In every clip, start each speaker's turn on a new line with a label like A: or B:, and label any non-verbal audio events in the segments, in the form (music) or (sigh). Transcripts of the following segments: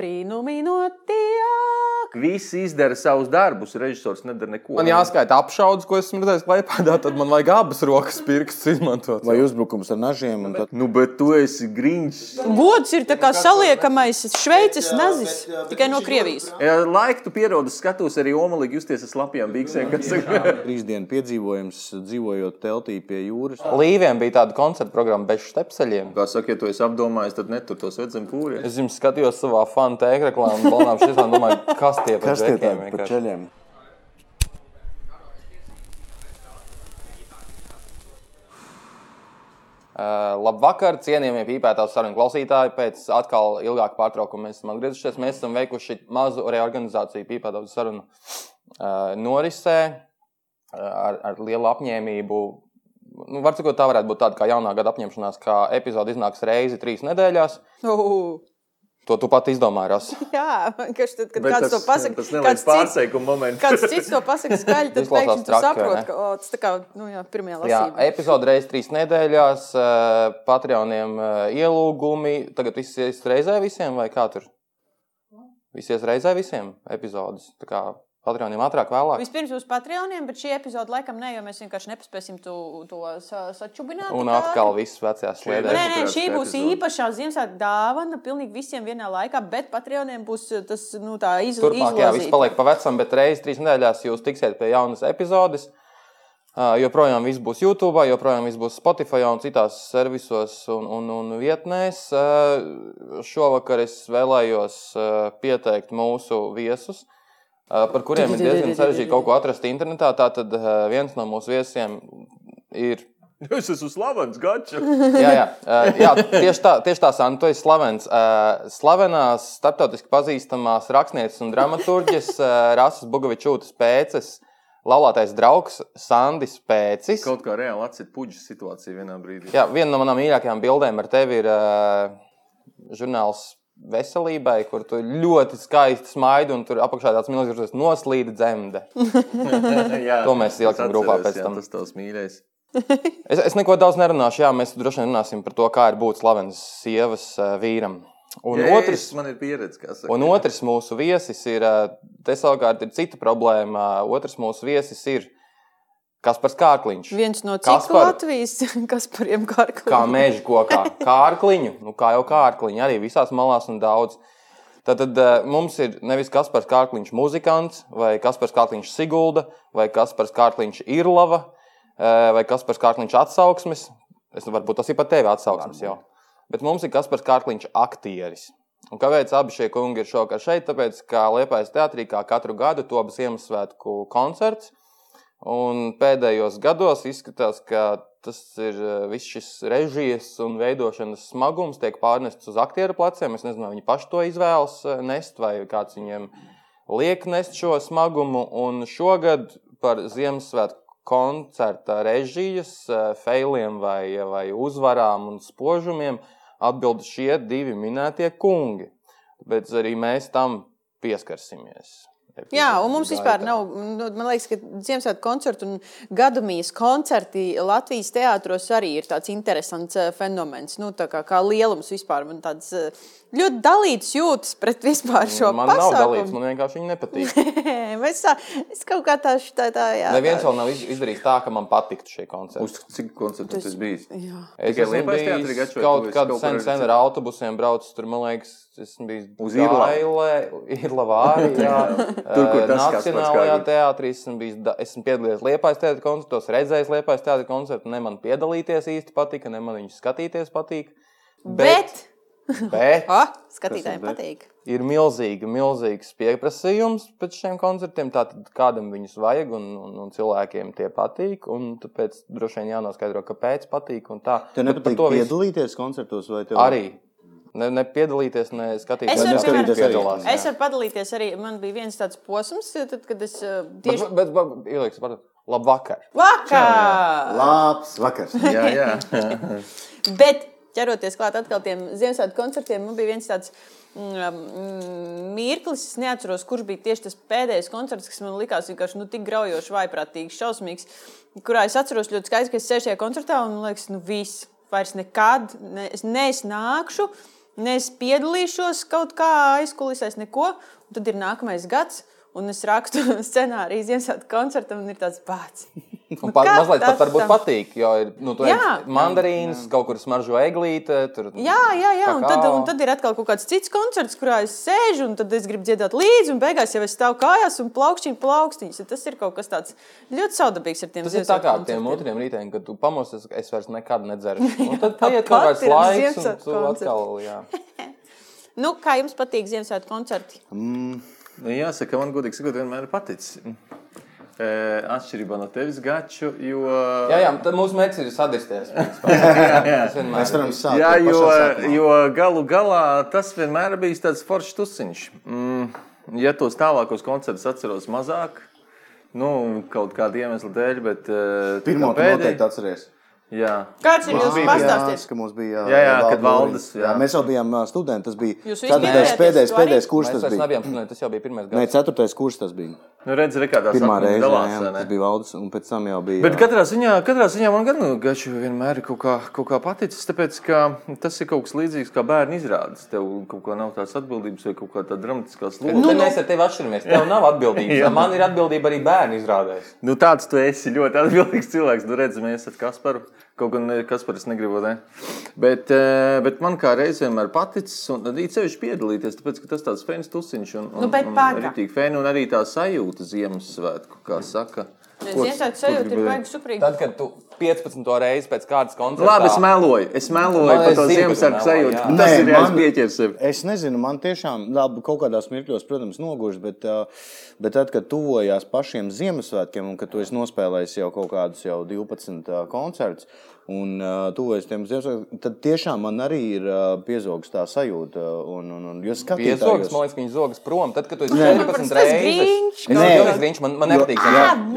A: Brīnumi notiek!
B: Visi izdara savus darbus, režisors nedara neko.
C: Man jāskaita apšaudas, ko esmu redzējis (laughs) klipā, tad man vajag abas rokas pirkstus izmantot.
D: Vai uzbrukums ar nažiem? un Tad...
B: Nu, bet tu esi grīņš.
A: Gods ir tā kā saliekamais šveicis nazis, tikai no Krievijas.
B: Laiku tu pierodi, skatos arī omalīgi justies ar slapjām bīksēm. Kas...
D: Trīs dienas piedzīvojums, dzīvojot teltī pie jūras.
C: Līviem bija tāda koncerta programma bez stepseļiem.
B: (laughs) Kā saka, ja tu esi apdomājis, tad netur tos redzam pūri.
C: Es jums skatījos savā fanu tēkļa reklāmā, balnām šis man domāja, kas tie par
D: Kas tie
C: džekiem
D: tādi par
C: vienkārši.
D: ceļiem?
C: Uh, labvakar, cienījamie pīpētās sarunu klausītāji. Pēc atkal ilgāka pārtraukuma mēs esam atgriezušies. Mēs esam veikuši mazu reorganizāciju pīpētās sarunu uh, norisē uh, ar, ar lielu apņēmību. Nu, var cikot, tā varētu būt tāda kā jaunā gada apņemšanās, ka epizode iznāks reizi trīs nedēļās.
A: Uh,
C: To tu pati izdomāji, Rasa.
A: jā, vienkārši tad, kad
B: Bet
A: kāds
B: tas,
A: to pasaka,
B: tas neliels pārsteiguma moments.
A: Kāds
C: (laughs)
A: cits to pasakā skaļi, tad
C: Izklausās
A: pēkšņi tu
C: traki, vai
A: saproti,
C: ne?
A: ka o, tas tā kā nu, jā, pirmajā
C: Jā,
A: lasījumā.
C: epizode reizes trīs nedēļās, uh, Patreoniem uh, ielūgumi. Tagad viss ies reizē visiem, vai kā tur? Visies reizē visiem epizodes. Tā kā Patreoniem ātrāk, vēlāk.
A: Vispirms uz Patreoniem, bet šī epizode laikam ne, jo mēs vienkārši nepaspēsim to, to sa sačubināt.
C: Un
A: tā.
C: atkal viss vecās
B: Šie
A: Nē,
C: slēdēs.
A: nē, šī
B: Demokrātiskā
A: būs
B: epizode.
A: īpašā Ziemassvētku dāvana pilnīgi visiem vienā laikā, bet Patreoniem būs uh, tas nu, tā iz,
C: Turpmāk, jā, viss
A: izlazīta.
C: paliek pa vecam, bet reizes trīs nedēļās jūs tiksiet pie jaunas epizodes. Uh, joprojām viss būs YouTube, joprojām viss būs Spotify un citās servisos un, un, un vietnēs. Uh, šovakar es vēlējos uh, pieteikt mūsu viesus, uh, par kuriem ir diezgan sarežģīti kaut ko atrast internetā. Tātad uh, viens no mūsu viesiem ir
B: Es esmu slavens, gača.
C: jā, jā. Uh, jā, tieši tā, tieši tā Santa, tu esi slavens. Uh, slavenās, starptautiski pazīstamās rakstnieces un dramaturģes uh, Rasas Bogavičūtas pēces, laulātais draugs Sandis Pēcis.
B: (laughs) Kaut kā reāli atcīt puģu situāciju vienā brīdī.
C: Jā, viena no manām mīļākajām bildēm ar tevi ir uh, žurnāls veselībai, kur tu ļoti skaisti smaidi un tur apakšā tāds milzīgs noslīd dzemde.
B: (laughs) jā.
C: To mēs
B: Es
C: ieliksim grupā
B: atceros,
C: pēc
B: jā,
C: tam.
B: Tas tavs mīļais.
C: Es, es neko daudz nerunāšu, jā, mēs droši vien runāsim par to, kā ir būt slavenas sievas uh, vīram. Un
B: Jā,
C: otrs,
B: es- man ir pieredze, kā saka.
C: Un otrs mūsu viesis ir, ā, te savukārt ir cita problēma. Otrs mūsu viesis ir Kaspars Kārkliņš.
A: Viens no cik
C: Kaspar.
A: Latvijas (laughs) kaspariem kārkliem.
C: Kā meža kokā, kārkliņu, nu kā jau kārkliņu, arī visās malās un daudz. Tad, tad ā, mums ir nevis Kaspars Kārkliņš muzikants, vai Kaspars Kārkliņš Sigulda, vai Kaspars Kārkliņš Irlava, ā, vai Kaspars Kārkliņš atsauksmes. Es, nu, varbūt tas ir pat tevi atsauksmes jau. Bet mums ir Kaspars Kārkliņš aktieris. Un kāpēc abi šie kungi ir šovakar šeit? Tāpēc, ka Liepājas teātrī kā katru gadu topas Ziemassvētku koncerts. Un pēdējos gados izskatās, ka tas ir eh, viss šis režijas un veidošanas smagums tiek pārnests uz aktieru pleciem. Es nezinu, vai viņi paši to izvēlas eh, nest vai kāds viņiem liek nest šo smagumu. Un šogad par Ziemassvētku koncerta režijas eh, failiem vai, vai uzvarām un spožumiem atbild šie divi minētie kungi. Bet arī mēs tam pieskarsimies.
A: Jā, un mums vispār
C: Gaitā.
A: nav. Nu, man liekas, ka Ziemassvētku koncerti un gadamijas koncerti Latvijas teātros arī ir tāds interesants eh, fenomens. Nu, tā kā, kā lielums vispār man tāds eh, ļoti dalīts jūtas pret vispār šo
C: Man nav
A: (laughs)
C: dalīts,
A: pasākumu.
C: man vienkārši viņa nepatīk.
A: Es, tā, es kaut kā tā, tā, tā jā.
C: Neviens vēl nav iz- izdarījis tā, ka man patiktu šie koncerti.
B: Uz cik koncertu tas bijis?
C: (laughs)
A: Jā.
C: Es
B: Tikai
C: esmu
B: Liepājas teātrī
C: bijis
B: gačo,
C: kaut
B: tu esi
C: kad
B: kaut kur
C: sen,
B: arī
C: sen ar
B: dzirdējis.
C: autobusiem braucis, tur, man liekas, esmu bijis
B: Uz Irlandi.
C: Irlavā, jā.
B: (laughs) Tur, kur tas Kaspars
C: eh, Nacionālajā
B: Kārkliņš.
C: teātrī esmu, bijis, da- esmu piedalījies Liepājas teātrī koncertos, redzējis Liepājas teātrī koncertu, ne man piedalīties īsti patika, ne man viņus skatīties patīk.
A: Bet,
C: bet
A: ah, skatītājiem
B: Kas ir bet?
A: patīk.
C: ir milzīgi, milzīgs pieprasījums pēc šiem koncertiem. Tātad kādam viņus vajag, un, un, un cilvēkiem tie patīk. un Tāpēc droši vien jānoskaidro, kāpēc patīk. un tā.
D: Tev
C: Bet par
D: nepatīk
C: to visu
D: piedalīties koncertos vai tev?
C: arī. Ne, ne piedalīties, ne skatīties,
A: Es varu,
C: kāds
D: piemēram,
C: piedalās.
D: Jā.
A: Es varu padalīties arī. Man bija viens tāds posms, tad, kad es eh,
C: Bet,
A: tieši
C: bet, bet ieliks, pat, labvakar.
A: vakar.
D: Labs
C: (laughs)
D: vakars.
B: Jā, jā.
A: Bet, ķeroties klāt atkal tiem Ziemassvētku koncertiem, man bija viens tāds. mm, mm, Mirklis, es neatceros, kurš bija tieši tas pēdējais koncerts, kas man likās vienkārši nu, tik graujoši, vaiprātīgs, šausmīgs. Kurā es atceros ļoti skaisti, ka es sēžu šajā koncertā un man liekas, nu viss, vairs nekad, ne, es neiznākšu. Ne es piedalīšos kaut kā aizkulisēs, neko. Un Tad ir nākamais gads, un es rakstu (laughs) scenāriju Ziemassvētku koncertam, un ir tāds pats.
C: Un
A: Nu
C: pat,
A: kā
C: mazliet pat
A: tas
C: varbūt
A: tā?
C: patīk, jo ir nu, tur
A: Jā.
C: mandarīns, kaut kur smaržo eglīte. Tur,
A: Jā, jā, jā. Un tad,
C: kakao.
A: un tad ir atkal kaut kāds cits koncerts, kurā es sēžu, un tad es gribu dziedāt līdzi, un beigās jau es stāvu kājās un plaukšķinu plaukstīņus. Tas ir kaut kas tāds ļoti saudabīgs ar tiem
C: Tas ir tā kā
A: Ziemassvētku
C: tiem
A: koncertiem.
C: otriem rītiem, kad tu pamosies, ka es vairs nekad nedzeru. Un tad
A: tā
C: paiet kaut kāds
A: pati ir
C: laiks, un tu
A: Ziemassvētku
C: atkal. Jā.
A: Nu, kā jums patīk Ziemassvētku koncerti?
B: Nu, jāsaka, man godīgi sakot, vienmēr ir paticis. E, atšķirībā no tevis, Gaču, jo.
C: Jā, jā, tad mūsu mērķis ir sadisties.
B: (laughs)
D: Mēs varam sākt.
B: Jā,
D: ar
B: jo,
D: pašā sākumā.
B: jo galu galā tas vienmēr ir bijis tāds foršs tusiņš. Mm, ja tos tālākos koncertus atceros mazāk, nu, kaut kāda iemesla dēļ, bet. eh,
D: Pirmo
B: tā
D: tu
B: pēdēj-
D: noteikti atceries.
B: Jā,
A: Kāds ir jūsu
D: Mums bija Jānis,
A: pastāstījums?
D: ka mums bija
B: Jā, jā,
D: Valda
B: kad Valdes,
D: Loriņa.
B: jā.
D: Mēs jau bijām ā, studenti. Tas bija
A: Jūs visi
D: ceturtais,
A: piedalījāties
D: pēdējais,
A: tu arī?
D: pēdējais kurs.
C: Mēs
D: Tas
C: vairs
D: bija.
C: nebijām studenti, tas jau bija pirmais
D: Nē,
C: gads.
D: ceturtais kurs tas bija.
B: nu, redziet, kā tās
D: Pirmā
B: atmiņas
D: reize,
B: dalās,
D: jā,
B: vai
D: jā,
B: ne?
D: tas bija Valdes, un pēc tam jau bija.
B: Bet katrā ziņā, katrā ziņā man gan nu, gaču vienmēr ir kaut kā, kaut kā paticis, tāpēc ka tas ir kaut kas līdzīgs kā bērnu izrādes. Tev kaut kā nav tās atbildības vai kaut kā tāda dramatiskā
C: Nu,
B: slūga.
C: nu, mēs ar tevi atšķiramies. Tev nav atbildības. Man ir atbildība arī bērnu izrādēs.
B: Nu, tāds tu esi ļoti atbildīgs cilvēks. Nu, redz, mēs esam Kasparu. Kaut gan Kasparis negribu, ne? Bet, eh, bet man kā reizē vienmēr paticis, un arī sevišķi piedalīties, tāpēc, ka tas tāds fēns tusiņš un, un,
A: Nu, bet
B: un
A: pārāk.
B: ritīgi fēni un arī tā sajūta Ziemassvētku, kā saka. Ko-
A: Ziemassvētku Nu,
B: ko
A: sajūta ir
B: gribēji?
A: baigi suprīga.
C: Tad, kad tu 15. reizi pēc kādas koncerta
B: Labi, es meloju. Es meloju
C: Man
B: par
C: Nu, es
B: to
C: zinu,
B: Ziemassvētku
C: ka tu
B: sajūtu.
C: melo, jā.
B: Tas
D: Nē,
B: ir jāsaka,
D: man-
B: pieķers. sev.
D: Es nezinu, man tiešām labi, kaut kādās mirkļos, protams, nogužs, bet, ā, bet tad, kad tuvojās pašiem Ziemassvētkiem, un kad tu esi nospēlējis jau kaut kādus jau 12 ā, koncertus, un ā, tuvojas tiem Ziemassvētkiem, tad tiešām man arī ir ā, piezogs tā sajūta. Un, un, un, jo
C: Piezogs,
D: skatītājos-
C: man liekas, ka viņš zogas prom. Tad, kad tu esi
A: Tāpēc
C: 14
A: tas
C: reizes,
A: Grinch
C: es
D: kaut
C: domāju,
D: kas.
C: ka viņš man, man nepatīk.
D: Jo-
C: Ziemassvētku.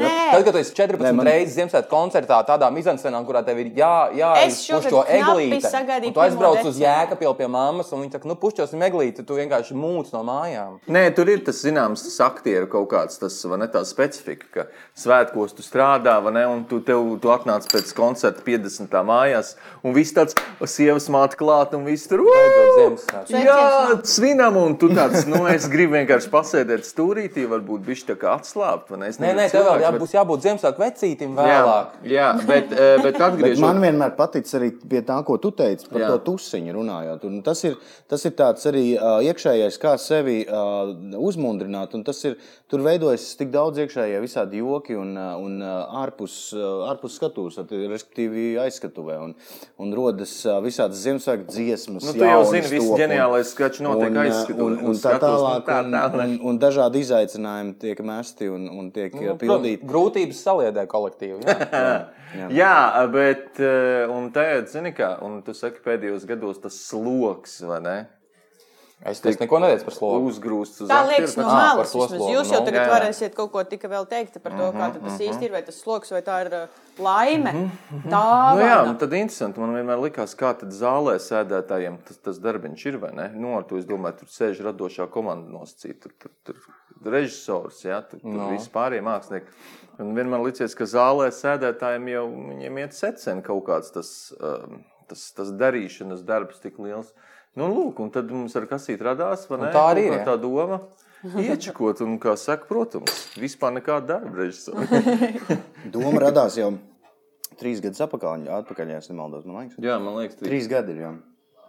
A: Ā,
C: Jo
A: nē.
C: Tad, kad tu esi 14
D: Nē, man-
C: man... reizes Ziemassvētku koncertā, tādā mizansenā, kurā tev ir jā, jā,
A: Es šogad
C: to
A: knapi
C: eglīti,
A: sagaidīju
C: un tu aizbrauc
A: pirmo
C: uz jēkapielu pie mammas, un viņa saka, nu pušķosim eglīti, tu vienkārši mūc no mājām.
B: Nē, tur ir tas zināms, tas aktieru kaut kāds, tas vai ne tā specifika, ka svētkos tu strādā, vai ne, un tu, tev, tu atnāc pēc koncerta 50. mājās, un viss tāds o, sievas māte klāt, un viss tur
C: Beidzot
B: "Ū!"
C: Ziemassvētku.
B: Jā, svinam, un tu tāds, nu, es gribu vienkārši pasēdēt stūrītī, varbūt bišķi tā kā atslābt, vai ne? Es nebiju
C: Nē, nē, tev vēl
B: cilvēks,
C: jā,
B: bet-
C: būs jābūt Ziemassvētku vecītim
B: Jā,
C: vēlāk.
B: jā, bet, eh, bet
D: Bet
B: atgriežoties.
D: man vienmēr patīk arī pie tā, ko tu teici par
B: Jā.
D: Jā. to tusiņu runājot. Un tas ir, tas ir tāds arī uh, iekšējais, kā sevi uh, uzmundrināt. un tas Ir, tur veidojas tik daudz iekšējā visādi joki un, uh, un uh, ārpus, uh, ārpus skatuves, at- respektīvi aizskatuvē. Un, un rodas uh, visādas Ziemassvētku dziesmas.
B: Nu, tu jau
D: jaunas
B: zini, viss
D: top un-
B: ģeniālais skats notiek
D: un, uh,
B: aizskatuvē,
D: Un,
B: un
D: un tā
B: skatos, nu,
D: tālāk.
B: tā
D: Un,
B: tālāk. Nu,
D: un, un dažādi izaicinājumi tiek mesti un, un tiek uh, pildīti.
C: Nu, Grūtības saliedē kolektīvi.
B: (laughs)
C: jā.
B: Jā, jā bet eh, un tajā, zini, kā, un tu saki, pēdējos gados tas sloks, vai ne?
C: Es es neko neteicu par slogu.
B: uzgrūsts uz
A: Tā liekas no
B: aktieru,
C: Ā, par
A: malas.
C: to
A: vismaz.
C: slogu,
A: Jūs jau
C: nu.
B: Jā,
A: tagad
B: jā.
A: varēsiet kaut ko tikai vēl teikt par to, kā tad tas īsti ir, vai tas sloks, vai tā ir ā, laime. Tā
B: Nu, jā, un
A: ir.
B: tad interesanti. Man vienmēr likās, kā tad zālē sēdētājiem tas, tas darbiņš ir. vai ne? Nu, ar to es domāju, tur sēž radošā komanda nosacīta, tur, tur, tur režisors, jā, tur, tur no. vispārējie mākslinieki. Un vienmēr liekas, ka zālē sēdētājiem jau viņiem iet secen kaut kāds tas, um, tas, tas darīšanas darbs tik liels. Nu, lūk, un tad mums ar kasīti radās, vai ne?
C: tā arī
B: Kaut
C: ir,
B: kā tā doma. Iečakot, un kā saka, protams, vispār nekāda darba režisora.
D: Doma radās jau trīs gadus atpakaļ, atpakaļ ja es nemaldos. Man
B: (laughs)
D: liekas,
B: Jā, man liekas, trīs.
D: trīs gadi ir jau.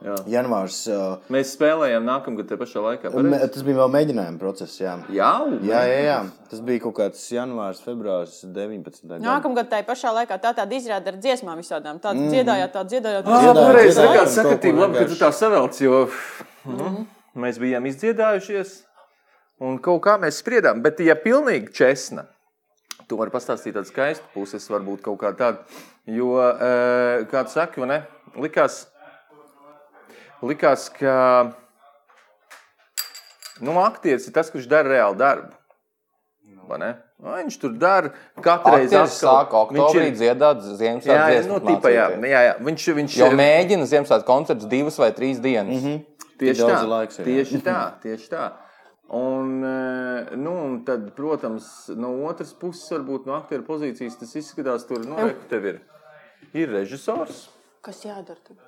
B: Jā.
D: Janvārs. Uh,
B: Mēs spēlējām nākamgad te pašā laikā.
D: me,
B: pareizi?
D: tas bija vēl mēģinājuma process. Jā.
B: Jā,
D: Jā, jā, jā, tas bija kaut kāds janvārs, februāris 19. gada.
A: Nākamgad tā ir pašā laikā tā tāda izrāda ar dziesmām visādām. Tāda dziedājāt, tāda dziedājāt.
B: Jā,
D: Dziedāju,
B: Ah, pareizi.
D: dziedāju,
B: Kā
D: kaut ko
B: sakatība, labi, ka tu
D: vienkārši.
B: tā savelc, jo
C: Mhm.
B: nu, mēs bijām izdziedājušies un kaut kā mēs spriedām. Bet, ja pilnīgi česna, tu vari pastāstīt tādu skaistu puses, varbūt kaut kā tādu. Jo, eh, kā tu saki, vai ne, likās, likās ka nu, aktieris ir tas, kurš dara reāli darbu. Vai ne? Nu, Viņš tur dara katru reizi.
C: Aktieris sāk oktobrī dziedāt Ziemassvētku
B: Jā, jā, nu,
C: dziesmu.
B: tipa, jā, jā, jā. Viņš, viņš
C: Jo mēģina Ziemassvētku koncerts divas vai trīs dienas. Mm -hmm.
B: Tieši
D: Daudz
B: tā,
D: laiks ir, jā.
B: tieši tā,
D: (laughs)
B: tieši tā. Un, eh, nu, un tad, protams, no otras puses, varbūt no aktieru pozīcijas tas izskatās, tur nu, re, tev ir, ir režisors.
A: Kas jādara? tagad?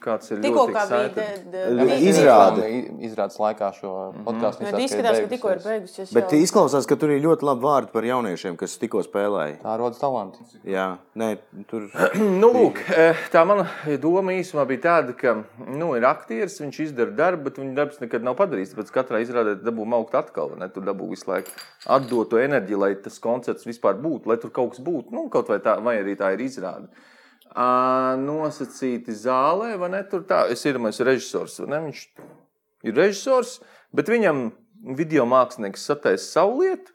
B: Kāds ir
A: Tikko
B: ļoti
A: kā bija
B: excited.
A: de- de-
D: L-
A: de-
D: izrāde.
C: Izrādes laikā šo podkāstu.
A: Nē, Izskatās, ka tikko ir beigusies.
D: Bet
A: jau.
D: izklausās, ka tur ir ļoti labi vārdi par jauniešiem, kas tikko spēlēja.
C: Tā rodas talanti.
D: Jā, nē, tur
B: Nu, lūk, eh, tā mana doma īsumā bija tāda, ka nu, ir aktieris, viņš izdara darbu, bet viņa darbs nekad nav padarīts. Pēc katrā izrādē dabū maukt atkal, vai ne? Tur dabū visu laiku atdot to enerģiju, lai tas koncerts vispār būtu, lai tur kaut kas būtu. Nu, kaut vai tā, vai arī tā ir izrāde. Ā, Nosacīti zālē, vai ne? Tur tā, es ir mans režisors, vai ne? Viņš ir režisors, bet viņam video mākslinieks sataisa savu lietu.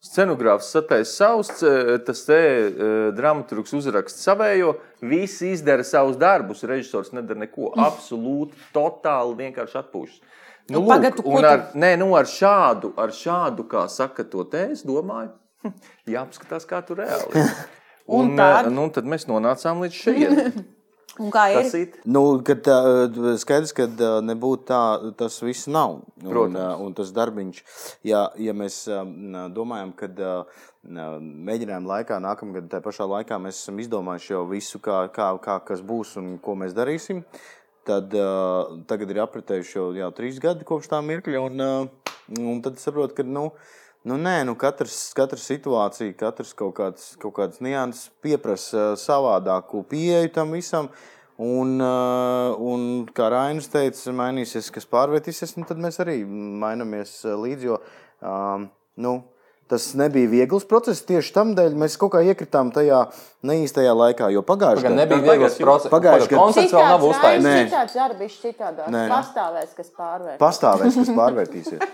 B: Scenogrāfs sataisa savus, c- tas te eh, dramaturgs uzraksta savējo. Visi izdara savus darbus, režisors nedara neko. Absolūti, totāli vienkārši atpūšas.
A: Mm. Nu, pagad, tu ko
B: un
A: tu-
B: ar, nē, nu, ar, šādu, ar šādu, kā saka, to tēzi, domāju, hm, jāapskatās, kā tu reāli. ir.
A: (laughs) Un
B: un,
A: tad?
B: eh, nu, tad mēs nonācām līdz šejienei.
A: (laughs) Un kā
B: Tas
A: ir?
B: ir
D: Nu, kad, tā, skaidrs, ka nebūtu tā, tas viss nav. Un,
B: Protams.
D: ā, Un, tas darbiņš, ja, ja mēs ām, nā, domājam, ka mēģinājuma laikā, nākamā gada tajā pašā laikā, mēs esam izdomājuši jau visu, kā, kā, kā kas būs un ko mēs darīsim. Tad ā, tagad ir apritējuši jau, jau trīs gadi kopš tā mirkļa. Un, ā, un tad saprotu, ka nu, nu, nē, nu, katrs, katra situācija, katrs kaut kāds, kaut kāds nianses pieprasa ā, savādāku pieeju tam visam. Un, ā, un kā Rainis teica, mainīsies, kas pārvietīsies, nu, tad mēs arī maināmies ā, līdzi. Jo, ā, nu, tas nebija viegls process. Tieši tam dēļ mēs kaut kā iekritām tajā neīstajā laikā. Jo pagājušajā
C: Gan nebija
B: Pagājušajā
C: viegls
B: gadā-
C: process.
D: Pagājušajā
C: Pagājušajā gadā koncerts vēl nav uztaisīts.
D: Nē.
A: Citāds darbs, citādāk.
D: Nē.
A: Pastāvēs, kas pārvērt.
D: pastāvēs, kas
B: (laughs)
D: pārvērtīsies.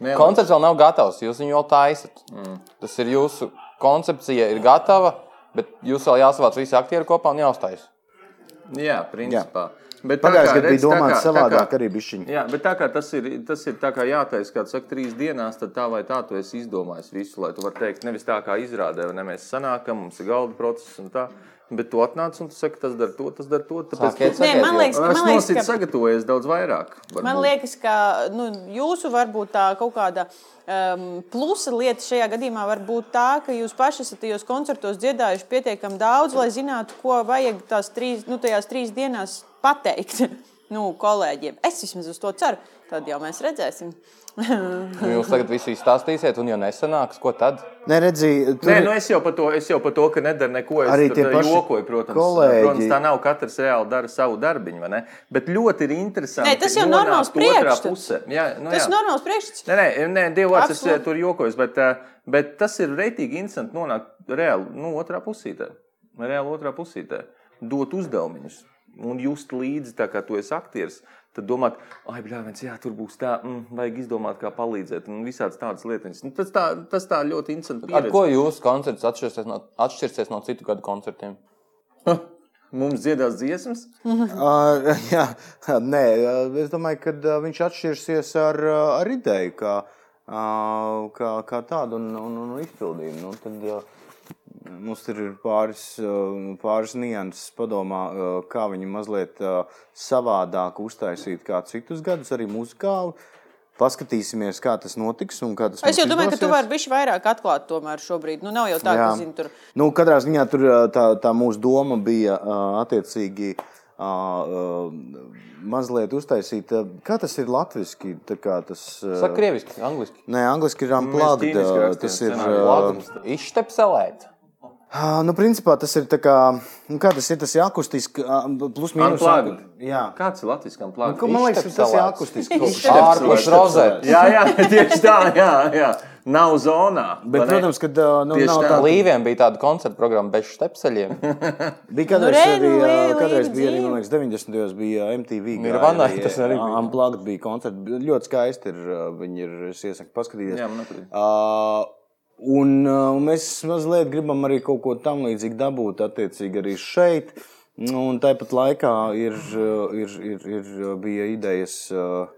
B: Nu,
C: Koncerts vēl nav gatavs, jūs viņu jau taisat. Mm. Tas ir jūsu koncepcija, ir gatava, bet jūs vēl jāsavāc visi aktieri kopā un jāuztais.
B: Jā, principā. Bet tā
D: Pagājušajā
B: kā,
D: gadā
B: redz,
D: bija
B: tā
D: domāts
B: kā- tā kā-
D: savādāk arī bišķiņi.
B: Jā, bet tā kā tas ir, tas ir tā kā jātaisa, kā saka, trīs dienās, tad tā vai tā, tu esi izdomājis visu, lai tu varētu teikt, nevis tā kā izrādē, vai ne mēs sanākam, mums ir galda process un tā, bet tu atnāc un tu saki, tas dara to, tas dara to, tāpēc
C: Sākiet
B: tu-
A: Nē, man
C: Sagaidām.
A: liekas, ka-
B: es
A: man liekas,
B: nosit
A: ka
B: sagatavojies daudz vairāk. varbūt.
A: Man liekas, ka nu, jūsu varbūt tā kaut kāda um, plusa lieta šajā gadījumā var būt tā, ka jūs paši esat tajos koncertos dziedājuši pietiekami daudz, lai zinātu, ko vajag tās trīs, nu, tajās trīs dienās pateikt (laughs) nu, kolēģiem. Es vismaz uz to ceru. Tad jau mēs redzēsim. (laughs)
C: Nu, jūs tagad visu izstāstīsiet, un jau nesanāks, ko tad?
D: Nē, redziet, tur
B: Nē, nu es jau par to, es jau par to ka nedaru neko. Es
D: Arī
B: tur
D: tie
B: tā
D: paši
B: jokoju, protams.
D: kolēģi.
B: Protams, tā nav katrs reāli dara savu darbiņu, vai ne? Bet ļoti ir interesanti.
A: Nē, tas jau
B: nonākt
A: normāls
B: otrā
A: priekšstats.
B: pusē. Jā, nu,
A: Tas
B: jā.
A: ir normāls priekšstats.
B: Nē, nē, nē Dievs, vārds, es eh,
A: Absolūti.
B: tur jokoju, bet, eh, bet tas ir reitīgi interesanti nonākt reāli nu, otrā pusītē. Reāli otrā pusītē. Dot uzdevumus un just līdzi, tā kā tu esi aktieris. Tad domāt, ah, blāvens, jā, tur būs tā, mm, vajag izdomāt, kā palīdzēt, un visādas tādas lietas. Nu, tas, tā, tas tā ļoti interesanti.
C: Ar
B: pieredze.
C: ko jūsu koncerts atšķirsies no, atšķirsies no citu gadu koncertiem?
B: Mums dziedās dziesmas,
D: (laughs) Ā, Ah, jā, nē, eh, es domāju, ka viņš atšķirsies ar, ā, ar ideju, kā, ā, kā, kā tādu un, un, un izpildījumu. Nu, tad, ā, Mums tur ir pāris, ā, pāris nianses padomā, ā, kā viņu mazliet ā, savādāk uztaisīt kā citus gadus, arī muzikāli. Paskatīsimies, kā tas notiks un kā tas
A: Es jau
D: mums
A: domāju, ka tu
D: izdosies.
A: vari bišķi vairāk atklāt tomēr šobrīd. Nu, nav jau tā, ka
D: Jā.
A: zini, tur.
D: Nu, katrā ziņā tur, ā, tā, tā mūsu doma bija ā, attiecīgi ā, ā, mazliet uztaisīt. ā, Kā tas ir latviešu?
C: Saka, krieviski, angliski.
D: Nē, angliski ir
B: mēs ķīniski
D: amplāta.
B: rakstījām
D: Tas ir.
B: scenāriju.
D: ā,
B: Latvijas.
C: Izštepselēt.
D: ā, Nu, principā tas ir tā kā, nu, kā tas ir, tas ir akustiski, ā, plus mīnus.
B: Unplugged.
D: Jā.
B: kāds ir latviešu
D: Nu, ka
B: plakāts.
D: Man liekas, ka tas ir
C: Iztepselēts.
D: akustiski. kaut kas.
C: Iztepselēts. Ārpus
D: Iztepselēts.
C: rozetes.
B: Jā, jā, (laughs) tieši tā, jā, jā. nav zonā.
D: Bet,
B: vai ne?
D: protams, ka ā, nu,
B: Tieši
D: nav
B: tā.
D: tā.
C: Līviem bija tāda koncerta programma bez štepseļiem.
D: Bija kādreiz,
A: re, nu,
D: arī,
A: lī-
D: ā, kādreiz
A: līdz
D: bija arī, man
A: dzīvi.
D: liekas, 90. gados bija MTV.
C: Nirvana, tas arī bija.
D: bija. Amplāta bija koncerts. Bija Ļoti skaisti ir, ā, viņi ir, es iesaku paskatīties.
B: Jā, man nepatīk.
D: Ā, Un ā, mēs mazliet gribam arī kaut ko tam līdzīgu dabūt, attiecīgi arī šeit. Nu, Un tāpat laikā ir, ā, ir, ir, ir ā, bija idejas ā,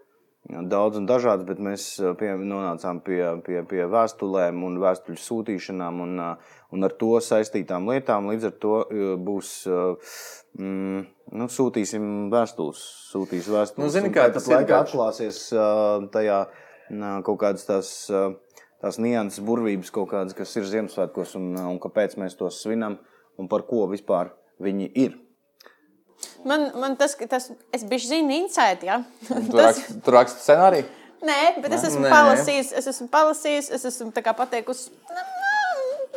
D: daudz un dažādas, bet mēs ā, pie, nonācām pie, pie, pie vēstulēm un vēstuļu sūtīšanām un, ā, un ar to saistītām lietām. Līdz ar to ā, būs. ā, Mm, nu, sūtīsim vēstules. Sūtīs vēstules.
B: Nu, zini,
D: un
B: kā
D: tāpat
B: tas ir
D: laikā
B: garš.
D: atklāsies ā, tajā nā, kaut kādas tās, ā, tās nianses, burvības, kaut kādas, kas ir uh, Ziemassvētkos un, ā, un kāpēc mēs tos svinam un par ko vispār viņi ir.
A: Man, man tas, ka tas, es biju zinu, incēt, ja? (laughs)
C: Tur rakst- Tur raksta scenāriju.
A: Nē, bet es esmu
B: Nē.
A: palasījis, es esmu palasījis, es esmu tā kā pateikusi, "Nā,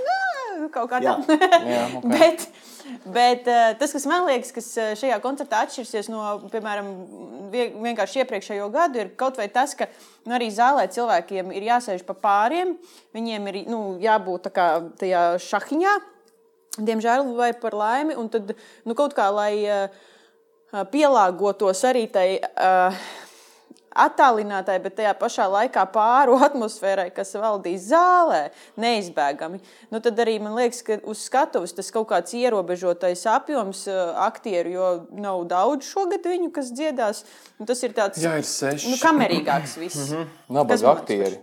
A: nā, nā," kaut kā
D: Jā.
A: tāda. (laughs)
C: Jā, ok.
A: Bet, bet eh, tas, kas man liekas, kas eh, šajā koncertā atšķirsies no, piemēram, vie- vienkārši iepriekšējo gadu, ir kaut vai tas, ka nu, arī zālē cilvēkiem ir jāsēž pa pāriem, viņiem ir nu, jābūt tā kā tajā šahiņā, diemžēl vai par laimi, un tad nu, kaut kā lai. eh, pielāgotos arī tai uh, attālinātai, bet tajā pašā laikā pāru (laughs) atmosfērai, kas valdīs zālē, neizbēgami. Nu, tad arī man liekas, ka uz skatuves tas kaut kāds ierobežotais apjoms uh, aktieru, jo nav daudz šogad viņu, kas dziedās. Nu, tas ir tāds
B: Jā, ir seši. Mhm.
A: nu, kamerīgāks viss.
C: Mhm. Nabaga
A: Kas man-
C: aktieri.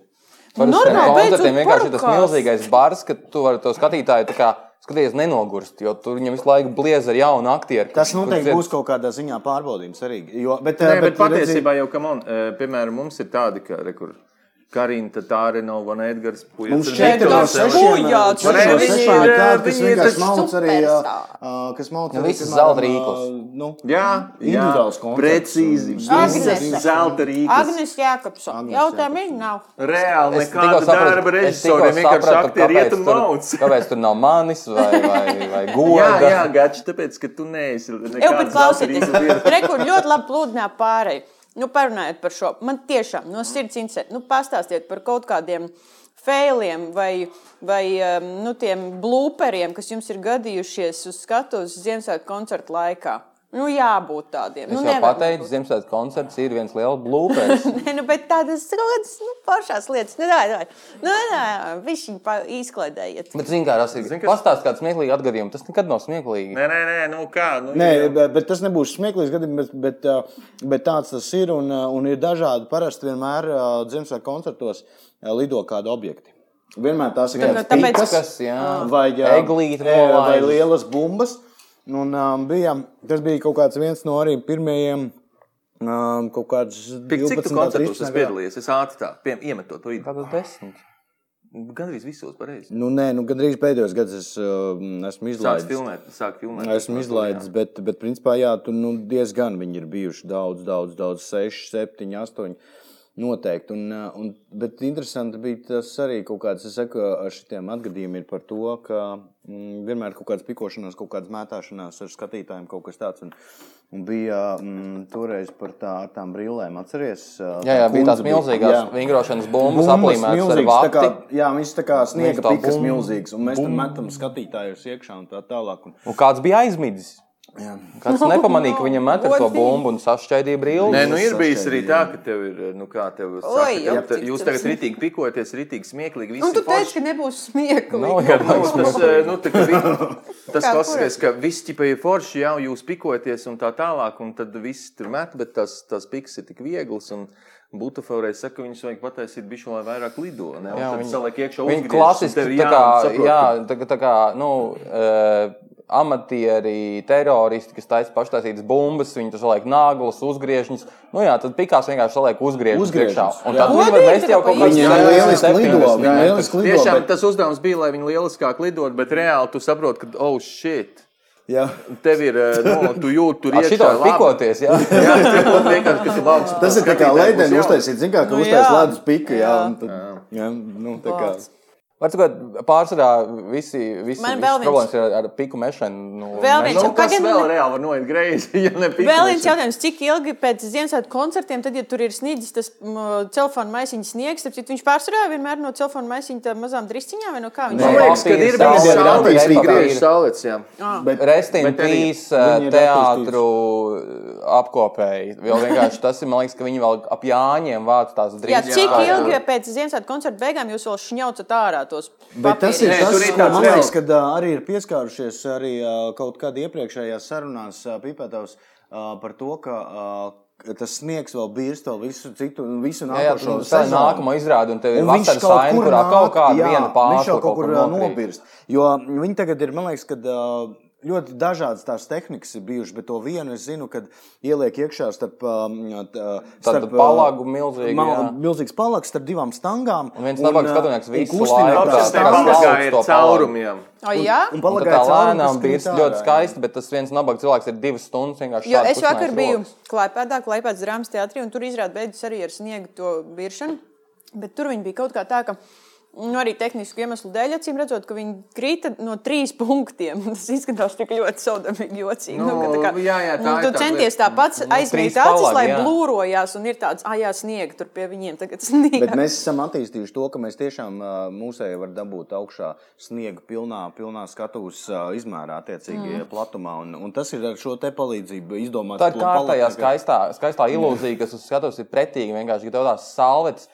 A: Normāli,
C: Normāli,
A: beidzot
C: koncertiem vienkārši ir tas
A: parukās.
C: milzīgais bars, ka tu vari to skatītāju tā kā skatīties nenogurst, jo tur viņam visu laiku bliez ar jaunu aktieru.
D: Tas
C: kurš-
D: noteikti
C: kurš
D: būs kaut kādā ziņā pārbaudījums arī. Jo, bet,
B: Nē,
D: eh,
B: bet, bet
D: redzi-
B: patiesībā jau, kam on, eh, piemēram, mums ir tādi, ka, re, kur Karina Tārēnova un Edgars Pujas.
D: Mums
B: ir
D: šeit ir
A: Edgars
D: vēl
B: Nikolās
A: seši.
B: Elvis.
D: sešiem,
A: Ujā,
D: eh,
A: cik
D: sešiem,
A: viņi
D: sešiem
B: ir,
D: tādi, kas
B: viņi ir
D: vienkārši
B: taču
D: mauc arī, eh,
A: superstāri.
D: eh, kas mauc
C: Nu,
D: arī,
C: visas
D: piemēram,
C: zelta
D: eh,
C: rīklis.
D: Nu,
B: Jā, jā
D: Individuāls koncerts.
B: precīzi.
A: Agnese.
B: Visas zelta rīkas.
A: Agnes Jākapsons.
D: Agnes
A: Jautājumi nav.
B: Reāli
C: Es tikko
B: nekāda darba
C: es tikko
B: režisoriem vienkārši
C: sapratu,
B: aktieri
C: kāpēc
B: iet un
C: tur-
B: mauc.
C: Kāpēc tur nav manis vai, vai, vai
B: (laughs) Jā,
C: goda?
B: jā, gači, tāpēc, ka tu neesi.
A: Jau, bet klausieties, (laughs) rekur ļoti labi plūdinā pārēj. Nu, parunājiet par šo. Man tiešām no sirds interesē. Nu, pastāstiet par kaut kādiem failiem vai, vai em, nu, tiem blūperiem, kas jums ir gadījušies uz skatuves Ziemassvētku koncertu laikā. Nu, jābūt tādiem.
C: Es
A: nu,
C: jau
A: nevar
C: pateicu, Ziemassvētku koncerts ir viens liels
B: (laughs)
C: blūpēs.
A: būt. (laughs) Nē, nu, bet tādas kaut kādas nu, pašās lietas. Nu, tā, tā. Nu, tā, višķi pa- izklaidējiet.
C: Bet, zini, kā tas ir.
B: Zini, kas-
C: Pastāst kāds smieklīgi atgadījums. Tas nekad nav smieklīgi.
B: Nē, nē, nē, nu kā. Nu,
D: Nē,
B: jau-
D: bet, bet tas nebūs smieklīgs gadījums, bet, bet, uh, bet tāds tas ir. Un, uh, un ir dažādi. Parasti vienmēr uh, dzimšanas koncertos uh, lido kādi objekti. Vienmēr tās ir
A: Tad,
D: kādas
A: nu, tāpēc-
D: pikas,
C: Kas, jā.
D: vai uh,
C: Eglīte
D: e, vai
C: nolaiž.
D: lielas bumbas. Un, um, bija, tas bija kaut kāds viens no arī pirmajiem. Um, kaut kāds
B: Pik, cik
D: 12,
B: tu koncertos
D: 13
B: esi
D: gadā.
B: piedalījies? Es ātri tā, piemēram, iemetot to ideju.
C: Tātad desmit.
B: Gan arī visos pareizi.
D: Nu, nē, nu, gandrīz pēdējos gados es, uh, esmu
B: Sāks
D: izlaidis.
B: filmēt, sāk filmēt.
D: Esmu izlaidis, bet, bet principā jā, tur nu, diezgan viņi ir bijuši daudz, daudz, daudz, 6, 7, 8. Noteikti. Un, uh, un, bet interesanti bija tas arī kaut kāds, es saku, ar šitiem atgadījumiem ir par to, ka mm, vienmēr ir kaut kāds pikošanās, kaut kāds mētāšanās ar skatītājiem, kaut kas tāds. Un, un bija mm, toreiz par tā, ar tām brīvlēm, atceries? uh,
C: Jā, jā,
D: tā
C: bija tās
D: kundze
C: milzīgās
D: jā.
C: vingrošanas bumbas,
D: Bumbas
C: aplīmētas ar
D: milzīgas, tā
C: vārtu.
D: kā- Jā, viņš tā kā sniega
C: tā
D: pikas
C: bum,
D: milzīgs, un mēs tam metam skatītājus iekšā un tā tālāk. Un,
C: Un kāds bija aizmidzis?
D: jā.
C: Kāds nepamanīja, ka viņam met ar to
A: Godīgi.
C: bumbu un sašķaidīja brīvi.
B: Nē, nu ir bijis arī
D: sašķēdīju.
B: tā, ka tev ir, nu kā tev
A: Oi,
B: saka,
A: jau,
B: ka te-
A: cik
B: jūs
A: tas-
B: tagad ritīgi pikojaties, ritīgi smieklīgi.
A: Un
B: visi
A: Nu, tu
B: forši.
A: teici, ka nebūs smieklīgi.
C: Nav jau
B: Nu,
C: tāds
B: tas, eh, nu, tā kā
C: (laughs)
B: vi- tas
A: Kā
B: klasiskais, ka viss ķipa ir forši, jau jūs pikojaties un tā tālāk, un tad viss tur met, bet tas, tas piks ir tik viegls. Un... Būtufaurē saka, ka viņus vajag pataisīt bišu, lai vairāk lido. Ne? Un jā,
C: Jā,
B: tad
C: viņi-
B: viņi saliek iekšā
C: Viņa
B: uzgriezis, un
C: klasiski
B: tev ir
C: tā kā,
B: jāsaprot,
C: jā,
B: ka-
C: tā, kā- tā kā nu, uh, amatieri, teroristi, kas taisa paštaisītas bumbas, viņi tur saliek nāglas, uzgriežņus. Nu jā, tad pikās vienkārši saliek uzgriežņus
D: Uzgriežņus,
C: priekšā. Un
D: jā.
C: tad viņi var
A: Godīgi,
C: mest jau
A: tā
C: kaut
A: pa
C: kāds
D: Viņi
A: īstam.
D: ir lieliski lido,
B: Nē,
D: viņi ir lieliski lido.
B: Tiešām
D: bet-
B: tas uzdevums bija, lai viņi lieliskāk lidot, bet reāli tu saproti, ka, oh, shit,
D: Jā.
B: tev ir, eh, nu, tu jūti
C: (laughs)
B: tur
C: Ar
B: iekšā.
C: šito
B: labi.
C: pikoties, jā.
B: Jā, tev būtu vienkārši, ka tu augstu.
D: Tas ir tā kā leģenda uztaisīt, zin kā, ka
A: Nu,
D: uztais
A: jā.
D: ledus piku, jā.
A: Jā.
D: un tad- Jā, nu tā kā.
A: Vārds.
C: Varbūt pārsvarā visi, visi,
A: Man
C: visi
A: vēl viens.
C: problēmas ir ar, ar piku mešanu. Nu,
A: Vēl viens.
B: Nu,
C: mešanu.
B: kas
A: Pagaid,
B: vēl
A: ne-
B: reāli var noiet greizi, (laughs) ja ne
A: Vēl viens
B: pikniks?
A: jautājums, cik ilgi pēc Ziemassvētku koncertiem, tad, ja tur ir sniedzis tas telefona maisiņš, sniegs, tad viņš pārsvarā vienmēr no telefona maisiņa tādām mazām drīzciņām vai no kā viņš
C: Nē.
B: Man
A: to
B: liekas, ka ir
C: Saulē,
B: bijis
D: saulē,
B: saulēts,
D: saulē.
B: griež saulēts, jā.
D: Bet
C: Restīna
B: Bet arī
C: trīs
D: viņi ir
C: eh, teātru apkopēji. Jo vienkārši tas ir, man liekas, ka viņi vēl ap Jāņiem vāc tās
A: Jā,
C: drīz.
A: cik
B: jā.
A: ilgi pēc Ziemassvētku koncerta beigām jūs vēl šņaucat ārā tos
D: Bet tas ir
A: papīriņus?
B: Nē,
D: tas,
B: tur ir
D: kas
B: tāds
D: man liekas,
B: vēl-
D: kad ā, arī ir pieskārušies arī ā, kaut kādā iepriekšējā sarunās pipētājos par to, ka ā, tas sniegs vēl bīrs to visu citu, visu
C: Jā, jā,
D: nākošo
C: tu- tā ir
D: sezonu.
C: nākamā izrāde, un tev ir
D: Un viņš
C: vasaras
D: kaut
C: saina,
D: kur
C: kurā
D: nāk,
C: kaut kāda
D: jā,
C: viena
D: Viņš
C: pārspēja
D: mm, jau kaut kur ā, nobirst. Jo viņi tagad ir, man liekas, kad. ā, ļoti dažādas tās tehnikas ir bijušas, bet to vienu es zinu, kad ieliek iekšā starp, um, tā-
C: Tātad
D: uh,
C: palagu milzīgu,
D: mal-
C: jā.
D: milzīgs palags starp divām stangām.
C: Un viens nabaga
D: uh,
C: skatinieks
D: un
C: visu
D: kustināt
C: laiku
D: tās
B: Tas
C: tā- tā-
B: tā kā
C: tā-
D: stāvus.
C: sauc
B: ir
C: to
B: caurumiem.
A: O, jā?
D: Un
C: Un
D: palagā
C: tad tā
D: ir caurums,
C: lēnām
D: kas
C: bija
D: krīt
C: ļoti
D: ārā, jā.
C: skaisti, bet tas viens nabaga cilvēks ir divas stundas vienkārši.
A: Jo
C: šādi
A: es
C: kustinājis
A: vakar biju
C: rokas.
A: Klaipēdā, Klaipēdas drāmas teātrī, un tur izrādās beidzas arī ar sniegu to viršanu. Bet tur viņi bija kaut kā tā, ka nu, arī tehnisku iemeslu dēļ, acīm redzot, ka viņi krita no trīs (laughs) punktiem. Tas izskatās tik ļoti saudabīgi, jocīgi.
B: Nu,
A: ka
B: jā, jā, tā
A: tu
B: ir tā Nu,
A: centies tā pats
C: trīs
A: aizmīt acis,
C: palagi,
A: lai
C: jā.
A: blūrojās, un ir tāds, ah, jā, sniega tur pie viņiem tagad (laughs) sniega.
D: Bet mēs esam attīstījuši to, ka mēs tiešām mūsēji varam dabūt augšā sniega pilnā, pilnā skatuves ā, izmērā, attiecīgi mm. platumā. Un, un tas ir ar šo te palīdzību izdomāts.
C: Tā ir kārtējā skaistā, skaistā ilūzija, kas uz skatuves ir pretīga. Vienkārši ir tādas salvetes.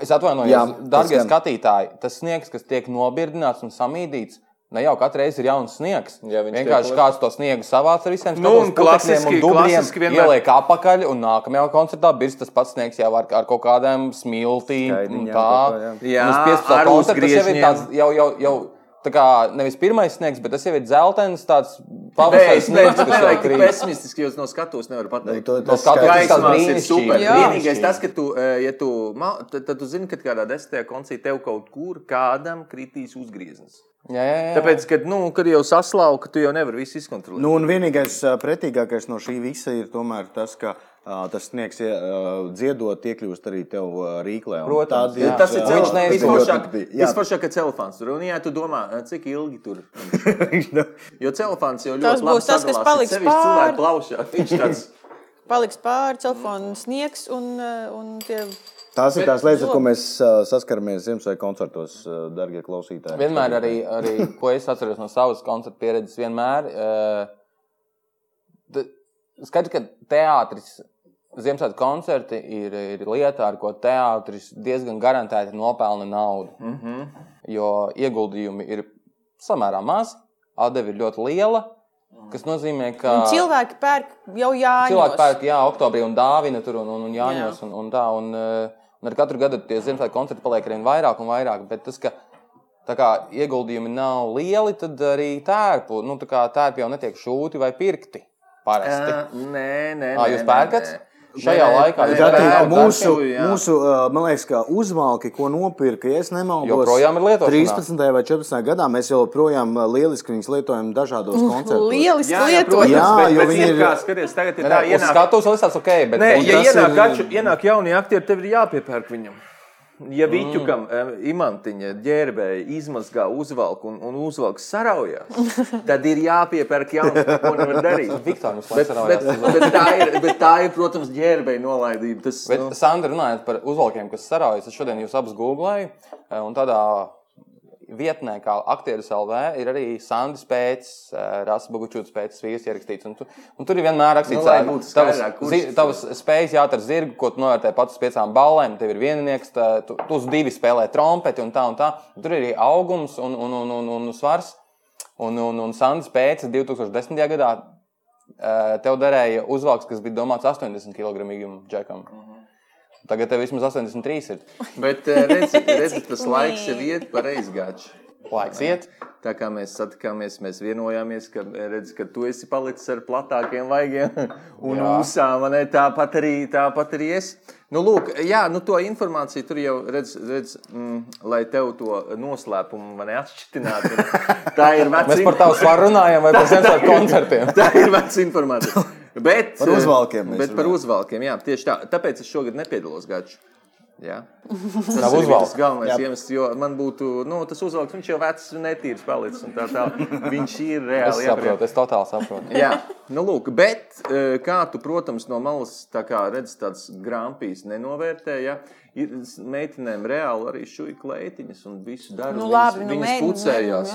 C: Es
D: Jā,
C: atvainojos,
D: tas
C: darbie
D: gan.
C: skatītāji, tas sniegs, kas tiek nobirdināts un samīdīts. Ne jau katru reizi ir jauns sniegs.
E: Jā, viņš
C: vienkārši
E: tiek-
C: kāds to sniegu savāca ar visiem
B: Nu, un
C: stūrainiem,
B: klasiski- klasiski vienmēr-
C: ieliek apakaļ, un nākamajā koncertā bija tas pats sniegs jau ar, ar kaut kādām smiltīm. un
D: Skaidiņām
C: Tā
D: kaut kā, jā.
B: Jā,
C: Un uz 15.
B: ar
C: koncerta tas jau ir
B: uzgriežņiem.
C: tāds jau, jau, jau tā kā nevis pirmais sniegs, bet tas jau ir dzeltens, tāds pavasaris
B: Pēc
C: sniegs,
B: tam,
C: kas jau
B: kad
C: krīt.
B: pesimistiski jūs no skatuves nevarat pateikt.
D: To,
C: No
D: tas
C: skatuves
D: skaidrs.
C: tas tāds
B: Gaismas ir super.
C: brīnišķīgi.
A: Jā.
B: Vienīgais tas, ka tu, eh, ja tu, mal- tad, tad tu zini, ka kādā desmitajā koncī tev kaut kur kādam kritīs uzgrieznis.
C: Jā, jā, jā.
B: Tāpēc, kad, nu, kad jau saslauka, tu jau nevari visu izkontrolēt.
D: Nu, un vienīgais ā, pretīgākais no šī visa ir tomēr tas, ka ā, tas sniegs ie- ā, dziedot, iekļūst arī tev ā, rīklē. Un
C: Protams,
D: tad
C: jā.
D: ir-
B: Tas ir
C: Jā.
D: ā,
C: Viņš
B: cilvēks,
C: neizdomā.
D: tas ļoti
B: kas
D: patīk. Jā.
B: ir foršāk, ka telefons tur un, ja tu domā, "Eh, cik ilgi tur. Jo telefons jau ļoti
A: Tas
B: labi
A: būs tas, kas
B: sadalās,
A: paliks
B: it sevišķi
A: pāri.
B: cilvēku plaušā. Viņš
C: (laughs)
B: tāds
A: Paliks pāri
B: Mm.
A: telefonu sniegs un, eh, un tie
D: (laughs) Tās ir
B: Bet
D: tās lietas, ar ko
A: zobi.
D: mēs ā, saskaramies Ziemassvētku koncertos, ā, darbie klausītāji.
C: Vienmēr arī, arī ko es atceros no savas koncerta pieredzes, vienmēr uh, skaidrs, ka teātris, Ziemassvētku koncerti ir, ir lieta, ar ko teātris diezgan garantēti nopelna naudu. Mm -hmm. Jo ieguldījumi ir samērā mazi, atdeve ir ļoti liela, kas nozīmē, ka.
A: Un cilvēki pērk jau jāņem.
C: Cilvēki pērk, jā, oktobrī un dāvina tur un, un, un jāņos.
A: Jā.
C: Un, un tā, un, eh, un ar katru gadu tie Ziemassvētku koncerti paliek arvien vairāk un vairāk. Bet tas, ka tā kā, ieguldījumi nav lieli, tad arī tērpu, nu, tā kā tērpi jau netiek šūti vai pirkti parasti.
B: Ā, "Eh, Nē, nē,
C: Ā,
B: nē,
C: jūs
B: nē,
C: pērkat?
B: nē.
C: Šajā
B: Nē,
C: laikā
B: nē, nē,
C: jūs
B: nē,
C: pērkat?
D: Gatīnā,
C: pērk,
D: mūsu,
B: pērku, jā.
D: mūsu ā, man liekas, ka uzvalki, ko nopirka, ja es nemaldos,
C: Joprojām ir lietošanā.
D: 13. vai 14. gadā mēs joprojām ā, lieliski viņus lietojam dažādos
A: Uh,
D: koncertos.
A: Lieliski
B: Jā, jā,
A: lietot.
B: protams,
D: Jā,
B: bet-
D: jo
B: bet
D: viņi
B: ir
D: ir-
B: kā skaties, tagad ir
C: Nē,
B: tā
C: nē, uz
B: ienāk.
C: skatuves liekas, ok, bet
B: Nē,
C: un
B: ja
C: tas
B: ienāk,
C: ir-
B: kaču, ienāk jaunie aktieri, tev ir jāpiepērk viņam. Ja Vīķukam, mm. imantiņa ģērbēji izmazgā, uzvelk un, un
A: (laughs)
B: uzvelk saraujas, tad ir jāpiepērk jauns, ko nevar darīt.
C: Viktor, mums
B: Bet,
C: laiks saraujas.
B: bet, bet, tā ir, bet tā ir, protams, ģērbēji nolaidība. Tas,
C: Bet,
B: nu,
C: Sandra, runājot par uzvalkiem, kas saraujas, es šodien jūs abus googlēju. eh, Un tādā vietnē, kā aktieris LV, ir arī Sandra pēc, Rasa Bogučūtas pēc vīrs ierakstīts. Un, tu, un tur ir vienmēr rakstīts,
B: Nu, lai
C: eh,
B: būtu
C: tavas
B: skaidrāk, kurš
C: zi-
B: tas
C: tavas spējas jāatver zirgu, ko tu novērtē pats uz piecām ballēm. Tev ir viennieks, tā- tu, tu uz divi spēlē trompeti un tā un tā. Tur ir arī augums un, un, un, un, un svars. Un, un, un Sandra pēc 2010. gadā eh, tev derēja uzvalks, kas bija domāts 80 kg džekam.
B: Mhm.
C: Tagad tev vismaz 83 ir.
B: bet eh, redzi, redzi, tas laiks ir iet pareizi gāčs.
C: Laiks iet.
B: Tā kā mēs satikāmies, mēs vienojāmies, ka, eh, redz, ka tu esi palicis ar platākiem vaigiem (laughs) un
C: Jā.
B: ūsām. vai ne? Tāpat arī, tāpat arī es. Nu, lūk, jā, nu, to informāciju tur jau redz, redz mm, lai tev to noslēpumu man
C: (laughs)
B: atšķirtinātu. Tā ir
C: Mēs
B: vecā
C: par tavu svaru runājam vai
B: (laughs)
C: par Ziemassvētku koncertiem?
B: Tā ir veca informācija. Bet, eh,
D: Par uzvalkiem mēs
B: Bet par
D: runājam.
B: uzvalkiem, jā, tieši tā. Tāpēc es šogad nepiedalos gaču. Jā. Tas
C: Nav
B: ir
C: uzvalka.
B: tas galvenais iemesls, jo man būtu nu, tas uzvalks, viņš jau vecs un netīrs palicis. Un tā, tā. Viņš ir
C: Es
B: reāli jāprie-
C: saprotu, es totāli saprotu.
B: Jā, nu, lūk, bet eh, kā tu, protams, no malas tā kā redzi, tāds grāmatīs nenovērtē. Ja? Ir s- meitenēm reāli arī šūja kleitiņas un visu darbu.
A: Nu, labi,
B: viņas,
A: nu,
B: viņas
A: meitenes,
B: pucējās.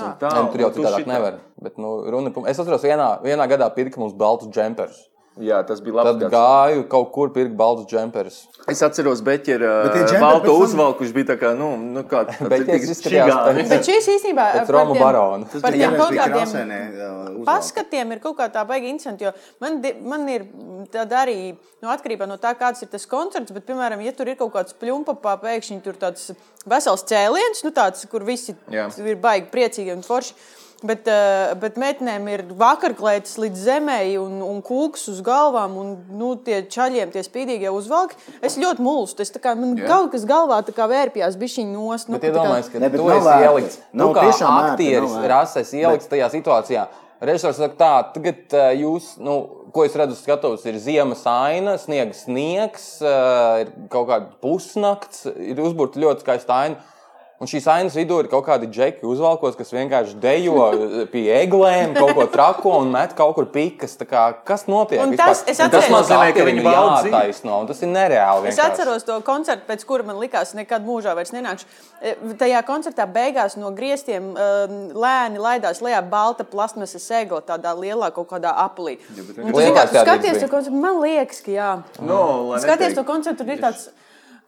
A: meitenes,
B: un
A: jā.
B: Tā,
C: Nē, nu, tur jau
B: un tu
C: citādāk
B: šitā.
C: nevar. Bet, nu, runa, pum- es atceros, vienā, vienā gadā pirka mums baltus džemperus.
B: Jā, tas bija labi.
C: Tad gāju kaut kur pirkt baltus džemperus.
B: Es atceros, Beķera
D: Bet tie
B: eh,
D: džemperi
B: balto
D: pēc tam-
B: uzvalku, kurš bija tā kā, nu, nu
C: (laughs)
B: kā tāds
C: Beķers
B: rītīgs
C: izskatījās
B: čigānis. (laughs)
C: pēc-
A: Bet šīs īstenībā
C: Pēc
A: par
C: Romu
A: tiem-
C: barona.
A: Par
D: Jā,
A: tiem
D: mēs
A: kaut
D: bija
A: kādiem
D: krāsainē, ā, uzvalki.
A: paskatiem ir kaut kā tā baigi interesanti. jo Man, di- man ir tāda arī nu, atkarībā no tā, kāds ir tas koncerts. Bet, piemēram, ja tur ir kaut kāds pljumpapā, pēkšņi tur tāds vesels cēliens, nu, tāds, kur visi
B: Jā.
A: ir baigi priecīgi un forši. Bet, eh, bet meitenēm ir vakarklētas līdz zemē, un, un kūks uz galvām, un nu, tie čaļiem, tie spīdīgie uzvalki. Es ļoti mulstu. Es, tā kā, man
B: Jā.
A: yeah. kaut kas galvā tā kā vērpjās, bija šī nost. Nu,
C: Bet
A: ka tā kā-
C: iedomājieties, ka
D: Ne,
C: ne,
D: bet
C: tu
D: nav
C: esi
D: vērti.
C: ielikts. Nu,
D: Nav
C: kā
D: tiešām vērti,
C: aktieris,
D: nav vērti.
C: rases ielikts tajā situācijā. Režisors saka, tā, tagad ā, jūs, nu, ko es redzu, skatos, ir ziemas aina, sniegs, sniegs, ā, ir kaut kāda pusnakts, ir uzbūvēta ļoti skaista aina. Un šīs ainas vidū ir kaut kādi džeki uzvalkos, kas vienkārši dejo ā, pie eglēm, kaut ko trako un met kaut kur pikas. Tā Kā, kas notiek?
A: Un
C: vispār?
A: tas- es
C: Un tas
A: atceros-
C: nozīmē, ka viņi
B: Aktieriem bauda dzīvi.
C: jātaisno, un tas ir nereāli.
A: Es
C: vienkārši.
A: atceros to koncertu, pēc kura man likās, nekad mūžā vairs nenākšu. E, Tajā koncertā beigās no griestiem um, lēni laidās lejā balta plasmasas segla, tādā lielā kaut kādā aplī.
B: Jā, bet
A: Un tu
C: Lielās
A: vienkārši
C: kādreiz
A: skaties
C: bija.
A: to koncertu, man liekas, ka jā.
B: No, Nu, lai
A: Skaties to
B: neteiktu.
A: koncertu, tur ir tāds.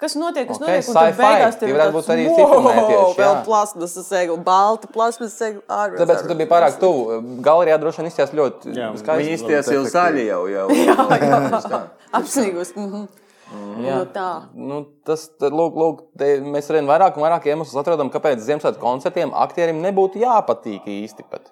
A: Kas notiek? Kas
C: Ok,
A: notiek? Un tad
C: sci-fi.
A: beigās
C: Tie
A: tev ir
C: varētu
A: tāds,
C: būt arī
A: "Wow,
C: filmētieši, jā."
A: Vēl plasmasas segla, balta plasmasas segla. Ārvis,
C: Tāpēc, ka tu biji pārāk tuvu, galerijā droši vien izties ļoti
D: Jā,
B: Viņi
C: skaisti.
B: izties jau zaļi jau. jau.
A: (laughs) Apsnīgus. mhm.
C: Jā.
A: Nu tā.
C: Nu, tas, tad, lūk, lūk, te, mēs arī vairāk un vairāk iemeslu atrodam, kāpēc Ziemassvētku koncertiem aktierim nebūtu jāpatīk īsti. Pat.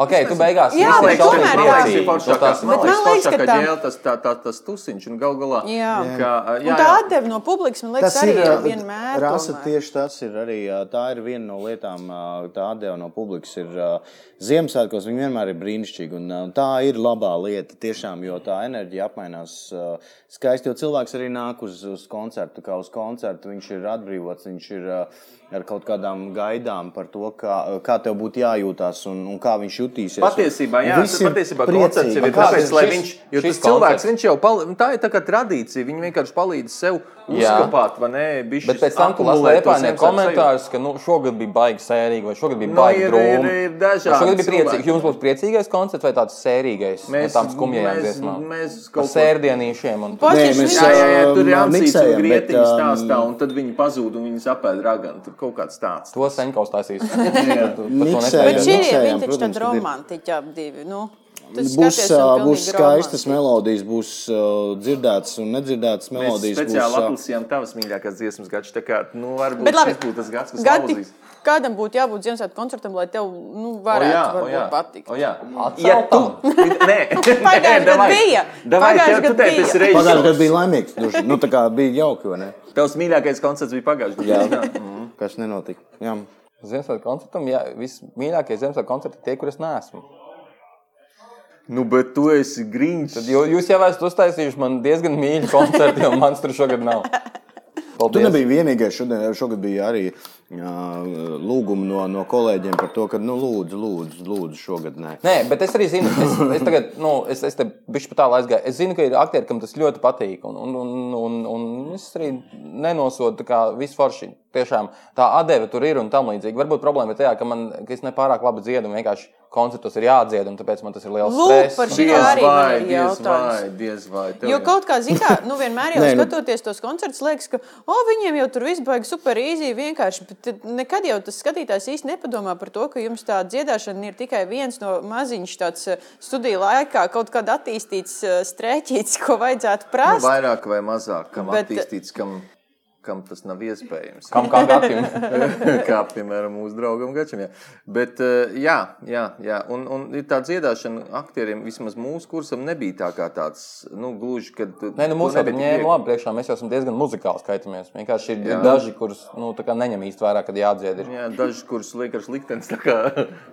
C: Ok, tu
A: Jā,
C: beigās visi
A: bet
C: šausmīgi
A: tomēr jā.
B: man liekas,
C: lecīgi.
B: ir
C: Nu, tas-
B: foršākās- man
A: Bet man
B: liekas,
A: liekas, ka
B: foršākā
A: tā-
B: ģēle, tas tā- tā- tas tusiņš un gal galā.
A: Jā.
B: Kā,
A: Un
B: jā,
A: tā
B: jā.
A: atdeve no publikas, man liekas,
D: Tas
A: arī
D: ir
A: ir
D: ā,
A: vienmēr.
D: Rasa,
A: tomēr.
D: tieši tas ir arī ā, tā ir viena no lietām, ā, tā atdeva no publikas. Ir, ā, Ziemassvētkos viņi vienmēr ir brīnišķīgi. Un, ā, tā ir labā lieta, tiešām, jo tā enerģija apmainās ā, skaisti. Jo cilvēks arī nāk uz, uz koncertu, kā uz koncertu. Viņš ir atbrīvots, viņš ir ā, ar kaut kādām gaidām par to, kā, kā tev būtu jājūtās un, un kā viņš jutīsies.
B: Patiesībā,
D: Un-
B: jā,
D: un
B: tas
D: viss ir
B: patiesībā
D: priecīgi.
B: koncerts jau ir
C: Kāds
B: tāpēc,
C: ir
B: lai
C: šis-
B: viņš, jo
C: šis
B: tas cilvēks,
C: koncerts?
B: viņš jau, pal, tā ir tā kā tradīcija, viņi vienkārši palīdz sev
C: Jā.
B: uzkapāt, vai nē, bišķi.
C: Bet pēc tam, kad lasu Liepājā komentārus, ka nu, šogad bija baigi sērīgi, vai šogad bija
B: Nu,
C: baigi
B: ir-
C: drūmi.
B: ir- ir
C: Vai
B: dažādi
C: Šogad bija priecīgs.
B: cilvēki.
C: Jums būs priecīgais koncerts vai tāds sērīgais? Mēs
B: Mēs-
C: tam skumjām
B: mēs-
C: dziesmām.
B: mēs kaut
C: Ar
B: ko-
C: sērdienīšiem. Un...
A: Pats
D: Nē,
A: viņš
D: mēs,
B: Jā, jā, jā, tur ir
D: um,
B: jāmīlēs,
D: miksējam,
B: un
D: bet,
B: grieķiņš
D: um,
B: stāstā, un tad viņi pazūd, un viņi apēd raganu. Tur kaut kāds tāds.
C: To senkaus
B: (laughs)
C: taisīs.
D: Miksējam.
A: Bet šī ir
D: Miksējam,
A: vienkārši
D: nu, protams,
A: tāda
D: kad ir.
A: romantiķa ap divi. Nu, tu
D: Būs,
A: skaties,
D: ā,
A: un pilnīgi
D: būs skaistas
A: romantiķi.
D: melodijas, būs uh, dzirdētas un nedzirdētas
B: Mēs
D: melodijas.
B: speciāli
D: ā,
B: atlasījām tavas mīļākās dziesmas gads. Tā kā, nu, varbūt
A: Bet labi,
B: šis būtu tas gads, kas
A: Gati,
B: klausīs.
A: kādam būtu jābūt Ziemassvētku koncertam, lai tev nu,
B: O
A: varētu
B: jā,
A: oh,
B: o jā,
A: patikt?
B: o jā.
C: Atceltam.
B: Ja tu- Nē,
A: (laughs) Pagājušajā gadā
B: davai.
A: bija.
B: Davai,
A: Pagājušajā
B: tev- tu
A: gadā
B: tevi tas
A: bija.
B: reizes-
D: Pagājušajā gadā bija laimīgs. duši. Nu, tā kā bija jauki, vai ne?
B: Tavs mīļākais koncerts bija pagājušajā
D: Jā.
B: gadā.
D: Kas nenotika? Jā.
C: Ziemassvētku koncertam, jā, vismīļākie Ziemassvētku koncerti ir tie, kurus nesmu.
B: Nu, bet tu esi grīns.
C: Tad jū- jūs jau esat uztaisījuši man diezgan mīļu koncertu, jo man tur šogad nav.
D: Tu
C: Paldies.
D: nebija vienīgais. Šodien, šogad bija arī jā, lūgumi no, no kolēģiem par to, ka, nu, lūdzu, lūdzu, lūdzu šogad nē.
C: Nē, bet es arī zinu, es, es tagad, nu, es, es te biju pat tālu aizgājis. Es zinu, ka ir aktieri, kam tas ļoti patīk. Un, un, un, un, un es arī nenosodu, kā vispār šī tiešām tā atdeve tur ir un tam līdzīgi. Varbūt problēma ir tajā, ka man, ka es nepārāk labi dziedu un vienkārši koncertos ir jādzied, un tāpēc man tas ir liels
A: Lūk,
C: stress.
A: par
C: un
A: šī-
C: tā.
A: Jā, arī man ir
B: diez vai,
A: jautājums.
B: diez vai.
A: Jo
B: Tev jau-
A: kaut kā, zināmā, nu, vienmēr jau
D: (laughs) Nē, nu-
A: skatoties tos koncertus, liekas, ka o, viņiem jau tur viss baigs super īzīgi, vienkārši. Bet tad nekad jau tas skatītājs īsti nepadomā par to, ka jums tā dziedāšana ir tikai viens no maziņš tāds eh, studiju laikā kaut kāda attīstīts eh, strēķīts, ko vajadzētu
B: Nu,
A: prasīt.
B: vairāk vai mazāk, kam
A: Bet-
B: bet... attīstīts, kam, kam tas nav iespējams.
C: Kam kā gatavim?
B: (laughs) Kā piemēram mūsu draugam Gačam. Jā. Bet, eh, jā, jā, jā. Un, un ir tā dziedāšana aktieriem, vismaz mūsu kursam, nebija tā kā tāds, nu, gluži, kad.
C: Nē, nu, mums
B: to
C: jau
B: nebija
C: bija
B: viegli.
C: labi priekšā. Mēs jau esam diezgan muzikāli skaitāmies. Vienkārši ir Jā.
B: Jā.
C: daži, kurus nu, tā kā neņem īsti vērā, kad jādzied. Ir.
B: Jā, dažus kursus liekas liktenis. tā kā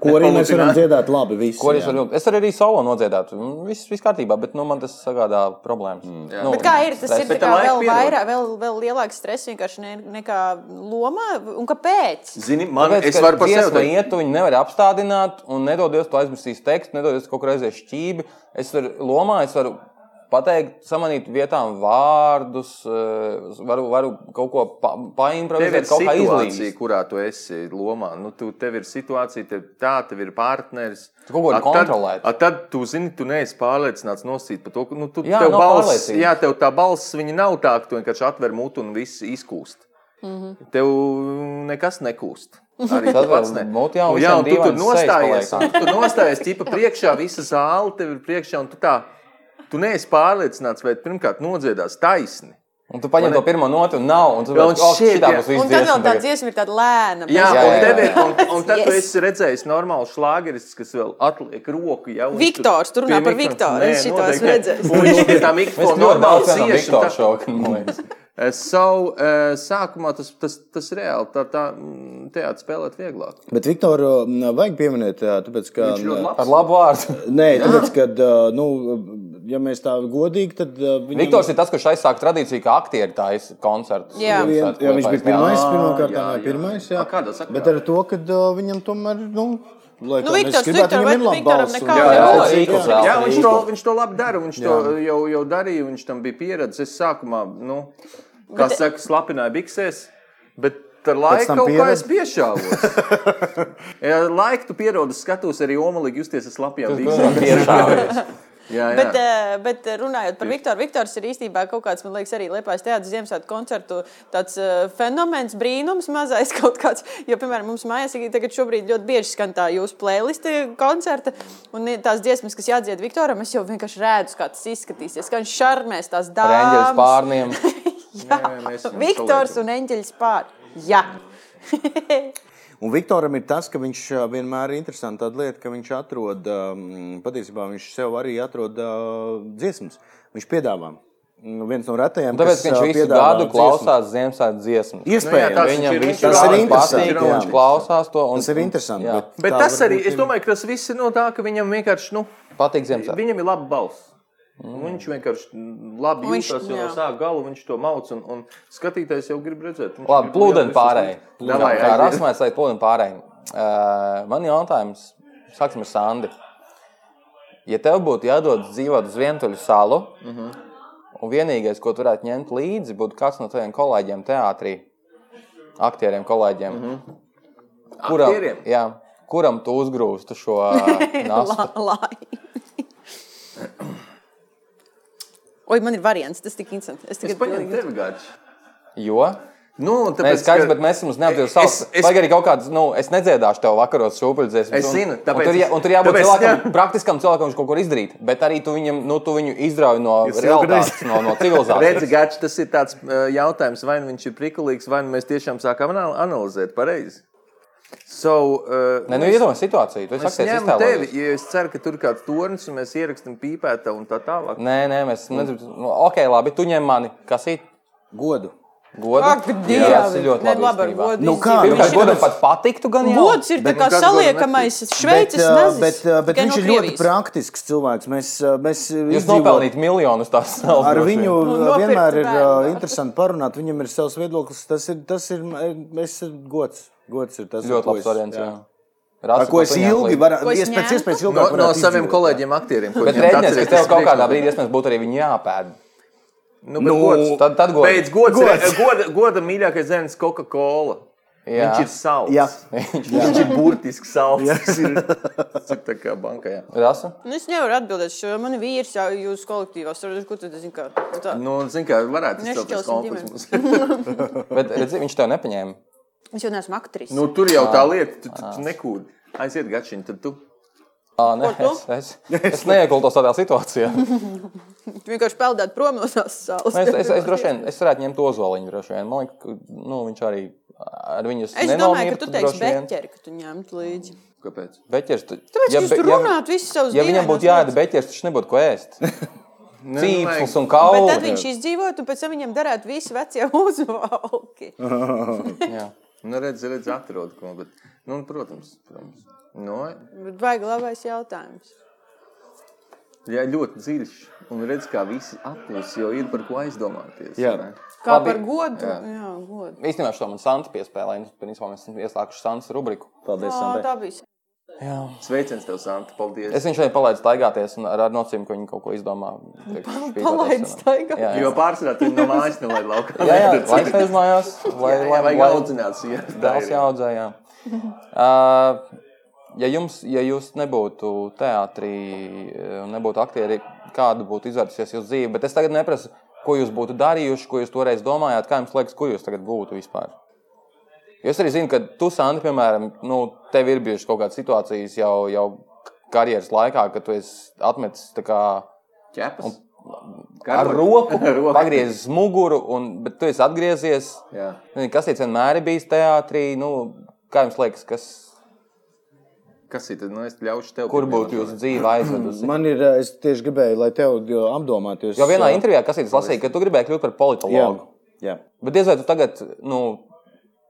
D: Ko arī mēs
B: (laughs)
D: varam
B: paludināt.
D: dziedāt labi visi.
C: Ko arī es
D: jā.
C: varu? Es arī, arī solo nodziedātu. Mm, Viss viss kārtībā, bet nu, man tas sagādā problēmas. Mm. Nu,
A: Bet kā ir? Tas ir
C: stress.
A: tā
B: Bet
A: kā
B: tam laika
A: vēl,
B: piedod.
A: vairāk, vēl, vēl lielāks stress vienkārši ne, nekā lomā. Un kāpēc?
B: Zini, man
C: Tāpēc,
B: Tāpēc, es varu par sevi
C: teikt,
B: teikt.
C: iet, viņi nevar apstādināt, un nedodies to aizmirsīs tekstu, nedodies kaut kur aizies šķīvi. Es varu lomā, es varu pateikt, samanīt vietām vārdus, eh, varu, varu kaut ko pa,
B: Tev ir
C: paimprovizēt, kaut kā
B: situācija,
C: izlīdzināt.
B: kurā tu esi lomā. Nu, tu, tev ir situācija, tev tā, tev ir partneris.
C: Tu kaut ko vari
B: A tad-
C: kontrolēt.
B: a Tad tu zini, tu neesi pārliecināts nosīt par to, ka nu, tu,
C: Jā,
B: tev
C: nav
B: balss,
C: pārliecības.
B: jā, tev tā balss, viņa nav tā, ka tu vienkārši atver mutu un viss izkūst. Mm -hmm. Tev nekas nekūst. Arī
C: Tas
B: tu pats
C: vēl
B: ne.
C: muti, jā, un
B: Un jā,
C: visiem
B: un tu tur
C: dīvains sejas
B: nostājies.
C: paliek.
B: un Tu nostājies tipa priekšā, visa zāle tev ir priekšā, un tu tā, tu neesi pārliecināts, vai pirmkārt nodziedās taisni.
C: Un tu paņem to pirmo noti, un nav. Un tu
B: Jā, un
C: domā, ka
B: shit,
C: tā
B: jā.
C: būs
A: Un tad
C: viss.
A: vēl tā dziesma ir tāda lēna.
B: Jā,
C: Jā,
B: jā, un,
C: jā,
B: tev,
C: jā.
B: ir- un, un tad yes. tu
A: Yes.
B: esi redzējis normālu šlāgeris, kas vēl atliek roku. Ja, un
A: Viktors, tu runā
B: pie
A: par
B: mikrofona-
A: Viktoru,
B: Nē,
A: es šito
B: noteikti
A: esmu
B: ne.
A: redzējis.
B: Un viņš pie tā
C: Mēs
B: mikrofona
C: ļoti
B: normāli
C: daudz no
B: cieši. un
C: Viktora
B: tā-
C: šoka, man liekas.
B: Eh, Savu eh, sākumā tas, tas, tas reāli tā, tā, mm, teātris spēlēt vieglāk.
D: Bet Viktoru m, vajag pieminēt, jā, tāpēc, ka.
B: Viņš ļoti labs.
C: Ar labu
D: (laughs)
C: vārdu.
D: Nē, tāpēc, ka, uh, nu, ja mēs tā godīgi, tad uh, viņam-
C: Viktors ir tas, kurš aizsāka tradīciju, ka aktieri taisa koncertus.
A: Jā.
D: Vien, jā, viņš bija pirmais,
B: jā,
D: pirmkārt,
B: jā, jā.
D: jā, pirmais,
B: A,
D: jā.
B: kādā sakarā?
D: Bet ar to, ka uh, viņam tomēr, nu, lai
A: Nu,
D: kā mēs
A: Viktors,
D: gribētu,
A: Viktor,
D: viņam
A: vai
D: ir laba
A: Viktoram
D: balss un-
A: nekā
B: Jā, jā,
C: jā,
B: jā, jā,
C: Zīkols vēl,
B: jā, viņš, to,
C: Zīkols.
B: viņš to labi dara. Viņš to jau, jau darīja, viņš tam bija pieredze. Es sākumā, nu, kā bet, saka, slapināju biksēs, bet ar
D: tam
B: laiku kaut kā
D: pieredze.
B: es piešāvos. (laughs) ja ar laiku tu pierodi, skatos arī omalīgi justies ar slapjām biksēm.
C: Tiešām.
B: Jā, jā.
A: Bet, eh, bet runājot par Viktoru, Viktors ir īstenībā kaut kāds, man liekas, arī Lepojas teātris Ziemassvētku koncertu tāds, eh, fenomens, brīnums mazais (laughs) kaut kāds. Jo, piemēram, mums mājās ir tagad šobrīd ļoti bieži skan tā jūsu playliste koncerta, un ir tās dziesmas, kas jādzied Viktoram, es jau vienkārši redzu, kā tas izskatīsies. Kā viņš šarmēs tās
C: Rangers
A: dāmas.
C: pārniem.
A: (laughs)
B: Jā, jā, mēs viņam
A: Viktors
B: paliekam.
A: un Eņģeļs pār. Jā.
D: Un Viktoram ir tas, ka viņš ā, vienmēr ir interesanti tāda lieta, ka viņš atrod, ā, patiesībā viņš sev arī atrod ā, dziesmas. Viņš piedāvā. Nu, Viens no retajiem,
C: Tāpēc
D: kas,
C: ka viņš
D: ā,
C: visu
D: piedāvā
C: gadu
D: dziesmas.
C: klausās Ziemassvētku dziesmu.
B: Nu, jā, tas-
D: Iespējams,
B: ir-
C: Viņam
B: viņš
C: visu
B: ir
C: gadu
D: interesanti,
C: patīk,
D: jā.
C: viņš klausās to. Un,
D: tas ir interesanti.
C: Jā.
D: bet
B: Bet
D: tā
B: tas
D: varbūt
B: arī, es
D: ir-
B: domāju, ka tas viss ir no tā, ka viņam vienkārši, nu,
C: Patīk Ziemassvētku.
B: viņam ir laba balss. Mm. Viņš vienkārši mm, labi
A: Viņš-
B: jūtas, jau no
A: jā.
B: sākuma gala viņš to mauc, un, un skatītājs jau grib redzēt. Viņš grib
C: Labi, plūdiņ
B: jau
C: pārējai.
B: visus- Davai,
C: Kā
B: aiziet.
C: rasmēs, lai plūdiņ pārējai. Uh, man jautājums, sāksim ar Sandi. Ja tev būtu jādod dzīvot uz vientuļu salu, mm -hmm. un vienīgais, ko tu varētu ņemt līdzi, būtu kāds no taviem kolēģiem teātrī, aktieriem kolēģiem, mm -hmm. kuram,
B: Aktieriem?
C: jā, kuram tu uzgrūstu šo
A: (laughs)
C: eh, nastu?
A: Lai. Oi, man ir variants. Tas tik interesants. Es
B: Es
A: tagad
B: paņēmu tevi gājuši.
C: Jo?
B: Nu,
C: Nē,
B: tāpēc,
C: skaidrs,
B: ka-
C: bet mēs esam neapstrādājuši
B: Es-
C: savus.
B: es-
C: Lai arī kaut kāds, nu, es nedziedāšu tev vakaros šūpuļdzies.
B: Es zinu, tāpēc
C: Un tur, jā,
B: es-
C: un tur jābūt
B: tāpēc- (laughs)
C: cilvēkam,
B: jā.
C: praktiskam cilvēkam, viņš kaut kur izdarīt. Bet arī tu, viņam, nu, tu viņu izrauj no
D: Jūs
C: realitātes, no, no
B: (laughs) Redzi,
C: civilizācijas.
B: gač, tas ir tāds eh, jautājums, vai nu viņš ir prikulīgs, vai nu mēs tiešām sākam anal- analizēt pareizi. So, uh,
C: Nē, nu, iedomājieties situāciju. Tu esi
B: es
C: akties
B: ņemu tevi,
C: iztēlojies.
B: ja es ceru, ka tur kāds tornis un mēs ierakstam pīpētā un tā tālāk.
C: Nē, nē, mēs nedzirdam. Nu, ok, labi, tu ņem mani. Kas ir
D: godu.
C: godu?
A: Ak,
C: Jā, tas
A: Dievi!
C: ir ļoti Nu,
A: Nē,
C: labi.
A: labi, ar
C: īstenībā.
A: godu
D: Nu
A: izdzīvo.
D: kā,
A: Viņš
C: Pirmkārt,
A: ir-
C: godam pat patiktu gan jau.
A: Gods ir tā
B: Bet
A: kā
B: kas
A: saliekamais šveicis
D: bet,
A: nazis.
D: bet, ā, bet
A: tikai
D: viņš
A: no
D: ir ļoti
A: Krievijas.
D: praktisks cilvēks. Mēs, ā, mēs
C: Jūs
D: izdzīvot-
C: nopelnīt miljonus tās savas.
D: Ar viņu
A: Nu, nopirkt
D: vienmēr ir
A: bērnu.
D: ā, interesanti parunāt. Viņam ir savs viedoklis. Tas ir, tas ir, m- es, gods. gods ir tas, ar
C: ļoti
D: ko
C: labs
D: es-
C: variants.
D: jā.
C: jā. Rasi,
D: Ar ko es
C: tu ņem
D: ilgi
C: līdzi.
D: varu,
A: Ko es
D: es pēc
A: ņēmu?
D: iespējas
B: No,
C: Nu,
D: ilgāk
B: no
D: varētu
B: saviem
D: izdzīvot.
B: kolēģiem, aktieriem. ko
C: Bet
B: viņiem
C: rēķinies, ka
B: atceries,
C: tev
B: tas
C: kaut kādā
B: priekšlikums.
C: brīdī iespējams būtu arī viņa jāpēd.
B: Nu, bet
D: Nu,
B: gods,
C: tad- tad gods.
B: Beidz gods.
D: Gods.
B: Gods. Goda, goda mīļākais zēns - Coca-Cola.
C: Jā.
B: Viņš ir salds.
D: Jā.
B: Viņš ir burtiski salds. Tas ir tas ir tā kā bankā. Jā.
C: Rasa?
A: Nu, es nevaru atbildēt, jo man ir vīrs jau jūsu kolektīvā. strādā, Ko tu zini? Kā? Nu tā.
B: Nu, zin, kā, varētu izcelties
A: Nešķelsim ģimeni.
B: konflikts.
C: Bet redzi, viņš tev nepaņēma.
A: Es jau neesmu aktris.
B: (laughs) Nu, tur jau tā lieta, tu, tu, tu nekūdi. Aiziet, gačiņ, tad tu.
C: Ā, nē,
A: Ko
C: es, es, es neiekultos tādā
A: (laughs)
C: situācijā. Nu,
A: Tu vienkārši peldēt prom no tās salas.
D: Nu,
C: Es, es, es droši vien es varētu ņemt ozoliņu. droši vien. Man liekas, ka, nu, viņš arī ar viņu
A: Es domāju, ka tu teiksi beķeri, ka tu ņemt līdzi.
B: Kāpēc?
C: beķers. tu-
A: Tāpēc
C: ja
A: ja, jūs
C: be-
A: tur
C: ja-
A: runājat visus savus
C: Ja viņam
A: nu,
C: būtu jāēd beķers, viņš nebūtu
B: (laughs)
C: ko ēst. Cīpslis un kauli.
A: Bet tad viņš izdzīvotu, un pēc tam viņam darētu visi vecie (laughs) uzvalki.
C: Jā.
B: Nu, redz, redz, atrod ko. Bet, nu, un, protams, protams. Nu,
A: Bet vai glabājas jautājums?
B: jā, ļoti dziļš. Un redz, kā visi atklās, jo ir par ko aizdomāties.
D: Jā.
B: ne?
A: Kā
C: Labi.
A: par godu? Jā, jā godu.
C: Īstenībā šo man Santa piespēlēja. Nu, Principā mēs esam ieslēguši Santa rubriku.
D: Paldies,
A: Ā,
D: Sandra.
A: tā bija.
C: Jā.
B: Sveiciens tev, Santa. Paldies.
C: Es viņu šeit palaidu staigāties un ar ar nocīm, ka viņi kaut ko izdomā. tiek špīgoties
A: palaid
C: un-
A: staigāties.
C: Jā, jā.
B: Jo pārsvarā tur no mājas nelaiž laukā.
C: Jā, jā, lai spēļinājās, lai,
B: (laughs) Jā,
C: lai,
B: jā, vajag
C: lai,
B: audzināt, ja tā
C: Dēls
B: ir.
C: jāaudzē,
B: (laughs)
C: jā. Uh, ja, jums, ja jūs nebūtu teātrī, eh, un nebūtu aktieri, kāda būtu izvērsusies jūsu dzīve? Bet es tagad neprasu, ko jūs būtu darījuši, ko jūs toreiz domājāt, kā jums liekas, kur jūs tagad būtu vispār. Jo Es arī zinu, ka tu, Sandi, piemēram, nu, tev ir bijušas kaut kādas situācijas jau, jau karjeras laikā, kad tu esi atmetis tā kā.
B: Ķepas.
C: ar
B: Karotes.
C: roku,
B: (laughs) Ar roku.
C: pagriezis muguru, un, bet tu esi atgriezies.
B: Jā.
C: Nezinu, Kas tas vienmēr ir bijis teātrī? Nu, kā jums liekas, kas,
B: Kas ir? tad? Nu, es ļaušu tev.
C: kur
B: pirmajam
C: būtu jūsu
B: atbildēt.
C: dzīve aizvedusi?
D: Man ir, eh, es tieši gribēju, lai tev jo, apdomātu.
C: Jo vienā intervijā kas ir lasījis, ka tu gribēji kļūt par
D: Jā,
C: politologu.
D: jā.
C: Bet diez vai tu tagad, nu,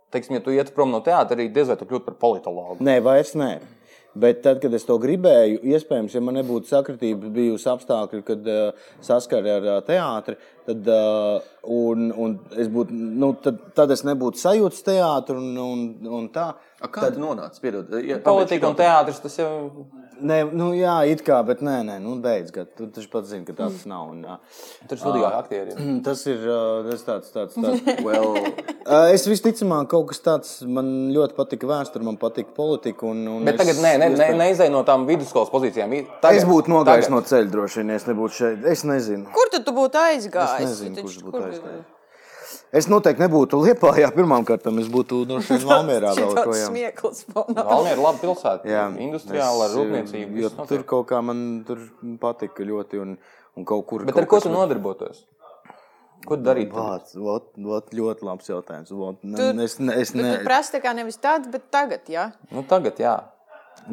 C: teiksim, ja tu iet prom no teātra, arī diez vai tu kļūtu par politologu.
D: Nē, vairs nē. Bet tad, kad es to gribēju, iespējams, ja man nebūtu sakritība, bijusi apstākļi, kad uh, saskarē ar uh, teātri, tad, uh, un, un es būtu, nu, tad, tad es nebūtu sajūta teātris un, un, un tā.
B: A, Kā tad nonāca? Piedod, ja,
C: Politika un teātris tas jau
D: Nē, nu, jā, it kā, bet nē, nē, nu, beidz, ka tu taču pats zini, ka tāds nav. Un, uh,
C: tur studijā aktieriem.
D: tas ir uh, tas tāds, tāds, tāds.
C: (laughs)
B: Well,
D: Uh, es visticamāk, kaut kas tāds man ļoti patika vēsture, man patika politika. Un, un
C: Bet
D: es,
C: tagad nē, ne, ne,
D: iespējams-
C: neizdeja no tām vidusskolas pozīcijām. I- Tagad,
D: Es būtu nogājis
C: tagad.
D: no ceļa droši vien, ja es nebūtu šeit. Es nezinu.
A: Kur tad tu būtu aizgājis?
D: Es nezinu,
A: Tu taču-
D: kurš būtu
A: kur-
D: aizgājis. Es noteikti nebūtu Lietpā, ja pirmām kārtām es būtu nu, no šīs
C: (laughs)
D: Valmjerā vēl
A: Šitā
D: kaut kā.
A: smieklis fonā.
C: Valmija ir laba pilsēta. Industriāla, rūpniecība.
D: Jo
C: viss notiek.
D: tur kaut kā man tur patika ļoti un, un kaut kur.
C: Bet
D: kaut
C: ar ko
D: kas
C: tu nodarbotos? Ko tu darītu? tagad?
D: Vāc, vot, vot, ļoti labs jautājums. Vot, ne,
A: Tu-
D: es ne, es
A: Tu
D: ne,
A: tur prasa tā kā nevis tāds, bet tagad, jā.
C: Nu, tagad, jā.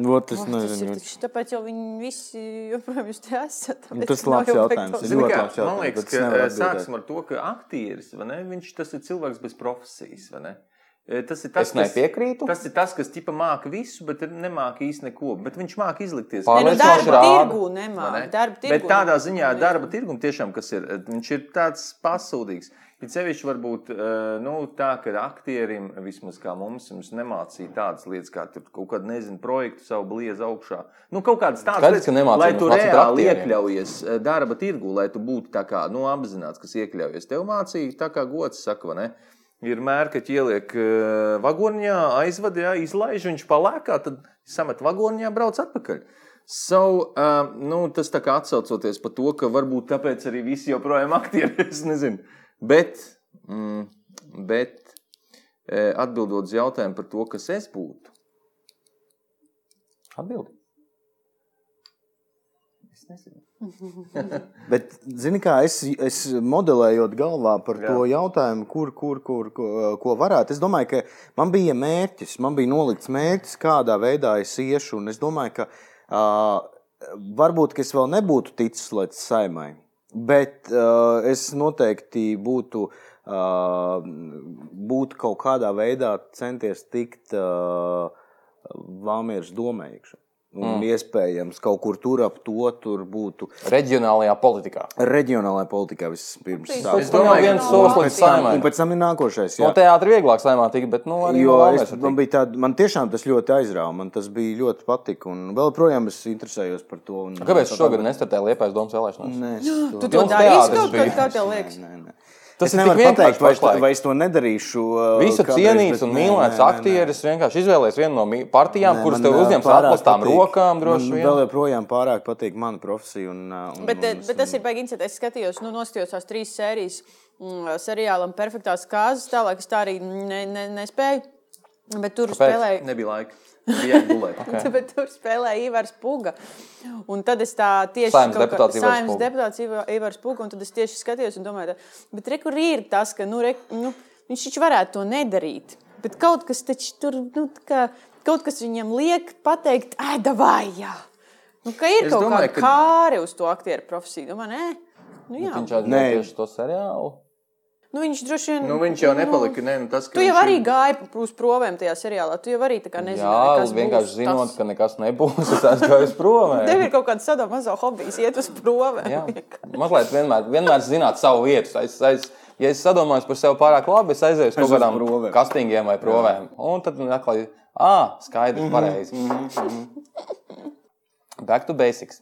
D: vot, es
A: Oh, tas ir
D: nezinu.
A: taču tāpēc, jo viņi visi joprojām jūs te esat. tāpēc
D: Nu, Tas
A: nav
D: labs
A: jau
D: jautājums.
A: beigtos.
D: Ļoti
B: Zini kā,
D: labs jautājums,
B: Man liekas,
D: bet es
B: ka
D: nevaru
B: eh,
D: atbildēt.
B: sāksim ar to, ka aktieris vai ne, viņš tas ir cilvēks bez profesijas. vai ne? Eh, Tas ir tas,
C: Es nepiekrītu.
B: Tas ir tas, kas tipa māca visu, bet nemāca īsti neko. Bet viņš māca izlikties.
A: Nē, nu,
C: Pārliecinoši
A: darba
C: rāda,
A: tirgu
B: vai ne?
A: nemāca. Darba tirgu.
B: Bet tādā
A: nemā-
B: ziņā darba tirgum tiešām kas ir, eh, viņš ir tāds pasūdīgs. Ir sevišķi varbūt eh, nu, tā, ka aktierim, vismaz kā mums, mums nemācīja tādas lietas, kā tur kaut kāda, nezinu, projektu savu bliezu augšā. Nu, kaut kādas tādas
C: Skaidrs, ka nemācīja,
B: lai
C: mums
B: tu
C: mācīja par
B: reāli
C: aktieriem.
B: iekļaujies eh, darba tirgu, lai tu būtu tā kā nu, apzināts, kas iekļaujies. Tev mācīja tā kā gods saka, vai ne? Ir mērķis, ieliek eh, vagoniņā, aizvada, jā, izlaiž viņš palēkā, tad samet vagoniņā, brauc atpakaļ. So, uh, nu, tas tā kā atcaucoties par to, ka varbūt tāpēc arī visi joprojām aktieri, (laughs) es nezinu. Bet, mm, bet eh, atbildot uz jautājumu par to, kas es būtu,
C: Atbildi.
B: es nezinu.
D: Bet, zini, kā es, es modelējot galvā par Jā.
B: Jā.
D: to jautājumu, kur, kur, kur, ko, ko varētu. Es domāju, ka man bija mērķis, man bija nolikts mērķis, kādā veidā es iešu. un Es domāju, ka uh, varbūt ka es vēl nebūtu ticis līdz saimai, bet uh, es noteikti būtu. Uh, būt kaut kādā veidā centies tikt uh, Vāmiņas domē iekšā. Mm. Iespējams, kaut kur tur ap to tur būtu
C: Reģionālajā politikā.
D: reģionālajā politikā vispirms.
A: Tas
B: Es domāju,
C: jau viens
A: ka-
C: solis
A: Un
C: līdz
A: pēc tam-
C: saimai.
D: Un pēc tam ir nākošais.
C: No
D: Jā.
C: teātra Nu, vieglāk saimā tika, bet, nu, arī no
D: Jo es,
C: Valmijas var
D: man,
C: tikt.
D: bija tāda, man tiešām tas ļoti aizrāva. Man tas bija ļoti patika. Un vēl projām es interesējos par to. Un,
C: Kāpēc tu šogad nestartēji Liepājas domas vēlēšanās?
D: Nē, es to
A: Tu to
C: Jums
A: darīsi
C: teātris
A: kaut kā
C: bija.
A: tā, tev liekas.
D: Nē, nē.
C: Tas
D: Es
C: ir tik
D: nevaru
C: vienkārši
D: pateikt, vai es, to,
C: pašlaik.
D: vai es to nedarīšu. uh,
C: Visu
D: kādreiz,
C: cienīts
D: bet
C: un
D: nē,
C: mīlēts
D: nē, nē, nē.
C: aktieris vienkārši izvēlējies vienu no mī- partijām,
D: Nē,
C: kuras
D: man,
C: tev
D: uh,
C: uzņemts ar
D: pārāk
C: atklātām
D: patīk.
C: rokām. droši
D: Man
C: vien.
D: vēl joprojām pārāk patīk mana profesija. Un, uh, un,
A: Bet, eh,
D: un,
A: bet tas ir baigi interesanti. Es skatījos, nu, noskatījos tās trīs sērijas mm, seriālam, perfektās kārtas. Tālāk es tā arī ne, ne, nespēju. Bet tur
C: Kāpēc?
A: spēlēju.
B: Nebija laika. Bija jāgulēt.
A: (laughs) Okay. Bet tur spēlēja Ivars Puga. Un tad es tā tieši
C: Saeimas
A: kaut kā-
C: deputāts Ivars
A: Saeimas
C: Puga.
A: deputāts Iva- Ivars Puga. Un tad es tieši skatījos un domāju, tā, bet re, kur ir tas, ka nu, re, nu, viņš taču varētu to nedarīt. Bet kaut kas taču tur, nu, tā kā, kaut kas viņam liek pateikt, ai, davai, jā. Nu, ka ir es
B: Es
A: kaut
B: domāju,
A: domāju, kāda ka...
B: ka-
A: kāre uz to aktieru profesiju. Domāju, nē, nu, jā.
C: Viņš
A: Viņš,
D: Nē.
C: atzina tieši to seriālu.
A: nu, viņš droši vien.
B: Nu, viņš jau nepalika. Nē, nu, tas, ka
A: Tu jau
B: viņš
A: arī
B: ir-
A: gāji uz provām tajā seriālā. Tu jau arī tā kā nezināji,
C: Jā,
A: kas
C: vienkārši
A: būs
C: zinot,
A: tas.
C: ka nekas nebūs, es aizgāju
A: (laughs)
C: prom.
A: Tev ir kaut kāda sada mazā hobijas, iet uz provām.
C: Jā, mazliet vienmēr, vienmēr zināt savu vietu. Es, es, ja es domāju par sevi pārāk labi, es aizēju uz
D: Es
C: kaut
D: uz
C: kādām
D: provēm.
C: kastīgiem vai provēm. Un tad man atklāja, ah,
D: Mhm,
C: skaidrs, pareizi. Back to basics.